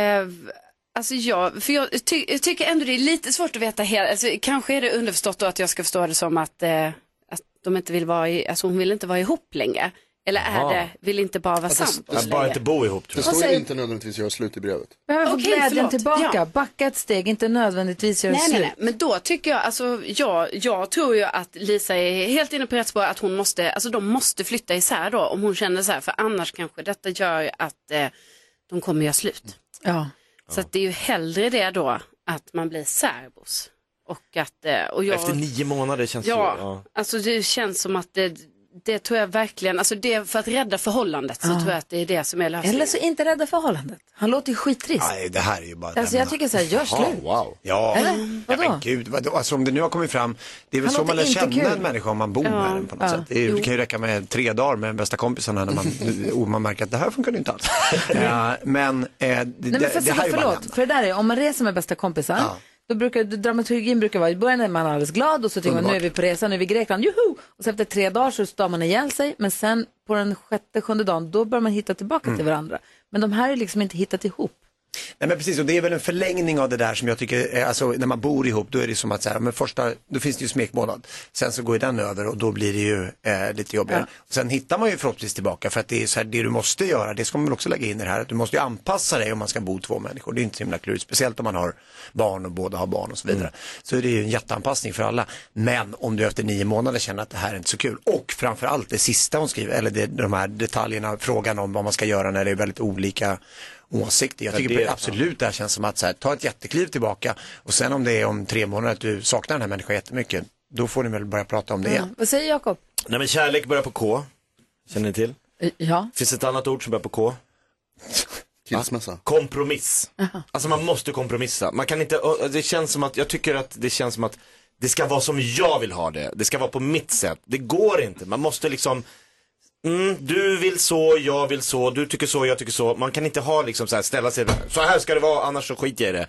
[SPEAKER 5] Alltså jag, för jag, ty- jag tycker ändå det är lite svårt att veta hela, alltså, kanske är det underförstått då att jag ska förstå det som att, eh, att de inte vill vara i, alltså hon vill inte vara ihop längre. Eller är
[SPEAKER 6] Jaha. Alltså,
[SPEAKER 5] det, vill inte bara vara sambos längre.
[SPEAKER 6] bo ihop.
[SPEAKER 5] tror
[SPEAKER 6] Det
[SPEAKER 5] jag.
[SPEAKER 6] står
[SPEAKER 5] Och
[SPEAKER 6] ju
[SPEAKER 5] sen-
[SPEAKER 6] inte nödvändigtvis göra slut i brevet.
[SPEAKER 1] Behöver få
[SPEAKER 5] Okej,
[SPEAKER 1] glädjen
[SPEAKER 5] förlåt.
[SPEAKER 1] tillbaka,
[SPEAKER 5] Ja.
[SPEAKER 1] backa ett steg, inte nödvändigtvis göra
[SPEAKER 5] Nej,
[SPEAKER 1] slut.
[SPEAKER 5] nej, nej, men då tycker jag, alltså jag, jag tror ju att Lisa är helt inne på rätt spår, att hon måste, alltså de måste flytta isär då om hon känner så här, för annars kanske detta gör ju att eh, de kommer göra slut.
[SPEAKER 1] Ja.
[SPEAKER 5] Så att det är ju hellre det då, att man blir särbos. Och att, eh, och jag...
[SPEAKER 7] Efter nio månader känns
[SPEAKER 5] Ja,
[SPEAKER 7] det ja.
[SPEAKER 5] alltså det känns som att det, det tror jag verkligen, alltså det, för att rädda förhållandet så
[SPEAKER 1] Ja.
[SPEAKER 5] tror jag att det är det som är lösningen.
[SPEAKER 1] Eller så inte rädda förhållandet. Han låter ju skittrist.
[SPEAKER 11] Nej, det här är ju bara...
[SPEAKER 1] Alltså, jag tycker så här, gör
[SPEAKER 11] Jaha,
[SPEAKER 1] slut.
[SPEAKER 11] wow. Ja.
[SPEAKER 1] Eller?
[SPEAKER 11] Ja,
[SPEAKER 1] Vadå?
[SPEAKER 11] men gud, vadå? Alltså om det nu har kommit fram, det är väl
[SPEAKER 1] Han
[SPEAKER 11] så man lär
[SPEAKER 1] låter
[SPEAKER 11] känna
[SPEAKER 1] inte kul.
[SPEAKER 11] en människa om man bor
[SPEAKER 1] Ja.
[SPEAKER 11] med den på något
[SPEAKER 1] Ja.
[SPEAKER 11] sätt. Det, är, ju- det
[SPEAKER 1] Jo.
[SPEAKER 11] kan ju räcka med tre dagar med bästa kompisarna när man, och man märker att det här funkar ju inte alls. ja, men eh, det,
[SPEAKER 1] Nej, men
[SPEAKER 11] det,
[SPEAKER 1] för,
[SPEAKER 11] det här är ju bara
[SPEAKER 1] förlåt, för det där är, om man reser med bästa kompisar, då brukar, dramaturgin brukar vara, i början är man alldeles glad och så tycker man nu är
[SPEAKER 12] Underbart.
[SPEAKER 1] vi på resa, nu är vi i Grekland, juhu! Och så efter tre dagar så står man ihjäl sig, men sen på den sjätte, sjunde dagen, då börjar man hitta tillbaka
[SPEAKER 11] Mm.
[SPEAKER 1] till varandra. Men de här är liksom inte hittat ihop.
[SPEAKER 11] Nej men precis, och det är väl en förlängning av det där som jag tycker, eh, alltså när man bor ihop då är det som att så här, men första, då finns det ju smekmånad. Sen så går ju den över och då blir det ju eh, lite jobbigare. Och sen hittar man ju förhoppningsvis tillbaka för att det är så här, det du måste göra, det ska man väl också lägga in i det här, att du måste ju anpassa dig om man ska bo två människor. Det är inte så himla klurigt, speciellt om man har barn och båda har barn och så vidare. Så är det ju en jätteanpassning för alla. Men om du efter nio månader känner att det här är inte så kul och framförallt det sista hon skriver, eller det, de här detaljerna, frågan om vad man ska göra när det är väldigt olika åsikter. Jag
[SPEAKER 7] Ja,
[SPEAKER 11] tycker
[SPEAKER 7] det-
[SPEAKER 11] absolut det här känns som att så här, ta ett jättekliv tillbaka och sen om det är om tre månader att du saknar den här människan jättemycket, då får ni väl börja prata om det igen.
[SPEAKER 1] Vad säger Jakob?
[SPEAKER 7] Nej men kärlek börjar på K. Känner ni till?
[SPEAKER 1] Ja.
[SPEAKER 7] Finns ett annat ord som börjar på K?
[SPEAKER 6] Skilsmässa.
[SPEAKER 7] Kompromiss. Alltså man måste kompromissa. Man kan inte, och det känns som att, jag tycker att det känns som att det ska vara som jag vill ha det. Det ska vara på mitt sätt. Det går inte. Man måste liksom, mm, du vill så, jag vill så, du tycker så, jag tycker så. Man kan inte ha liksom så här, ställa sig, så här ska det vara, annars så skiter jag i det.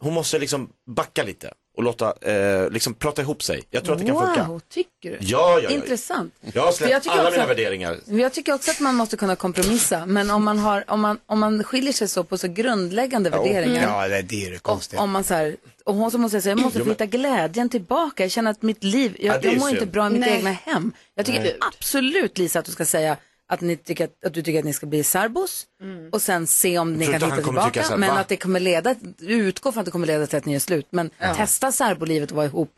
[SPEAKER 7] Hon måste liksom backa lite och låta, eh, liksom prata ihop sig. Jag tror att det kan
[SPEAKER 1] Wow,
[SPEAKER 7] funka.
[SPEAKER 1] tycker du?
[SPEAKER 7] Ja, ja, ja.
[SPEAKER 1] Intressant.
[SPEAKER 7] Jag har
[SPEAKER 1] För jag
[SPEAKER 7] släppt
[SPEAKER 1] tycker
[SPEAKER 7] alla
[SPEAKER 1] också
[SPEAKER 7] mina
[SPEAKER 1] att-
[SPEAKER 7] värderingar.
[SPEAKER 1] Men Jag tycker också att man måste kunna kompromissa, men om man, har, om man, om man skiljer sig så på så grundläggande värderingar.
[SPEAKER 11] Ja, det det är det konstiga.
[SPEAKER 1] Om man så här, och hon som måste jag säga, jag måste
[SPEAKER 11] Jo,
[SPEAKER 1] få
[SPEAKER 11] men-
[SPEAKER 1] hitta glädjen tillbaka. Jag känner att mitt liv, jag,
[SPEAKER 11] Ja, det är
[SPEAKER 1] jag mår
[SPEAKER 11] synd.
[SPEAKER 1] inte bra i mitt
[SPEAKER 5] Nej.
[SPEAKER 1] egna hem. Jag tycker
[SPEAKER 5] Nej.
[SPEAKER 1] absolut Lisa att du ska säga att, ni tycker att, att du tycker att ni ska bli särbos och sen se om ni
[SPEAKER 12] tror
[SPEAKER 1] kan
[SPEAKER 12] inte han
[SPEAKER 1] hitta
[SPEAKER 12] kommer tycka
[SPEAKER 1] tillbaka.
[SPEAKER 12] så här,
[SPEAKER 1] men
[SPEAKER 12] va?
[SPEAKER 1] att det kommer leda, utgå från att det kommer leda till att ni gör slut. Men testa särbolivet och vara ihop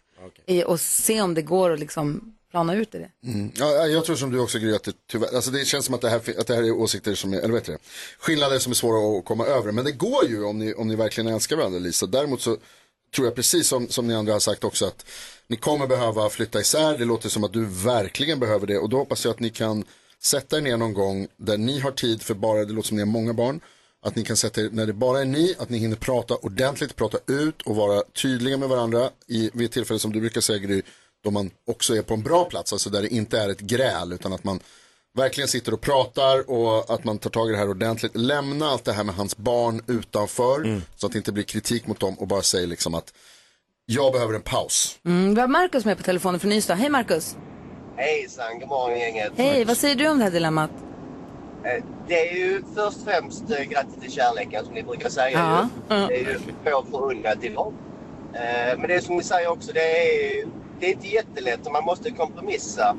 [SPEAKER 1] eh, och se om det går att liksom plana ut i det.
[SPEAKER 6] Mm. Ja, ja, jag tror som du också Gry, att det, tyvärr, alltså det känns som att det, här, att det här är åsikter som är, eller vet det, skillnader som är svåra att komma över. Men det går ju om ni, om ni verkligen älskar varandra Lisa. Däremot så tror jag precis som, som ni andra har sagt också att ni kommer behöva flytta isär. Det låter som att du verkligen behöver det och då hoppas jag att ni kan sätta er ner någon gång där ni har tid för bara, det låter som ni har många barn. Att ni kan sätta er, när det bara är ni, att ni hinner prata ordentligt, prata ut och vara tydliga med varandra i, vid ett tillfälle som du brukar säga Gry, då man också är på en bra plats, alltså där det inte är ett gräl utan att man verkligen sitter och pratar och att man tar tag i det här ordentligt. Lämna allt det här med hans barn utanför så att det inte blir kritik mot dem och bara säg liksom att jag behöver en paus.
[SPEAKER 1] Mm, vi har Markus med på telefonen från Ystad. Hej Markus!
[SPEAKER 12] Hejsan, god morgon gänget.
[SPEAKER 1] Hej, vad säger du om det här dilemmat?
[SPEAKER 12] Eh, Det är ju först och främst eh, grattis till kärleken som ni brukar säga.
[SPEAKER 1] Ja.
[SPEAKER 12] ju. Det är ju få förunnat i dag. Eh, Men det är som ni säger också, det är, det är inte jättelätt och man måste kompromissa.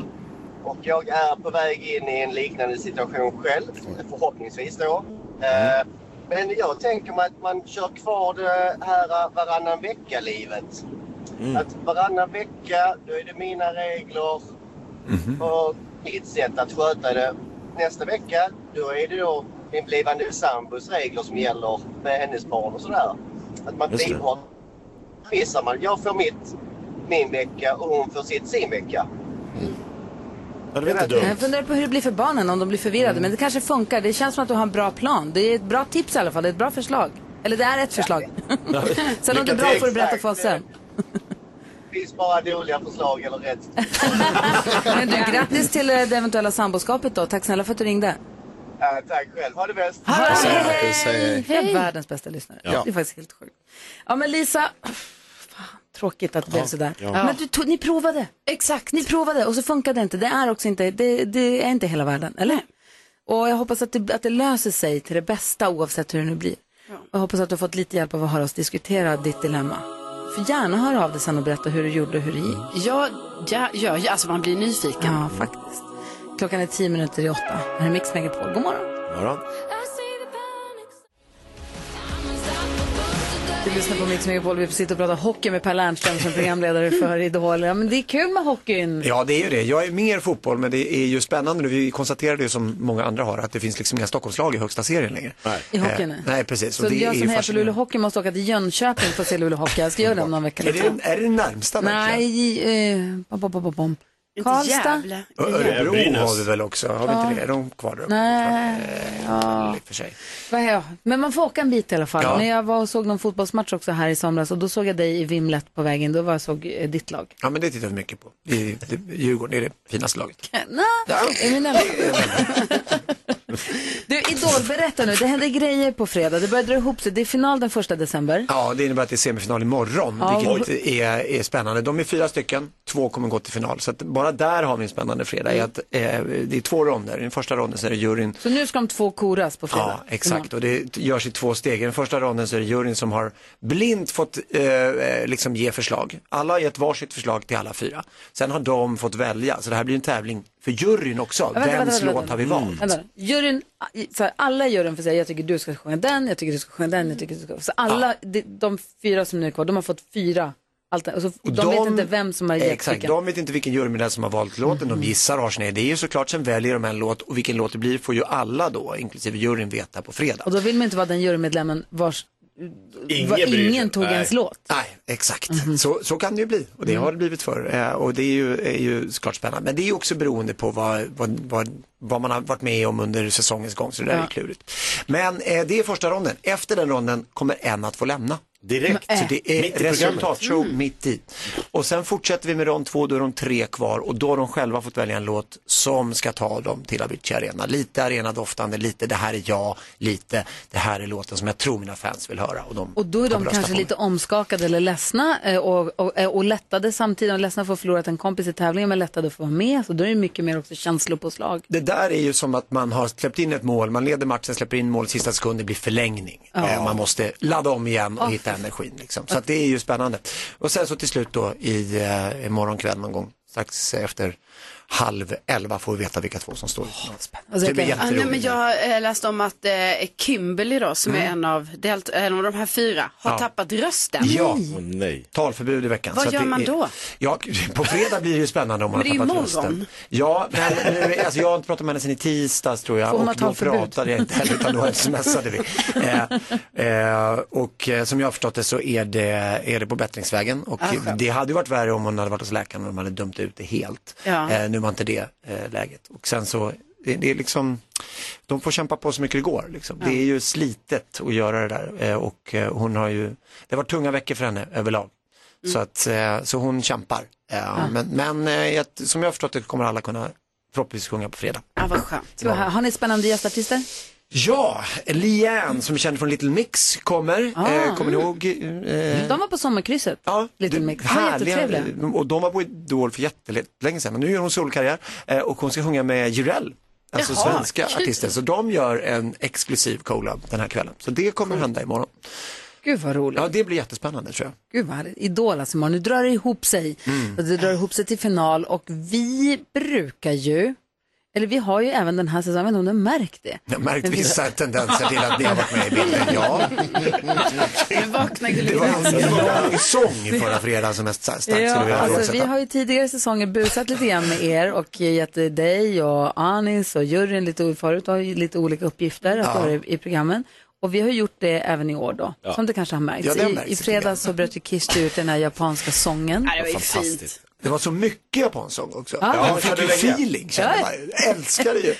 [SPEAKER 12] Och jag är på väg in i en liknande situation själv, förhoppningsvis då. Eh, Men jag tänker mig att man kör kvar det här eh, varannan vecka-livet.
[SPEAKER 7] Mm.
[SPEAKER 12] Att varannan vecka, då är det mina regler
[SPEAKER 7] Mhm.
[SPEAKER 12] och mitt sätt att sköta det. Nästa vecka, då är det då min blivande sambos regler som gäller med hennes barn och sådär. Att man
[SPEAKER 7] Just det.
[SPEAKER 12] bidrar. Missar man, jag får mitt, min vecka och hon får sitt sin vecka.
[SPEAKER 7] Ja, det var inte
[SPEAKER 1] Jag
[SPEAKER 7] dumt. Mm.
[SPEAKER 1] funderar på hur det blir för barnen om de blir förvirrade, men det kanske funkar. Det känns som att du har en bra plan. Det är ett bra tips i alla fall, det är ett bra förslag. Eller det är ett förslag. sen om det är bra får du berätta för oss sen.
[SPEAKER 12] Det finns bara dåliga förslag eller rätt.
[SPEAKER 1] Men du, grattis till eh, det eventuella samboskapet då. Tack snälla för att du ringde.
[SPEAKER 12] Ja, tack själv, ha det bäst!
[SPEAKER 1] Vi har världens bästa lyssnare.
[SPEAKER 12] Ja.
[SPEAKER 1] Det är faktiskt helt sjukt. Ja, men Lisa, fan, tråkigt att det blev sådär.
[SPEAKER 5] ja.
[SPEAKER 1] Men du, tog- ni provade. Exakt. Ni provade och så funkade det inte. Det är också inte, det, det är inte hela världen, eller? Och jag hoppas att det, att det löser sig till det bästa oavsett hur det nu blir. Och jag hoppas att du har fått lite hjälp av att höra oss diskutera ditt dilemma. För gärna höra av dig sen och berätta hur du gjorde och hur det gick.
[SPEAKER 5] Ja, ja, ja, ja, alltså man blir nyfiken.
[SPEAKER 1] Ja, faktiskt. Klockan är tio minuter i åtta. Här är Mix Megapol. God morgon.
[SPEAKER 7] Morgon.
[SPEAKER 1] Du lyssnar på Mix Megapol. Vi sitter och pratar hockey med Per Lernström som programledare för Idol. Ja, men det är kul med hockeyn.
[SPEAKER 11] Ja, det är ju det. Jag är mer fotboll, men det är ju spännande nu. Vi konstaterade ju som många andra har att det finns liksom inga Stockholmslag i högsta serien längre. Nej.
[SPEAKER 1] I hockeyn, nej.
[SPEAKER 11] nej, precis.
[SPEAKER 1] Så
[SPEAKER 11] och det
[SPEAKER 1] jag
[SPEAKER 11] är
[SPEAKER 1] som
[SPEAKER 11] ju
[SPEAKER 1] hejar på Luleå
[SPEAKER 11] fascinerande.
[SPEAKER 1] Hockey måste åka till Jönköping för att se Luleå Hockey. Jag ska göra det om någon vecka. liksom.
[SPEAKER 11] Är det, är det närmsta verkligen?
[SPEAKER 1] Nej, eh, bom, bom, bom, bom, bom. Karlstad?
[SPEAKER 11] Och Örebro har vi väl också? Har vi inte
[SPEAKER 1] Ja.
[SPEAKER 11] det? Är de kvar där uppe?
[SPEAKER 1] Nej. Ja.
[SPEAKER 11] I och för sig.
[SPEAKER 1] Vad är jag? Men man får åka en bit i alla fall.
[SPEAKER 11] Ja.
[SPEAKER 1] När jag var och såg någon fotbollsmatch också här i somras och då såg jag dig i vimlet på vägen. Då var jag såg eh, ditt lag.
[SPEAKER 11] Ja, men det tittar vi mycket på. I, det, Djurgården är det finaste laget.
[SPEAKER 1] Nej, är mina Du, Idol, berätta nu. Det händer grejer på fredag. Det börjar dra ihop sig. Det är final den första december.
[SPEAKER 11] Ja, det innebär att det är semifinal imorgon,
[SPEAKER 1] Ja, och-
[SPEAKER 11] vilket är, är spännande. De är fyra stycken, två kommer gå till final. Så att bara där har vi en spännande fredag.
[SPEAKER 1] Mm.
[SPEAKER 11] i Att, eh, det är två ronder, i den första ronden så är det juryn
[SPEAKER 1] Så nu ska de två koras på fredag. Mm.
[SPEAKER 11] Ja, exakt. Och det görs i två steg. I den första ronden så är det juryn som har blint fått eh, eh, liksom ge förslag. Alla har gett varsitt förslag till alla fyra. Sen har de fått välja, så det här blir en tävling för juryn också.
[SPEAKER 1] Ja, vänta,
[SPEAKER 11] Vems
[SPEAKER 1] vänta, vänta,
[SPEAKER 11] låt har vi
[SPEAKER 1] vänta.
[SPEAKER 11] valt?
[SPEAKER 1] Vänta, juryn, så här, alla i juryn får säga jag tycker du ska sjunga den, jag tycker du ska sjunga den, jag tycker du ska... Så alla, de, de fyra som nu är kvar, de har fått fyra alternativ. Och så, de, vet inte vem som Mm. har gett
[SPEAKER 11] Eh, Exakt,
[SPEAKER 1] vilken.
[SPEAKER 11] de vet inte vilken jury det är som har valt låten, de gissar och har sina idéer såklart, sen väljer de en låt och vilken låt det blir får ju alla då, inklusive juryn, veta på fredag.
[SPEAKER 1] Och då vill man inte vara den jurymedlemmen vars...
[SPEAKER 11] Ingen
[SPEAKER 1] var,
[SPEAKER 11] bryr sig.
[SPEAKER 1] ingen tog
[SPEAKER 11] Nej.
[SPEAKER 1] ens låt.
[SPEAKER 11] Nej, exakt.
[SPEAKER 1] Mm.
[SPEAKER 11] Så, så kan det ju bli och det har det blivit förr. Eh, Och det är ju, är ju såklart spännande. Men det är ju också beroende på vad, vad, vad, vad man har varit med om under säsongens gång, så det där
[SPEAKER 13] Ja.
[SPEAKER 11] är klurigt. Men eh, det är första ronden. Efter den ronden kommer en att få lämna.
[SPEAKER 7] Direkt.
[SPEAKER 11] Så det är
[SPEAKER 7] Mitt i
[SPEAKER 11] resultatshow
[SPEAKER 1] Mm.
[SPEAKER 7] programmet.
[SPEAKER 11] mitt i. Och sen fortsätter vi med rond två, då är de tre kvar och då har de själva fått välja en låt som ska ta dem till Avicii Arena. Lite arenadoftande, lite det här är jag, lite det här är låten som jag tror mina fans vill höra. Och, de
[SPEAKER 1] Och då är de
[SPEAKER 11] kommer rösta
[SPEAKER 1] kanske
[SPEAKER 11] på mig.
[SPEAKER 1] lite omskakade eller ledsna eh, och, och, eh, och lättade samtidigt. De är ledsna för att ha förlorat en kompis i tävlingen men lättade för att vara med. Så då är det mycket mer också känslopåslag.
[SPEAKER 11] Det där är ju som att man har släppt in ett mål, man leder matchen, släpper in mål, sista sekunden det blir förlängning.
[SPEAKER 1] Ja.
[SPEAKER 11] Eh, Man måste ladda om igen och
[SPEAKER 1] Ah.
[SPEAKER 11] hitta energin. Liksom. Så att det är ju spännande. Och sen så till slut då i eh, imorgon kväll någon gång, strax efter halv elva får vi veta vilka två som står. Oh,
[SPEAKER 5] Alltså,
[SPEAKER 11] det
[SPEAKER 5] jag,
[SPEAKER 11] blir
[SPEAKER 5] kan... ah, nej,
[SPEAKER 11] jätteroligt. Mm.
[SPEAKER 5] men jag eh, läste om att eh, Kimberly då, som är en av, delt, en av de här fyra, har
[SPEAKER 11] Ja.
[SPEAKER 5] tappat rösten.
[SPEAKER 11] Ja, talförbud i veckan.
[SPEAKER 5] Vad
[SPEAKER 11] Så att
[SPEAKER 5] gör
[SPEAKER 11] det
[SPEAKER 5] man
[SPEAKER 11] är-
[SPEAKER 5] då?
[SPEAKER 11] Ja, på fredag blir det ju spännande om man
[SPEAKER 5] Men det är
[SPEAKER 11] har tappat
[SPEAKER 5] imorgon.
[SPEAKER 11] rösten. Ja, men nu, alltså jag har inte pratat med henne sedan i tisdags tror jag.
[SPEAKER 5] Får man
[SPEAKER 11] och då
[SPEAKER 5] talförbud?
[SPEAKER 11] pratade jag inte heller utan då smsade vi. Eh, eh, och eh, som jag har förstått det så är det, är det på bättringsvägen.
[SPEAKER 5] Ah,
[SPEAKER 11] Och det hade ju varit värre om hon hade varit hos läkaren och de hade dömt ut det helt.
[SPEAKER 5] Ja.
[SPEAKER 11] Eh, nu var inte det eh, läget. Och sen så, det, det är liksom, de får kämpa på så mycket det går. Liksom. Det är ju slitet att göra det där. Eh, och eh, hon har ju, det har varit tunga veckor för henne överlag.
[SPEAKER 5] Mm.
[SPEAKER 11] Så, att, eh, så hon kämpar. Eh, Men, men eh, jag, som jag har förstått det kommer alla kunna förhoppningsvis sjunga på fredag.
[SPEAKER 5] Ja, vad skönt.
[SPEAKER 1] Ska vi ha- Har ni spännande gästartister?
[SPEAKER 11] Ja, Lian som är känd från Little Mix kommer.
[SPEAKER 1] Ah.
[SPEAKER 11] eh, kommer ni ihåg? Eh,
[SPEAKER 1] De var på sommarkrysset.
[SPEAKER 11] Ja,
[SPEAKER 1] Little Mix. De var jättetrevliga.
[SPEAKER 11] Och de var på Idol för jättelänge sedan. Men nu gör hon solkarriär eh, och hon ska sjunga med Jireel. Alltså
[SPEAKER 1] Jaha,
[SPEAKER 11] svenska
[SPEAKER 1] kul.
[SPEAKER 11] artister. Så de gör en exklusiv collab den här kvällen. Så det kommer hända imorgon.
[SPEAKER 1] Gud vad roligt.
[SPEAKER 11] Ja, det blir jättespännande tror jag.
[SPEAKER 1] Gud vad härligt. Idol alltså imorgon. Nu drar det ihop sig.
[SPEAKER 11] Mm.
[SPEAKER 1] Och det drar ihop sig till final och vi brukar ju, eller vi har ju även den här säsongen, jag vet inte om du har märkt det.
[SPEAKER 11] Jag har märkt vissa tendenser till att ni har varit med i bilden, ja. Det var en lång sång förra fredagen som mest starkt skulle
[SPEAKER 1] Ja,
[SPEAKER 11] vilja
[SPEAKER 1] alltså, vi
[SPEAKER 11] ifrågasätta.
[SPEAKER 1] har ju tidigare säsonger busat lite grann med er och gett dig och Anis och juryn lite, förut har ju lite olika uppgifter att
[SPEAKER 11] Ja.
[SPEAKER 1] göra i, i programmen. Och vi har gjort det även i år då,
[SPEAKER 11] Ja.
[SPEAKER 1] som du kanske har märkt.
[SPEAKER 11] Ja, det har märkts
[SPEAKER 1] I, I
[SPEAKER 11] lite
[SPEAKER 1] fredags så bröt ju Kirsti ut den här japanska sången.
[SPEAKER 11] Det var så mycket japansk sång också.
[SPEAKER 1] Ja.
[SPEAKER 11] Ja, jag fick ju
[SPEAKER 1] Ja.
[SPEAKER 11] feeling, kände
[SPEAKER 1] Ja.
[SPEAKER 11] jag. Jag älskar det ju.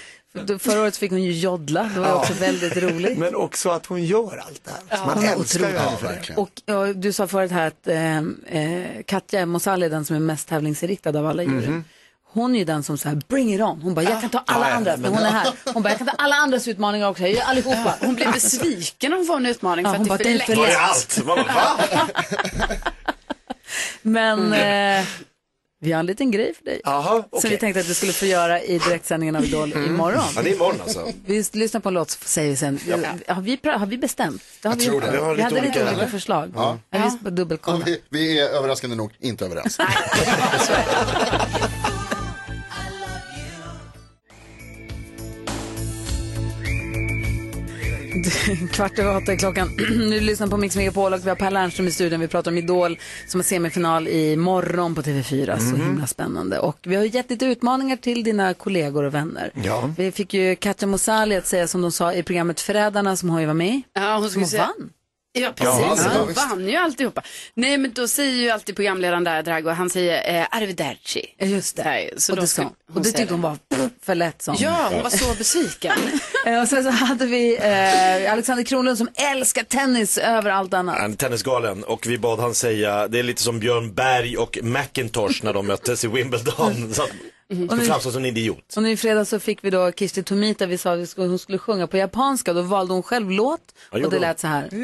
[SPEAKER 1] Då- Förra året fick hon ju joddla, det var ju
[SPEAKER 11] Ja.
[SPEAKER 1] också väldigt roligt.
[SPEAKER 11] Men också att hon gör allt det här. Man älskar ju henne för det.
[SPEAKER 1] Och, ja, du sa förut här att eh, eh, Katja Mosali är den som är mest tävlingsinriktad av alla djuren.
[SPEAKER 11] Mhm.
[SPEAKER 1] Hon är ju den som så här, bring it on. Hon bara, jag kan ta alla
[SPEAKER 11] Ja, ja,
[SPEAKER 1] andra, för
[SPEAKER 11] men-
[SPEAKER 1] hon är här. Hon bara, jag kan ta alla andras utmaningar också, jag gör allihopa.
[SPEAKER 5] Hon blev besviken om hon får en utmaning
[SPEAKER 1] Ja,
[SPEAKER 5] för att
[SPEAKER 1] hon
[SPEAKER 5] det är
[SPEAKER 1] bara,
[SPEAKER 5] för
[SPEAKER 1] det är
[SPEAKER 5] lätt.
[SPEAKER 1] för Var det lätt.
[SPEAKER 7] allt? Man bara, va?
[SPEAKER 1] Men eh, vi har en liten grej för dig. Som vi tänkte att du skulle få göra i direktsändningen av Idol imorgon.
[SPEAKER 7] Ja, det är imorgon alltså.
[SPEAKER 1] Vi lyssnar på en låt så säger vi sen.
[SPEAKER 7] Ja.
[SPEAKER 1] Har, vi, pra- har vi bestämt? Det har
[SPEAKER 6] Jag
[SPEAKER 1] vi
[SPEAKER 6] tror
[SPEAKER 1] gjort.
[SPEAKER 6] det. Vi har
[SPEAKER 1] Vi
[SPEAKER 6] lite
[SPEAKER 1] hade lite
[SPEAKER 6] olika-
[SPEAKER 1] olika förslag.
[SPEAKER 6] Ja.
[SPEAKER 1] Ja, vi dubbelkolla.
[SPEAKER 6] Vi, vi är överraskande nog inte överens.
[SPEAKER 1] Kvart över åtta är klockan. nu lyssnar på Mix Megapol och vi har Per Lernström i studion. Vi pratar om Idol som har semifinal i morgon på TV4. Så
[SPEAKER 2] Mhm.
[SPEAKER 1] himla spännande. Och vi har ju gett lite utmaningar till dina kollegor och vänner.
[SPEAKER 2] Ja.
[SPEAKER 1] Vi fick ju Katja Mosali att säga som de sa i programmet Förrädarna som hon ju var med i.
[SPEAKER 5] Ja, hon
[SPEAKER 1] som
[SPEAKER 5] skulle
[SPEAKER 1] hon
[SPEAKER 5] säga.
[SPEAKER 1] vann.
[SPEAKER 5] Ja,
[SPEAKER 1] Ja,
[SPEAKER 5] precis.
[SPEAKER 1] det var
[SPEAKER 5] hon
[SPEAKER 1] visst.
[SPEAKER 5] vann ju alltihopa. Nej, men då säger ju alltid programledaren där, Drago, han säger eh, arrivederci.
[SPEAKER 1] Just det.
[SPEAKER 5] så
[SPEAKER 1] och
[SPEAKER 5] då
[SPEAKER 1] det,
[SPEAKER 5] ska
[SPEAKER 1] ska,
[SPEAKER 5] hon
[SPEAKER 1] och det
[SPEAKER 5] säga
[SPEAKER 1] tyckte hon
[SPEAKER 5] det.
[SPEAKER 1] var för lätt som.
[SPEAKER 5] Ja, hon var så besviken.
[SPEAKER 1] Eh, och sen så hade vi eh, Alexander Kronlund som älskar tennis över allt annat.
[SPEAKER 7] Han är tennisgalen och vi bad han säga, det är lite som Björn Berg och McIntosh när de möttes i Wimbledon. Så att,
[SPEAKER 2] Mm.
[SPEAKER 7] skulle framstå som en idiot.
[SPEAKER 1] Och nu i fredags så fick vi då Kirsti Tomita, vi sa att vi skulle- hon skulle sjunga på japanska, då valde hon själv låt
[SPEAKER 7] Ja, gjorde
[SPEAKER 1] och det
[SPEAKER 7] hon.
[SPEAKER 1] lät så här.
[SPEAKER 13] 上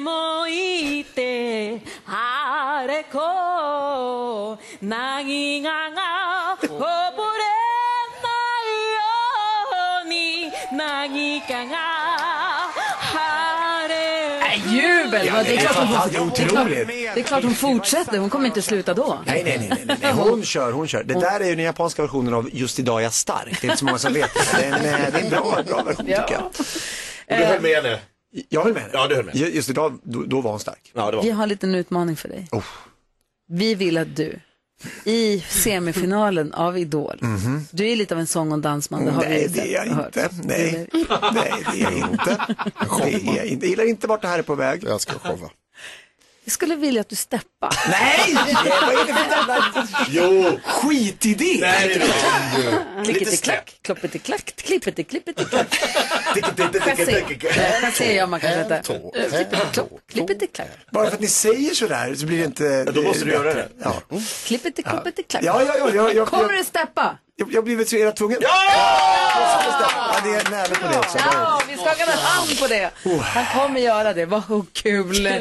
[SPEAKER 13] 向いて晴れこ凪がが溺れないように凪かが晴れ
[SPEAKER 1] Äh, Jubel!
[SPEAKER 11] Ja,
[SPEAKER 1] det, är klart hon,
[SPEAKER 11] det är
[SPEAKER 1] det, är klart,
[SPEAKER 11] otroligt.
[SPEAKER 1] det är klart hon fortsätter, hon kommer inte sluta då.
[SPEAKER 11] Nej, nej, nej, nej, nej, hon kör, hon kör. Det där är ju den japanska versionen av Just idag är jag stark. Det är inte så många som vet det. Det är en, eh, det är en bra, bra version tycker jag.
[SPEAKER 7] Och du höll med henne?
[SPEAKER 11] Jag höll med henne.
[SPEAKER 7] Ja, du höll med.
[SPEAKER 11] Ju- Just idag, då, då var hon stark.
[SPEAKER 7] Ja, det
[SPEAKER 1] Vi har en liten utmaning för dig. Vi vill att du i semifinalen av Idol, du är lite av en sång och dansman, det har vi
[SPEAKER 11] Mhm. Nej,
[SPEAKER 1] ju
[SPEAKER 11] det är jag
[SPEAKER 1] sett och hört.
[SPEAKER 11] inte. Nej, nej, det är jag inte. Det är jag inte. Jag gillar inte vart det här är på väg.
[SPEAKER 6] Jag ska showa.
[SPEAKER 1] Vi skulle vilja att du steppar.
[SPEAKER 11] Nej! Vad är det för jävla...
[SPEAKER 7] Jo!
[SPEAKER 11] Skit i det!
[SPEAKER 7] Nej,
[SPEAKER 1] Klippetiklack, kloppetiklack, klippetiklippetiklopp. Här ser jag man kanske inte. Klippetiklack,
[SPEAKER 11] Bara för att ni säger sådär så blir det inte...
[SPEAKER 7] då måste du göra det. Mm.
[SPEAKER 11] Ja.
[SPEAKER 1] klippetikloppetiklack.
[SPEAKER 11] Ja, ja, ja, ja, ja.
[SPEAKER 1] Kommer du steppa?
[SPEAKER 11] Jag, jag blir så era tvungen. Ja! ja! Det är nära på det också.
[SPEAKER 1] Ja, vi skakade hand på det. Han kommer göra det, vad kul.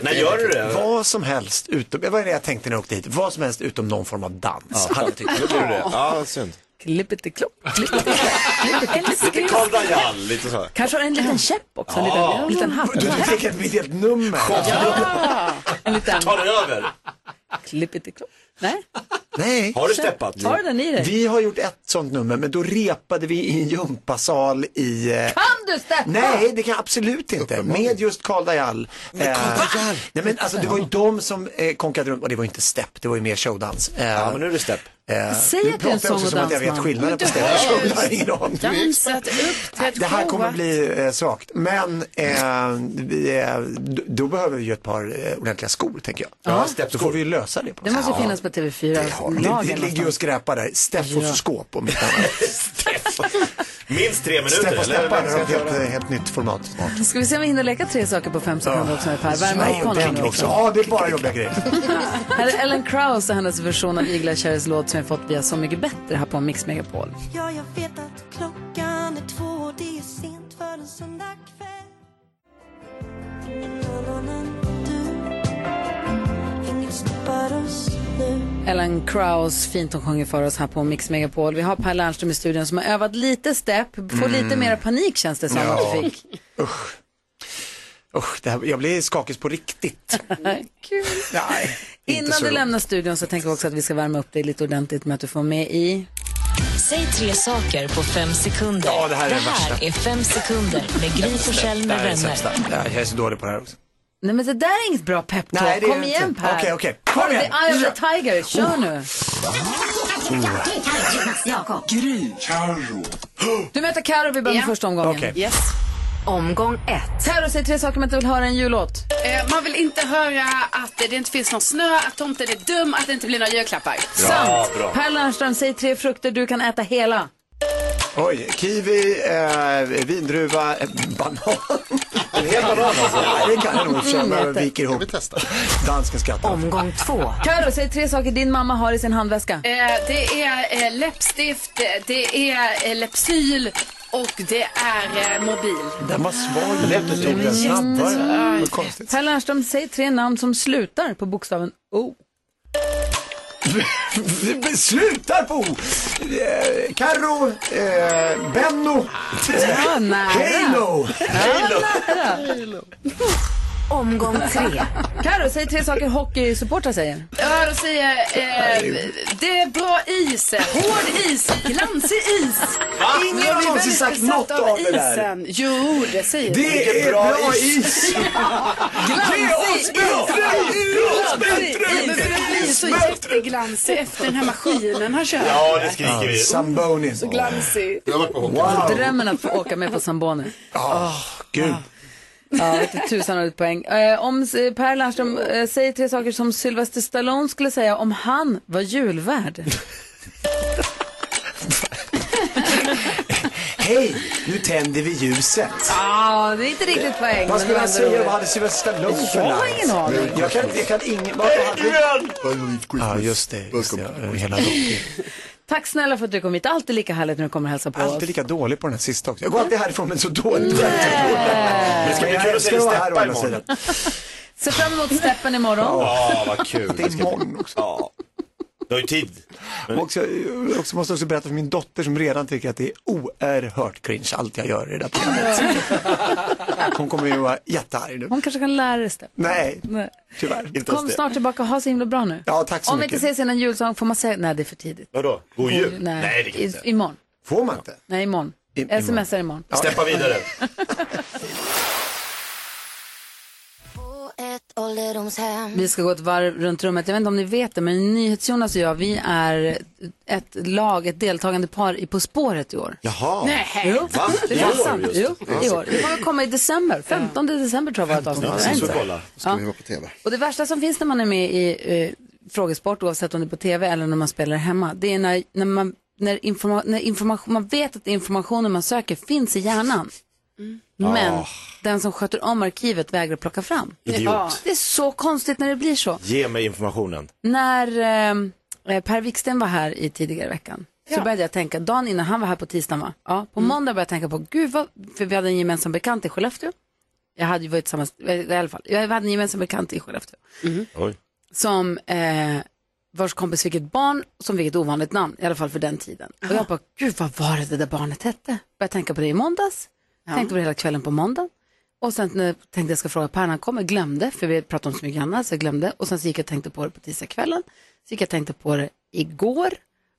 [SPEAKER 11] Vad som helst utom, det var det jag tänkte när jag åkte hit, vad som helst utom någon form av dans. Ja. Hade jag tyckt.
[SPEAKER 7] Då blir det det. Ja, synd.
[SPEAKER 1] Klippetiklopp, klippetiklopp.
[SPEAKER 7] Lite Karl Dajal, lite så. här.
[SPEAKER 1] Kanske har en liten käpp också, en liten, en liten hatt.
[SPEAKER 11] Du tänker att mitt helt nummer.
[SPEAKER 1] En liten
[SPEAKER 7] Tar det över?
[SPEAKER 1] klippetiklopp. Nej,
[SPEAKER 11] Nej.
[SPEAKER 7] Har du steppat?
[SPEAKER 1] Har du den i dig?
[SPEAKER 11] Vi har gjort ett sånt nummer, men då repade vi i en gympasal i... eh,
[SPEAKER 1] kan du steppa?
[SPEAKER 11] Nej, det kan jag absolut inte. Med just Karl Dajal. Eh, Nej men alltså det var ju de som eh, konkade runt, och det var ju inte stepp, det var ju mer showdans. Eh,
[SPEAKER 7] Ja, men nu är det stepp.
[SPEAKER 11] Eh,
[SPEAKER 1] Säg
[SPEAKER 11] nu
[SPEAKER 1] att det är en
[SPEAKER 11] pratar jag också
[SPEAKER 1] sång
[SPEAKER 11] som
[SPEAKER 1] och
[SPEAKER 11] att jag vet
[SPEAKER 1] dansman.
[SPEAKER 11] skillnaden på
[SPEAKER 1] Men du
[SPEAKER 11] städer och
[SPEAKER 1] har ju
[SPEAKER 11] slumtar. Jag har ingen aning.
[SPEAKER 5] Dansat upp till ett
[SPEAKER 11] Det här kommer
[SPEAKER 5] showat.
[SPEAKER 11] bli eh, svagt. Men eh, vi, eh, d- då behöver vi ju ett par eh, ordentliga skor, tänker jag.
[SPEAKER 1] Ja,
[SPEAKER 11] Då får vi ju lösa det. På
[SPEAKER 1] Det
[SPEAKER 11] något
[SPEAKER 1] måste
[SPEAKER 11] sätt.
[SPEAKER 1] finnas på
[SPEAKER 11] Ja. Det, det
[SPEAKER 1] TV4-lagen.
[SPEAKER 11] ligger ju och skräpar där. Steffos
[SPEAKER 1] Ja.
[SPEAKER 11] skåp om inte annat.
[SPEAKER 7] Minst tre minuter,
[SPEAKER 11] Steff och
[SPEAKER 7] eller?
[SPEAKER 11] steppar,
[SPEAKER 7] Vad ska jag
[SPEAKER 11] ett helt,
[SPEAKER 7] göra?
[SPEAKER 11] eh, helt nytt format snart.
[SPEAKER 1] Ska vi se om vi hinner leka tre saker på fem sekunder också med Per? Värma
[SPEAKER 11] Nej,
[SPEAKER 1] upp honom
[SPEAKER 11] ordentligt
[SPEAKER 1] nu
[SPEAKER 11] också.
[SPEAKER 1] också.
[SPEAKER 11] Ja, det är bara jobbiga grejer.
[SPEAKER 1] Här är Ellen Krauss och hennes version av Igla Cherries låt som vi fått via Så mycket bättre här på Mix Megapol.
[SPEAKER 14] Ja, jag vet att klockan är två och det är sent för en söndagkväll. Ingen annan än du, ingen stoppar oss nu.
[SPEAKER 1] Ellen Krauss, fint hon sjunger för oss här på Mix Megapol. Vi har Per Lernström i studion som har övat lite step, får
[SPEAKER 11] Mm.
[SPEAKER 1] lite mer panik känns det som att du fick.
[SPEAKER 11] Usch. Usch, det här, jag blir skakig på riktigt.
[SPEAKER 1] Kul.
[SPEAKER 11] Nej, inte
[SPEAKER 1] Innan
[SPEAKER 11] så
[SPEAKER 1] du
[SPEAKER 11] roligt.
[SPEAKER 1] lämnar studion så tänker vi också att vi ska värma upp dig lite ordentligt med att du får med i...
[SPEAKER 2] Säg tre saker på fem sekunder.
[SPEAKER 11] Ja, det här är det värsta.
[SPEAKER 2] är fem sekunder med Gry Forssell med
[SPEAKER 11] Det här är det
[SPEAKER 2] vänner.
[SPEAKER 11] sämsta. Ja, Jag är så dålig på det här också.
[SPEAKER 1] Nej men det där är inget bra
[SPEAKER 11] Nej,
[SPEAKER 1] peptalk.
[SPEAKER 11] det är
[SPEAKER 1] Kom
[SPEAKER 11] det
[SPEAKER 1] igen
[SPEAKER 11] inte.
[SPEAKER 1] Per.
[SPEAKER 11] Okej, okej. Kom
[SPEAKER 1] Har du
[SPEAKER 11] igen.
[SPEAKER 1] The Eye of the Tiger, kör nu. Mm.
[SPEAKER 9] Gry, Carro.
[SPEAKER 1] Du möter Carro vi börjar med första omgången.
[SPEAKER 5] Okej. Yes.
[SPEAKER 1] Omgång ett. Carro säger tre saker man inte vill höra i en jullåt.
[SPEAKER 5] Eh, man vill inte höra att det inte finns någon snö, att tomten är dum, att det inte blir några julklappar.
[SPEAKER 1] Sant.
[SPEAKER 11] bra.
[SPEAKER 1] Per Lernström, säg tre frukter du kan äta hela.
[SPEAKER 11] Oj, kiwi, eh, vindruva, eh, banan. En hel banan alltså? Nej, det kan jag nog i och för sig,
[SPEAKER 1] Mm,
[SPEAKER 11] men
[SPEAKER 1] äter.
[SPEAKER 11] viker ihop. Dansken skrattar.
[SPEAKER 2] Omgång två.
[SPEAKER 1] Carro, säg tre saker din mamma har i sin handväska.
[SPEAKER 5] Eh, det är eh, läppstift, eh, det är eh, Lypsyl och det är eh, mobil.
[SPEAKER 11] Den var svag. Läppet tog den
[SPEAKER 1] Mm.
[SPEAKER 11] snabbare. Vad konstigt.
[SPEAKER 1] Per Lernström, säg tre namn som slutar på bokstaven O.
[SPEAKER 11] Slutar på O! Eh, Carro, eh, Benno,
[SPEAKER 1] Ja, nära.
[SPEAKER 11] Halo.
[SPEAKER 1] Halo. Omgång tre. Carro, säg tre saker hockeysupportrar säger.
[SPEAKER 5] Ja, då säger jag, eh, det är bra is, hård is, glansig is.
[SPEAKER 11] Va?
[SPEAKER 5] Ingen
[SPEAKER 11] Ingen har
[SPEAKER 5] blir
[SPEAKER 11] någonsin
[SPEAKER 5] väldigt
[SPEAKER 11] sagt
[SPEAKER 5] besatt
[SPEAKER 11] något av det där.
[SPEAKER 5] isen. Jo, det säger
[SPEAKER 11] Det är bra is.
[SPEAKER 5] glansig is.
[SPEAKER 9] Glansig
[SPEAKER 5] Men det blir så jätteglansig efter den här maskinen han kör.
[SPEAKER 11] vi. Samboni.
[SPEAKER 5] Så glansig.
[SPEAKER 11] Wow.
[SPEAKER 1] Drömmen att få åka med på Samboni.
[SPEAKER 11] Åh, gud.
[SPEAKER 1] Ja, vete tusan har du ett poäng. Eh, om eh, Per Lernström eh, säger tre saker som Sylvester Stallone skulle säga om han var julvärd.
[SPEAKER 11] Hej, nu tänder vi ljuset.
[SPEAKER 1] ah, det är inte riktigt
[SPEAKER 11] Vad
[SPEAKER 1] poäng. men
[SPEAKER 11] skulle
[SPEAKER 1] det
[SPEAKER 11] han
[SPEAKER 1] var ändå
[SPEAKER 11] säga?
[SPEAKER 1] roligt.
[SPEAKER 11] Vad hade Sylvester Stallone för
[SPEAKER 1] Jag
[SPEAKER 11] namn?
[SPEAKER 1] har ingen aning.
[SPEAKER 11] Jag kan inte, jag kan ingen... Vad Ja, just det. Just det. ja, Hela Rocky.
[SPEAKER 1] Tack snälla för att du kom hit. Alltid lika härligt när du kommer och hälsar på oss.
[SPEAKER 11] Alltid lika dålig på den här sista också. Jag går alltid härifrån med så dåligt skämt. Eh, Men
[SPEAKER 7] Det ska bli
[SPEAKER 11] jag
[SPEAKER 7] kul att
[SPEAKER 11] älskar
[SPEAKER 7] se dig
[SPEAKER 11] vara här å
[SPEAKER 7] steppa
[SPEAKER 11] andra
[SPEAKER 7] imorgon.
[SPEAKER 11] sidan.
[SPEAKER 1] Se fram emot steppen imorgon.
[SPEAKER 7] Ja, vad kul.
[SPEAKER 11] Det är imorgon också.
[SPEAKER 7] Ja. Du har ju tid.
[SPEAKER 11] Och också, jag också måste också berätta för min dotter som redan tycker att det är oerhört cringe allt jag gör i det här programmet. Hon kommer ju vara jättearg nu.
[SPEAKER 1] Hon kanske kan lära dig steppen.
[SPEAKER 11] Nej,
[SPEAKER 1] Nej.
[SPEAKER 11] tyvärr. Inte ens
[SPEAKER 1] Kom
[SPEAKER 11] det.
[SPEAKER 1] snart tillbaka och ha så himla bra nu.
[SPEAKER 11] Ja, tack så
[SPEAKER 1] Om vi
[SPEAKER 11] mycket.
[SPEAKER 1] inte ses innan julsång får man säga, nej det är för tidigt.
[SPEAKER 7] Vadå? God jul?
[SPEAKER 1] Nej,
[SPEAKER 7] Nej, det kan
[SPEAKER 1] I,
[SPEAKER 7] inte.
[SPEAKER 1] imorgon.
[SPEAKER 11] Får man inte?
[SPEAKER 1] Nej, imorgon.
[SPEAKER 11] imorgon.
[SPEAKER 1] Smsar imorgon.
[SPEAKER 7] Steppa vidare.
[SPEAKER 14] Ett ålderdomshem.
[SPEAKER 1] Vi ska gå ett varv runt rummet. Jag vet inte om ni vet det, men NyhetsJonas och jag, vi är ett lag, ett deltagande par i På spåret i år.
[SPEAKER 7] Jaha.
[SPEAKER 1] Nej. Jo,
[SPEAKER 7] Va?
[SPEAKER 1] det
[SPEAKER 7] I
[SPEAKER 1] är
[SPEAKER 7] år
[SPEAKER 1] sant.
[SPEAKER 7] just?
[SPEAKER 1] Jo, i
[SPEAKER 7] Ja.
[SPEAKER 1] år. Det kommer komma i december. 15 december tror jag var ett avsnitt.
[SPEAKER 6] Ja,
[SPEAKER 1] Är det
[SPEAKER 6] så
[SPEAKER 1] inte
[SPEAKER 6] får
[SPEAKER 1] så?
[SPEAKER 6] kolla. Då ska
[SPEAKER 1] Ja.
[SPEAKER 6] vi vara på tv.
[SPEAKER 1] Och det värsta som finns när man är med i eh, frågesport, oavsett om det är på tv eller när man spelar hemma, det är när, när, man, när, informa- när information, man vet att informationen man söker finns i hjärnan.
[SPEAKER 6] Mm.
[SPEAKER 1] Men
[SPEAKER 7] Ah.
[SPEAKER 1] den som sköter om arkivet vägrar plocka fram.
[SPEAKER 7] Idiot.
[SPEAKER 1] Det är så konstigt när det blir så.
[SPEAKER 7] Ge mig informationen.
[SPEAKER 1] När eh, Per Wiksten var här i tidigare veckan så började jag tänka, dagen innan han var här på tisdagen va? Ja, på måndag började jag tänka på, gud vad, för vi hade en gemensam bekant i Skellefteå. Jag hade ju varit tillsammans, eh, i alla fall, jag hade en gemensam bekant i Skellefteå.
[SPEAKER 7] Oj.
[SPEAKER 1] Som, eh, vars kompis fick ett barn som fick ett ovanligt namn, i alla fall för den tiden. Och jag bara, gud vad var det det där barnet hette? Började tänka på det i måndags, tänkte på det hela kvällen på måndag. Och sen när jag tänkte jag ska fråga Per när han kommer, glömde, för vi pratade om så mycket annat, så jag glömde. Och sen så gick jag och tänkte på det på tisdagskvällen, så gick jag och tänkte på det igår.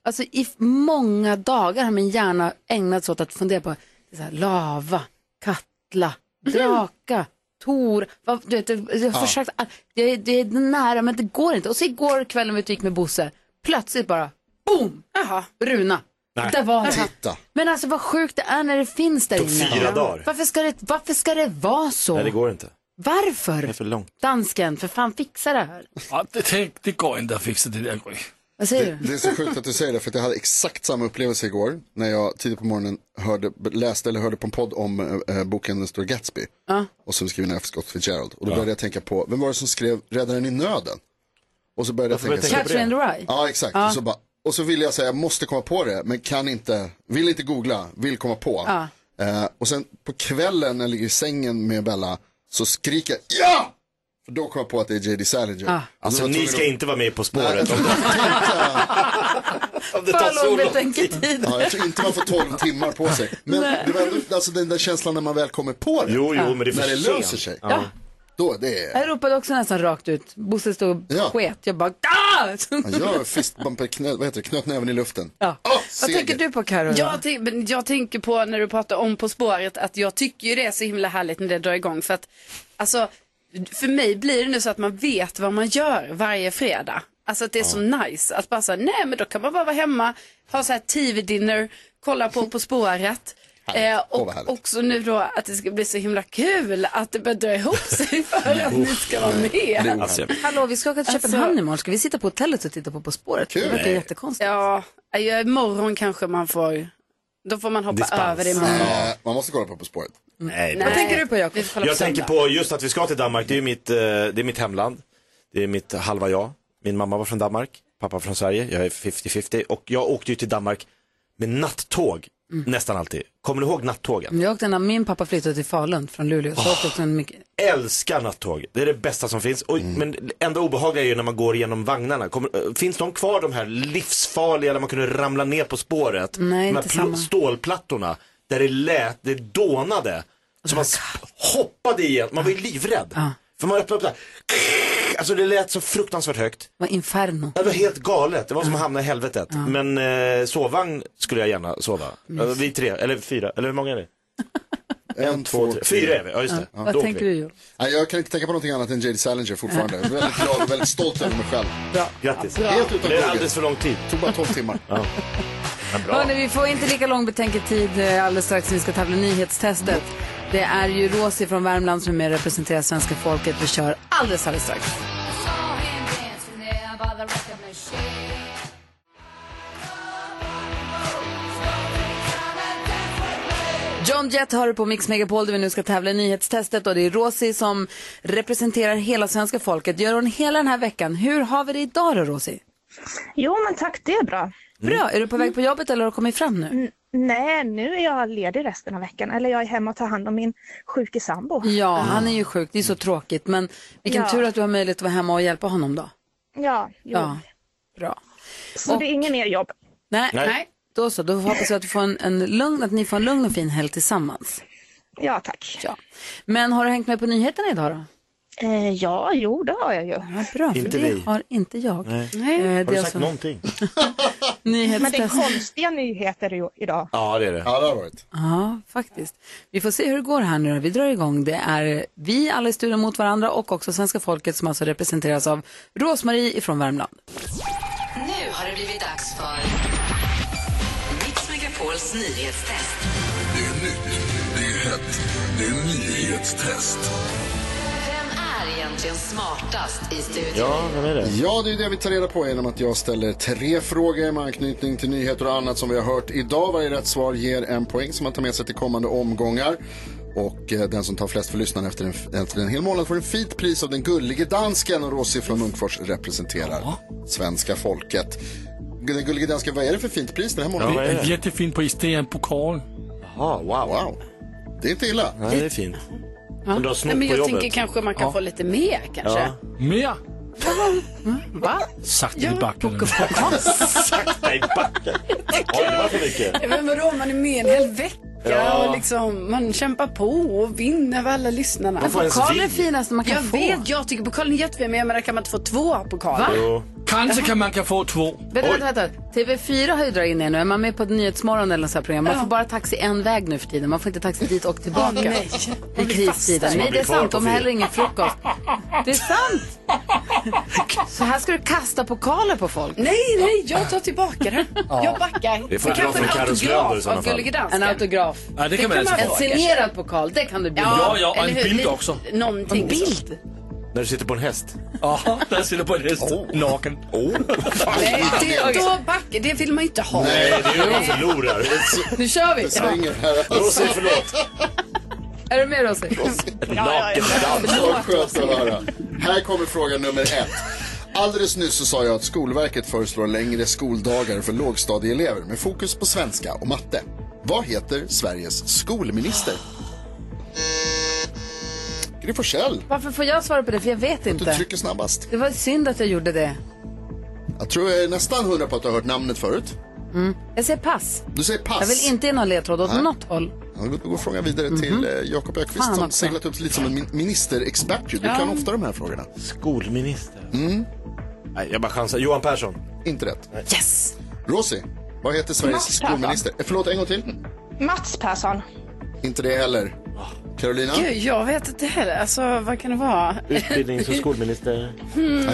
[SPEAKER 1] Alltså i f- många dagar har min hjärna ägnats åt att fundera på så här, lava, Katla, draka, Tor. Vad, du vet, jag har
[SPEAKER 2] Ja.
[SPEAKER 1] försökt, all- det, är- det är nära men det går inte. Och så igår kväll när vi gick med Bosse, plötsligt bara Boom!
[SPEAKER 5] Jaha.
[SPEAKER 1] Runa.
[SPEAKER 6] Nej.
[SPEAKER 1] Där var det.
[SPEAKER 6] Titta.
[SPEAKER 1] Men alltså vad sjukt det är när det finns där
[SPEAKER 7] Tog
[SPEAKER 1] inne.
[SPEAKER 7] fyra dagar.
[SPEAKER 1] Varför ska det, varför ska det vara så?
[SPEAKER 7] Nej, det går inte.
[SPEAKER 1] Varför?
[SPEAKER 7] Det är för långt.
[SPEAKER 1] Dansken, för fan fixa det här.
[SPEAKER 3] Ja, det, tänk, det går inte att fixa det där, Gry.
[SPEAKER 1] Vad säger du?
[SPEAKER 6] Det är så sjukt att du säger det, för att jag hade exakt samma upplevelse igår när jag tidigt på morgonen hörde, läste eller hörde på en podd om eh, boken Den stora Gatsby.
[SPEAKER 1] Ja.
[SPEAKER 6] Och så skriven av F. Scott Fitzgerald. Och då
[SPEAKER 1] Ja.
[SPEAKER 6] började jag tänka på, vem var det som skrev Räddaren i nöden? Och så började jag
[SPEAKER 1] Varför
[SPEAKER 6] tänka,
[SPEAKER 1] började du tänka på det? Catcher in the Rye?
[SPEAKER 6] Ja, exakt.
[SPEAKER 1] Ja.
[SPEAKER 6] Och, så bara, och så ville jag säga, jag måste komma på det, men kan inte, vill inte googla, vill komma på.
[SPEAKER 1] Ja.
[SPEAKER 6] Eh, och sen på kvällen när jag ligger i sängen med Bella så skriker jag, ja! För då kom jag på att det är J.D. Salinger.
[SPEAKER 1] Ah.
[SPEAKER 7] Alltså
[SPEAKER 6] Och då var jag
[SPEAKER 7] ni
[SPEAKER 6] tvungen
[SPEAKER 7] ska
[SPEAKER 6] att-
[SPEAKER 7] inte vara med På spåret. om det- om det tar
[SPEAKER 1] För
[SPEAKER 7] så
[SPEAKER 1] lång
[SPEAKER 7] lång
[SPEAKER 1] betänketid.
[SPEAKER 6] Ja, jag tror inte man får 12 timmar på sig. Men
[SPEAKER 1] Nej.
[SPEAKER 6] det var ändå, alltså den där känslan när man väl kommer på det.
[SPEAKER 7] Jo, jo, men det är för
[SPEAKER 6] När det
[SPEAKER 7] sent.
[SPEAKER 6] löser sig.
[SPEAKER 7] Ja.
[SPEAKER 6] Då, det är...
[SPEAKER 1] Jag ropade också nästan rakt ut. Bosse stod och
[SPEAKER 6] Ja.
[SPEAKER 1] sket. Jag bara, ah!
[SPEAKER 6] Man gör fistbumper, knö, vad heter det, knöt näven i luften.
[SPEAKER 1] Ja. Vad
[SPEAKER 6] seger.
[SPEAKER 1] tänker du på Karo?
[SPEAKER 5] Jag, tänk- men jag tänker på när du pratar om På spåret att jag tycker ju det är så himla härligt när det drar igång för att alltså för mig blir det nu så att man vet vad man gör varje fredag. Alltså att det är så nice att bara säga nej men då kan man bara vara hemma, ha så här TV-dinner, kolla på På spåret. Eh,
[SPEAKER 6] Åh,
[SPEAKER 5] och
[SPEAKER 6] vad härligt.
[SPEAKER 5] också nu då att det ska bli så himla kul att det börjar dra ihop sig för att ni ska vara med.
[SPEAKER 6] alltså.
[SPEAKER 1] Hallå, vi ska åka till
[SPEAKER 5] Alltså-
[SPEAKER 1] Köpenhamn imorgon. Ska vi sitta på hotellet och titta på På spåret? Det verkar
[SPEAKER 5] Nej.
[SPEAKER 1] jättekonstigt.
[SPEAKER 5] Ja, ja, imorgon kanske man får, då får man hoppa över det imorgon.
[SPEAKER 6] Eh, man måste kolla på På spåret.
[SPEAKER 7] Nej,
[SPEAKER 1] Vad tänker du på Jakob?
[SPEAKER 7] Jag tänker på just att vi ska till Danmark, det är ju mitt, eh, det är mitt hemland. Det är mitt halva jag. Min mamma var från Danmark, pappa från Sverige, jag är 50-50 och jag åkte ju till Danmark med nattåg nästan alltid. Kommer du ihåg nattågen?
[SPEAKER 1] Jag åkte när min pappa flyttade till Falun från Luleå. Så åkte jag också en mycket...
[SPEAKER 7] Älskar nattåg, det är det bästa som finns. Och, Men det enda obehagliga är ju när man går igenom vagnarna. Kommer, eh, finns de kvar de här livsfarliga där man kunde ramla ner på spåret?
[SPEAKER 1] Nej,
[SPEAKER 7] de här
[SPEAKER 1] inte samma.
[SPEAKER 7] stålplattorna där det lät, det dånade.
[SPEAKER 1] Oh
[SPEAKER 7] Så man sp- hoppade igen, man var ju livrädd. För man öppnade upp där. Alltså det lät så fruktansvärt högt.
[SPEAKER 1] Vad inferno.
[SPEAKER 7] Det var helt galet, det var som att hamna i helvetet. Men eh, sovvagn skulle jag gärna sova.
[SPEAKER 1] Mysigt.
[SPEAKER 7] Eh, Vi tre, eller fyra, eller hur många är ni?
[SPEAKER 6] En, två,
[SPEAKER 7] tre. Fyra är vi, ja just det.
[SPEAKER 1] Vad
[SPEAKER 7] Då åker
[SPEAKER 1] tänker
[SPEAKER 7] vi.
[SPEAKER 1] du Jonas?
[SPEAKER 6] Nej, jag kan inte tänka på någonting annat än J.D. Salinger fortfarande. Jag är väldigt glad och väldigt stolt över mig själv.
[SPEAKER 7] Grattis.
[SPEAKER 6] Helt utan
[SPEAKER 7] Det är
[SPEAKER 6] plugget.
[SPEAKER 7] alldeles för lång tid.
[SPEAKER 6] Det tog bara 12 timmar.
[SPEAKER 1] Hörrni, vi får inte lika lång betänketid eh, alldeles strax när vi ska tävla i nyhetstestet. Det är ju Rosi från Värmland som är med och representerar svenska folket. Vi kör alldeles, alldeles strax. John Jett hör på Mix Megapol där vi nu ska tävla i nyhetstestet och det är Rosi som representerar hela svenska folket. Gör hon hela den här veckan. Hur har vi det idag då Rosi?
[SPEAKER 15] Jo, men tack, det är bra.
[SPEAKER 1] Mm. Bra, är du på väg på jobbet eller har du kommit fram nu?
[SPEAKER 15] N- Nej, nu är jag ledig resten av veckan. Eller jag är hemma och tar hand om min sjuke sambo.
[SPEAKER 1] Ja, han är ju sjuk, det är så tråkigt. Men vilken
[SPEAKER 15] Ja.
[SPEAKER 1] tur att du har möjlighet att vara hemma och hjälpa honom då.
[SPEAKER 15] Ja, jo.
[SPEAKER 1] Ja, bra.
[SPEAKER 15] Så det är ingen mer jobb.
[SPEAKER 1] Nej,
[SPEAKER 15] Nej. Nej.
[SPEAKER 1] då så. Då hoppas jag att, du får en, en lugn, att ni får en lugn och fin helg tillsammans.
[SPEAKER 15] Ja, tack.
[SPEAKER 1] Ja. Men har du hängt med på nyheterna idag då?
[SPEAKER 15] Eh, ja, jo, det har jag ju.
[SPEAKER 1] Ja, bra, för
[SPEAKER 15] Inte
[SPEAKER 1] det
[SPEAKER 15] vi.
[SPEAKER 1] har inte jag.
[SPEAKER 7] Nej.
[SPEAKER 1] Eh, det är alltså-
[SPEAKER 7] någonting?
[SPEAKER 15] Men det är
[SPEAKER 1] Nyhetstest.
[SPEAKER 15] konstiga nyheter i- idag.
[SPEAKER 7] Ja, det är det.
[SPEAKER 6] Ja, det har varit.
[SPEAKER 1] Ja, faktiskt. Vi får se hur det går här nu då. Vi drar igång. Det är vi alla i studion mot varandra och också svenska folket som alltså representeras av Rosmarie ifrån Värmland.
[SPEAKER 2] Nu har det blivit dags för Mix Megapols nyhetstest.
[SPEAKER 9] Det är nytt, det är hett, det är nyhetstest.
[SPEAKER 2] Vem är egentligen smartast i studion?
[SPEAKER 7] vem är det?
[SPEAKER 6] Ja, det är det vi tar reda på genom att jag ställer tre frågor med anknytning till nyheter och annat som vi har hört idag. Varje rätt svar ger en poäng som man tar med sig till kommande omgångar. Och eh, den som tar flest för lyssnaren efter en, efter en hel månad får en fint pris av den gullige dansken. Och Rosie från Munkfors representerar svenska folket. Den gullige dansken, vad är det för fint pris den här månaden?
[SPEAKER 3] det är en jättefin pris, det är en pokal.
[SPEAKER 7] Jaha, wow.
[SPEAKER 6] wow. Det är inte illa.
[SPEAKER 7] Nej, det är fint. Men du har snott
[SPEAKER 5] Nej, men
[SPEAKER 7] på
[SPEAKER 5] jag
[SPEAKER 7] jobbet.
[SPEAKER 5] tänker kanske man kan få lite mer kanske.
[SPEAKER 7] Ja.
[SPEAKER 3] Mer?
[SPEAKER 5] Va?
[SPEAKER 3] Sakta i backen.
[SPEAKER 7] Sakta i backen. Oj, det var för mycket.
[SPEAKER 5] Ja, Men vadå, man är med en hel vecka
[SPEAKER 7] Ja.
[SPEAKER 5] och liksom, man kämpar på och vinner över alla lyssnarna.
[SPEAKER 1] Men Varför ens pokalen är vi? finast man kan
[SPEAKER 5] jag
[SPEAKER 1] få.
[SPEAKER 5] Vet, jag tycker pokalen är jättefin, men jag menar kan man inte få två pokaler?
[SPEAKER 3] Kanske kan man kan få två.
[SPEAKER 1] Vänta, vänta, vänta. TV4 har ju dragit in er nu. Är man med på ett Nyhetsmorgon eller något sånt här program? Man får bara taxi en väg nu för tiden. Man får inte taxi dit och tillbaka.
[SPEAKER 5] Åh, nej.
[SPEAKER 1] I
[SPEAKER 5] Man blir fast där.
[SPEAKER 1] kristider.
[SPEAKER 5] Så man
[SPEAKER 1] Nej, det
[SPEAKER 5] blir
[SPEAKER 1] är
[SPEAKER 5] kvar
[SPEAKER 1] sant.
[SPEAKER 5] på
[SPEAKER 1] De
[SPEAKER 5] fyra.
[SPEAKER 1] häller ingen frukost. Det är sant. Så här ska du kasta pokaler på folk?
[SPEAKER 5] Nej, nej, jag tar tillbaka den.
[SPEAKER 1] Ja.
[SPEAKER 5] Jag backar.
[SPEAKER 1] Det får
[SPEAKER 5] Men
[SPEAKER 1] inte vara
[SPEAKER 5] kanske en
[SPEAKER 1] från Carros
[SPEAKER 5] autograf
[SPEAKER 3] Löder i sådana
[SPEAKER 5] av
[SPEAKER 3] fall.
[SPEAKER 5] Gullige Dansken.
[SPEAKER 1] En autograf.
[SPEAKER 3] Ja, det kan man älska.
[SPEAKER 1] En signerad pokal, det kan du bjuda
[SPEAKER 3] Ja,
[SPEAKER 1] på.
[SPEAKER 3] ja, och en
[SPEAKER 1] Eller hur?
[SPEAKER 3] bild
[SPEAKER 1] Lite-
[SPEAKER 3] också.
[SPEAKER 5] Någonting
[SPEAKER 1] En bild?
[SPEAKER 7] När du sitter på en häst. Oh.
[SPEAKER 3] Ja, där sitter på en häst. Naken.
[SPEAKER 5] Nej, det, då backar, det vill man inte ha.
[SPEAKER 7] Nej, det är ju man förlorar.
[SPEAKER 1] Nu kör vi!
[SPEAKER 7] Det svänger Rosie, förlåt.
[SPEAKER 1] Är du med Rosie?
[SPEAKER 6] Vad skönt att höra. Här kommer fråga nummer ett. Alldeles nyss så sa jag att Skolverket föreslår längre skoldagar för lågstadieelever med fokus på svenska och matte. Vad heter Sveriges skolminister? Gry Forssell.
[SPEAKER 1] Varför får jag svara på det? För jag vet
[SPEAKER 6] Du
[SPEAKER 1] inte.
[SPEAKER 6] trycker snabbast.
[SPEAKER 1] Det var synd att jag gjorde det.
[SPEAKER 6] Jag tror jag är nästan hundra på att du har hört namnet förut.
[SPEAKER 1] Mm. Jag säger pass.
[SPEAKER 6] Du säger pass.
[SPEAKER 1] Jag vill inte ge någon ledtråd åt
[SPEAKER 6] Nej.
[SPEAKER 1] något håll.
[SPEAKER 6] Ja, Då går frågan vidare till eh, Jakob Ökvist
[SPEAKER 1] Fan
[SPEAKER 6] som
[SPEAKER 1] också.
[SPEAKER 6] seglat upp lite som en min- ministerexpert. ju. Du
[SPEAKER 1] Ja.
[SPEAKER 6] kan ofta de här frågorna.
[SPEAKER 7] Skolminister.
[SPEAKER 6] Mm.
[SPEAKER 7] Nej, jag bara chansar. Johan Persson.
[SPEAKER 6] Inte rätt.
[SPEAKER 1] Yes!
[SPEAKER 6] Rosie, vad heter Sveriges
[SPEAKER 15] Mats Persson.
[SPEAKER 6] skolminister? Eh, Förlåt, en gång till.
[SPEAKER 15] Mats Persson.
[SPEAKER 6] Inte det heller. Carolina?
[SPEAKER 5] Gud, jag vet inte heller. Alltså, vad kan det vara?
[SPEAKER 7] Utbildnings och skolminister.
[SPEAKER 5] Mm.
[SPEAKER 7] Nej,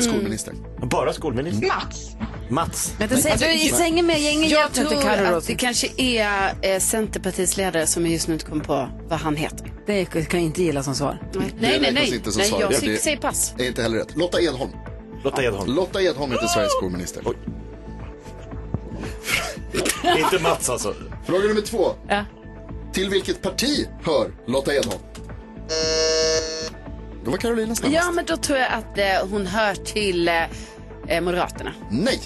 [SPEAKER 7] Bara skolminister.
[SPEAKER 5] Mats.
[SPEAKER 7] Mats.
[SPEAKER 1] Men det säger du Alltså, i sängen med gängen
[SPEAKER 5] Jag
[SPEAKER 1] hjälpte inte
[SPEAKER 5] tror
[SPEAKER 1] Karo
[SPEAKER 5] att
[SPEAKER 1] Rosen.
[SPEAKER 5] det kanske är eh, Centerpartiets ledare som jag just nu inte kom på vad han heter.
[SPEAKER 1] Det kan jag inte gilla som svar.
[SPEAKER 5] Nej, nej,
[SPEAKER 6] räknas
[SPEAKER 5] nej.
[SPEAKER 6] inte som
[SPEAKER 5] nej
[SPEAKER 6] svar.
[SPEAKER 5] jag
[SPEAKER 6] Det-
[SPEAKER 5] säger,
[SPEAKER 6] det-
[SPEAKER 5] säger pass.
[SPEAKER 6] Är inte heller rätt. Lotta Edholm.
[SPEAKER 7] Lotta Edholm.
[SPEAKER 6] Lotta Edholm heter Sveriges skolminister.
[SPEAKER 7] Inte Mats alltså.
[SPEAKER 6] Fråga nummer två.
[SPEAKER 1] Ja.
[SPEAKER 6] Till vilket parti hör Lotta Edholm? Då var Carolina snabbast.
[SPEAKER 5] Ja, men då tror jag att eh, hon hör till eh, eh, Moderaterna.
[SPEAKER 6] Nej.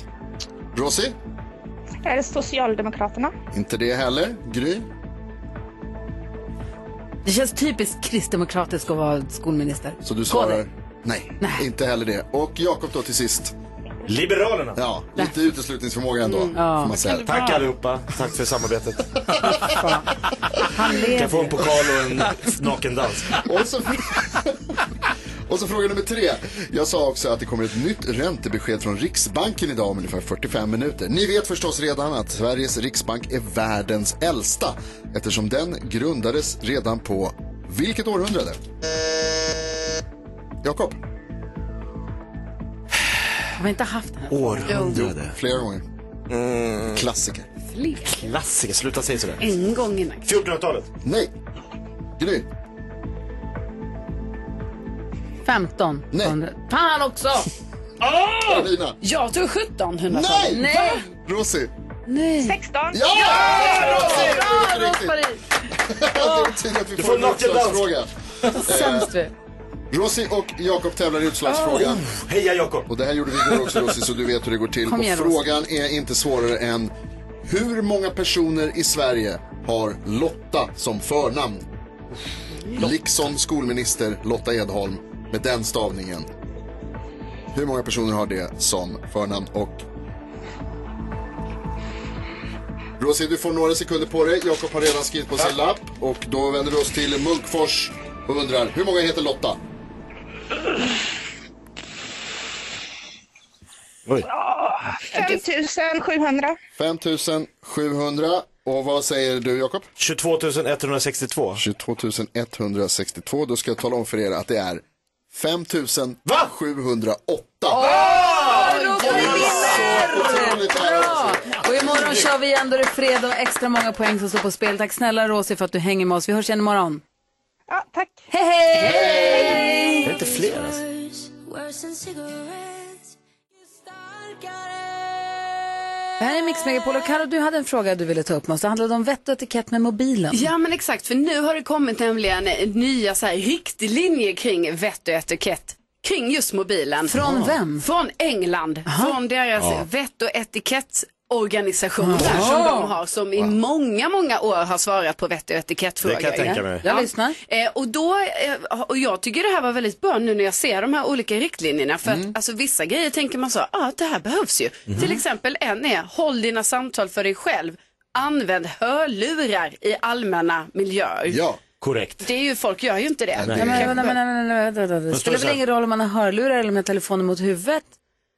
[SPEAKER 6] Rosie?
[SPEAKER 15] Är det Socialdemokraterna?
[SPEAKER 6] Inte det heller. Gry?
[SPEAKER 1] Det känns typiskt kristdemokratiskt att vara skolminister.
[SPEAKER 6] Så du svarar nej. Inte heller det. Och Jakob då till sist.
[SPEAKER 7] Liberalerna.
[SPEAKER 6] Ja, lite uteslutningsförmåga ändå.
[SPEAKER 1] Mm. Ja.
[SPEAKER 6] Får man säga.
[SPEAKER 1] Tack vara?
[SPEAKER 7] allihopa. Tack för samarbetet.
[SPEAKER 1] Han
[SPEAKER 7] Kan
[SPEAKER 1] lever.
[SPEAKER 7] jag få en pokal och en nakendans?
[SPEAKER 6] Och så, och så fråga nummer tre. Jag sa också att det kommer ett nytt räntebesked från Riksbanken idag om ungefär 45 minuter. Ni vet förstås redan att Sveriges Riksbank är världens äldsta eftersom den grundades redan på vilket århundrade? Jakob?
[SPEAKER 1] Har vi inte haft den?
[SPEAKER 6] Jo, flera gånger. Klassiker.
[SPEAKER 7] Mm. Klassiker. Sluta säga sådär.
[SPEAKER 5] En gång innan.
[SPEAKER 7] 1400-talet.
[SPEAKER 6] Nej. Gry?
[SPEAKER 1] 15. Nej. Fan också!
[SPEAKER 6] Ah! Carolina?
[SPEAKER 5] Jag tror 1700
[SPEAKER 6] Nej!
[SPEAKER 1] Nej!
[SPEAKER 6] Rosie?
[SPEAKER 1] Nej.
[SPEAKER 15] 16.
[SPEAKER 6] Ja! Rosie!
[SPEAKER 1] Bra,
[SPEAKER 6] Det är riktigt.
[SPEAKER 1] Rosmarie!
[SPEAKER 6] Det betyder att vi
[SPEAKER 7] Du
[SPEAKER 6] får
[SPEAKER 7] får
[SPEAKER 6] en
[SPEAKER 7] knocken down.
[SPEAKER 6] utslagsfråga.
[SPEAKER 1] Sämst vi.
[SPEAKER 6] Rosie och Jakob tävlar i utslagsfrågan.
[SPEAKER 7] Oh. Heja Jakob!
[SPEAKER 6] Och det här gjorde vi igår också Rosie, så du vet hur det går till.
[SPEAKER 1] Kom igen,
[SPEAKER 6] och frågan är inte svårare än hur många personer i Sverige har Lotta som förnamn? Liksom skolminister Lotta Edholm med den stavningen. Hur många personer har det som förnamn? Och Rosie, du får några sekunder på dig. Jakob har redan skrivit på sin lapp. Och då vänder vi oss till Munkfors och undrar, hur många heter Lotta? Oj.
[SPEAKER 15] 5700.
[SPEAKER 6] 5700. Och vad säger du, Jakob?
[SPEAKER 7] 22 162.
[SPEAKER 6] 22 162. Då ska jag tala om för er att det är 5708.
[SPEAKER 1] Bra! Och imorgon kör vi igen, då är det fredag och extra många poäng som står på spel. Tack snälla Rosie för att du hänger med oss. Vi hörs igen imorgon.
[SPEAKER 15] Ja, tack.
[SPEAKER 1] Hej, hej!
[SPEAKER 7] Det är inte fler alltså.
[SPEAKER 1] Det här är Mix Megapol och Karo, du hade en fråga du ville ta upp med oss. Det handlade om vett och etikett med mobilen.
[SPEAKER 5] Ja men exakt, för nu har det kommit nämligen nya så här, riktlinjer kring vett och etikett kring just mobilen.
[SPEAKER 1] Från Ja. vem?
[SPEAKER 5] Från England, från deras
[SPEAKER 1] Ja.
[SPEAKER 5] vett och etikettorganisation
[SPEAKER 1] Ja.
[SPEAKER 5] där som de har som i många, många år har svarat på vett och etikettfrågor.
[SPEAKER 1] Det kan jag tänka mig. Jag lyssnar.
[SPEAKER 5] Eh, och, då, eh, och jag tycker det här var väldigt bra nu när jag ser de här olika riktlinjerna för
[SPEAKER 1] Mm.
[SPEAKER 5] att alltså, vissa grejer tänker man så, ja ah, det här behövs ju.
[SPEAKER 1] Mhm.
[SPEAKER 5] Till exempel en är, håll dina samtal för dig själv. Använd hörlurar i allmänna miljöer.
[SPEAKER 6] Ja,
[SPEAKER 7] korrekt.
[SPEAKER 5] Det är ju, folk gör ju inte det.
[SPEAKER 1] Nej, men, nej, men, nej, men, nej, vänta, vänta. Det
[SPEAKER 5] Vad står
[SPEAKER 1] spelar
[SPEAKER 5] det
[SPEAKER 1] väl
[SPEAKER 5] så här?
[SPEAKER 1] ingen roll om man har hörlurar eller om man har telefonen mot huvudet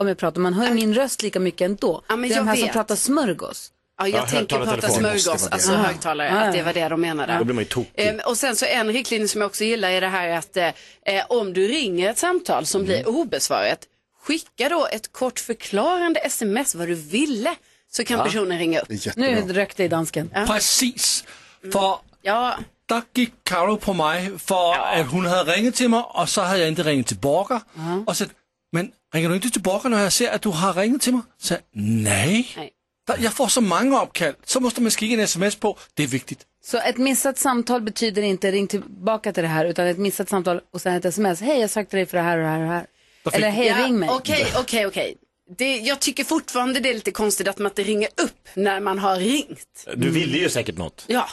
[SPEAKER 1] om jag pratar. Man hör ju min röst lika mycket ändå.
[SPEAKER 5] Ja, men
[SPEAKER 1] det är de
[SPEAKER 5] jag
[SPEAKER 1] här som
[SPEAKER 5] vet.
[SPEAKER 1] pratar smörgås.
[SPEAKER 5] Ja, jag
[SPEAKER 1] Ja,
[SPEAKER 5] tänker
[SPEAKER 1] högtalartelefon
[SPEAKER 5] prata
[SPEAKER 1] måste
[SPEAKER 5] smörgås,
[SPEAKER 1] vara det.
[SPEAKER 5] alltså
[SPEAKER 1] Ja.
[SPEAKER 5] högtalare,
[SPEAKER 1] Ja, ja.
[SPEAKER 5] att det var det de menade.
[SPEAKER 1] Ja. Då blir
[SPEAKER 7] man ju tokig.
[SPEAKER 5] Ehm, och sen så en riktlinje som jag också gillar är det här att eh, eh, om du ringer ett samtal som blir obesvarat, Skicka då ett kort förklarande sms vad du ville så kan
[SPEAKER 3] Ja.
[SPEAKER 5] personen ringa upp.
[SPEAKER 3] Det är jättebra. Nu
[SPEAKER 5] rökte i dansken.
[SPEAKER 3] Precis. För
[SPEAKER 5] Mm. ja.
[SPEAKER 3] där gick Karo på mig för att hon hade ringt till mig och så hade jag inte ringt tillbaka. Och så, men ringer du inte tillbaka när jag ser att du har ringt till mig? Så, nej.
[SPEAKER 5] Nej.
[SPEAKER 3] Der- Jag får så många uppkall, så måste man skicka en sms på, det är viktigt.
[SPEAKER 1] Så ett missat samtal betyder inte ring tillbaka till det här utan ett missat samtal och sen ett sms. Hej, jag sökte dig för det här och det här och det här. Eller hej, ring mig.
[SPEAKER 5] Okej, okej, okej. Det, jag tycker fortfarande det är lite konstigt att man inte ringer upp när man har ringt.
[SPEAKER 7] Du ville ju säkert något.
[SPEAKER 5] Ja.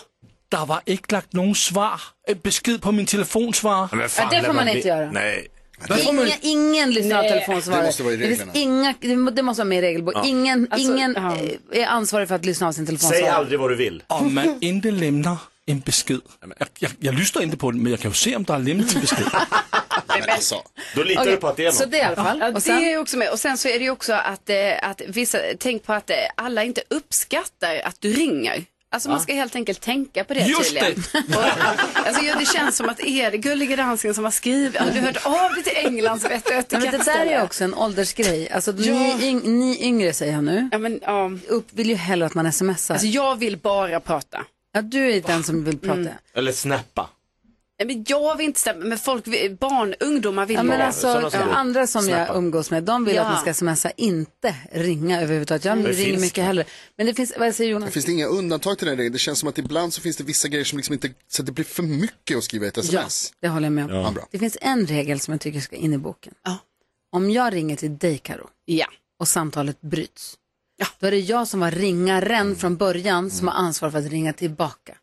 [SPEAKER 3] Der var ikke lagt nogen svar, et besked på min telefonsvarer.
[SPEAKER 7] Men
[SPEAKER 1] fan, Ja, det får man man inte det- göra.
[SPEAKER 7] Nej.
[SPEAKER 1] Ingen, ingen lyssnar av
[SPEAKER 5] Nej.
[SPEAKER 1] telefonsvarare.
[SPEAKER 7] Det måste vara i
[SPEAKER 1] finns
[SPEAKER 7] reglerna.
[SPEAKER 1] inga, det må- det måste vara med i regelboken.
[SPEAKER 7] Ja.
[SPEAKER 1] Ingen,
[SPEAKER 5] Alltså,
[SPEAKER 1] ingen
[SPEAKER 5] ja.
[SPEAKER 1] eh, är ansvarig för att lyssna av sin telefonsvarare.
[SPEAKER 7] Säg aldrig vad du vill.
[SPEAKER 3] Om man inte lämnar en besked. Jag, jag, jag lyssnar inte på den, men jag kan ju se om der har lämnat en besked.
[SPEAKER 7] Då litar
[SPEAKER 5] Okej,
[SPEAKER 7] du på att det är något.
[SPEAKER 5] Så det i alla fall.
[SPEAKER 1] Ja,
[SPEAKER 5] och
[SPEAKER 1] sen-
[SPEAKER 5] det är också med. Och sen så är det ju också att, eh, att vissa, tänk på att eh, alla inte uppskattar att du ringer. Alltså man
[SPEAKER 1] Ja.
[SPEAKER 5] ska helt enkelt tänka på det
[SPEAKER 1] Just
[SPEAKER 5] tydligen. Och, alltså, ja, det känns som att det är det gulliga dansken som har skrivit, har du hört av dig till Englands vett och
[SPEAKER 1] Ja, men
[SPEAKER 5] etikett?
[SPEAKER 1] det där är ju också en åldersgrej. Alltså,
[SPEAKER 5] Ja.
[SPEAKER 1] ni, yng, ni yngre säger jag nu,
[SPEAKER 5] ja, men,
[SPEAKER 1] Upp, vill ju hellre att man smsar.
[SPEAKER 5] Alltså jag vill bara prata.
[SPEAKER 1] Ja, du är den som vill prata.
[SPEAKER 5] Mm.
[SPEAKER 7] Eller snappa.
[SPEAKER 5] Nej, men jag vill inte stämma, men folk, vill- barn, ungdomar vill
[SPEAKER 1] Ja, men
[SPEAKER 5] det.
[SPEAKER 1] alltså,
[SPEAKER 5] Ja.
[SPEAKER 1] andra som jag umgås med, de vill
[SPEAKER 5] Ja. Mm.
[SPEAKER 1] att man ska smsa, inte ringa överhuvudtaget. Jag
[SPEAKER 6] Det
[SPEAKER 1] ringer
[SPEAKER 6] finns-
[SPEAKER 1] mycket hellre. Men det finns, vad säger Jonas?
[SPEAKER 6] Finns det inga undantag till den här regeln? Det känns som att ibland så finns det vissa grejer som liksom inte, så att det blir för mycket att skriva i ett sms.
[SPEAKER 1] Det håller jag med om.
[SPEAKER 6] Ja. bra.
[SPEAKER 1] Det finns en regel som jag tycker ska in i boken. Om jag ringer till dig, Karo,
[SPEAKER 5] ja.
[SPEAKER 1] och samtalet bryts, då är det jag som var ringaren
[SPEAKER 6] Mm.
[SPEAKER 1] från början som har ansvar för att ringa tillbaka.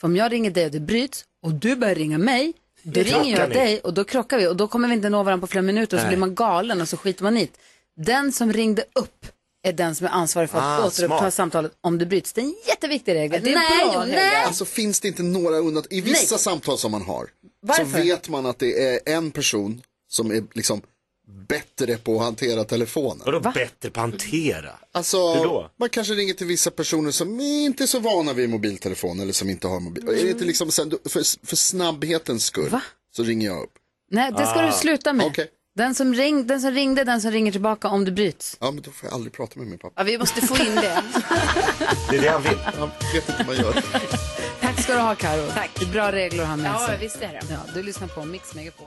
[SPEAKER 1] För om jag ringer dig och det bryts och du börjar ringa mig, då
[SPEAKER 5] Det
[SPEAKER 1] ringer jag
[SPEAKER 5] krockar ni.
[SPEAKER 1] dig och då krockar vi och då kommer vi inte nå varandra på flera minuter och så
[SPEAKER 5] Nej.
[SPEAKER 1] blir man galen och så skiter man hit. Den som ringde upp är den som är ansvarig för att
[SPEAKER 6] Ah,
[SPEAKER 1] återuppta
[SPEAKER 6] smart.
[SPEAKER 1] samtalet om det bryts. Det är en jätteviktig regel.
[SPEAKER 6] det är
[SPEAKER 1] nej,
[SPEAKER 6] bra
[SPEAKER 1] jo,
[SPEAKER 6] regel.
[SPEAKER 1] nej.
[SPEAKER 6] Alltså finns det inte några undantag? I vissa
[SPEAKER 1] Nej.
[SPEAKER 6] samtal som man har
[SPEAKER 1] Varför?
[SPEAKER 6] så vet man att det är en person som är liksom bättre på att hantera telefonen.
[SPEAKER 7] Vadå bättre på att hantera?
[SPEAKER 6] Alltså,
[SPEAKER 7] Hur då?
[SPEAKER 6] man kanske ringer till vissa personer som inte är så vana vid mobiltelefon eller som inte har mobil. Är det inte liksom sen, för, för snabbhetens skull så ringer jag upp.
[SPEAKER 1] Nej, det ska
[SPEAKER 6] Ah.
[SPEAKER 1] du sluta med. Den, som ring, den som ringde, den som ringer tillbaka om det bryts.
[SPEAKER 6] Ja, men då får jag aldrig prata med min pappa.
[SPEAKER 5] Ja, vi måste få in det.
[SPEAKER 7] Det är det han vill.
[SPEAKER 6] Han vet inte vad man gör.
[SPEAKER 1] Tack ska du ha, Karo. Tack. Det är bra regler att ha med
[SPEAKER 5] Ja,
[SPEAKER 1] sig.
[SPEAKER 5] visst är det.
[SPEAKER 1] Ja, du lyssnar på Mix Megapol.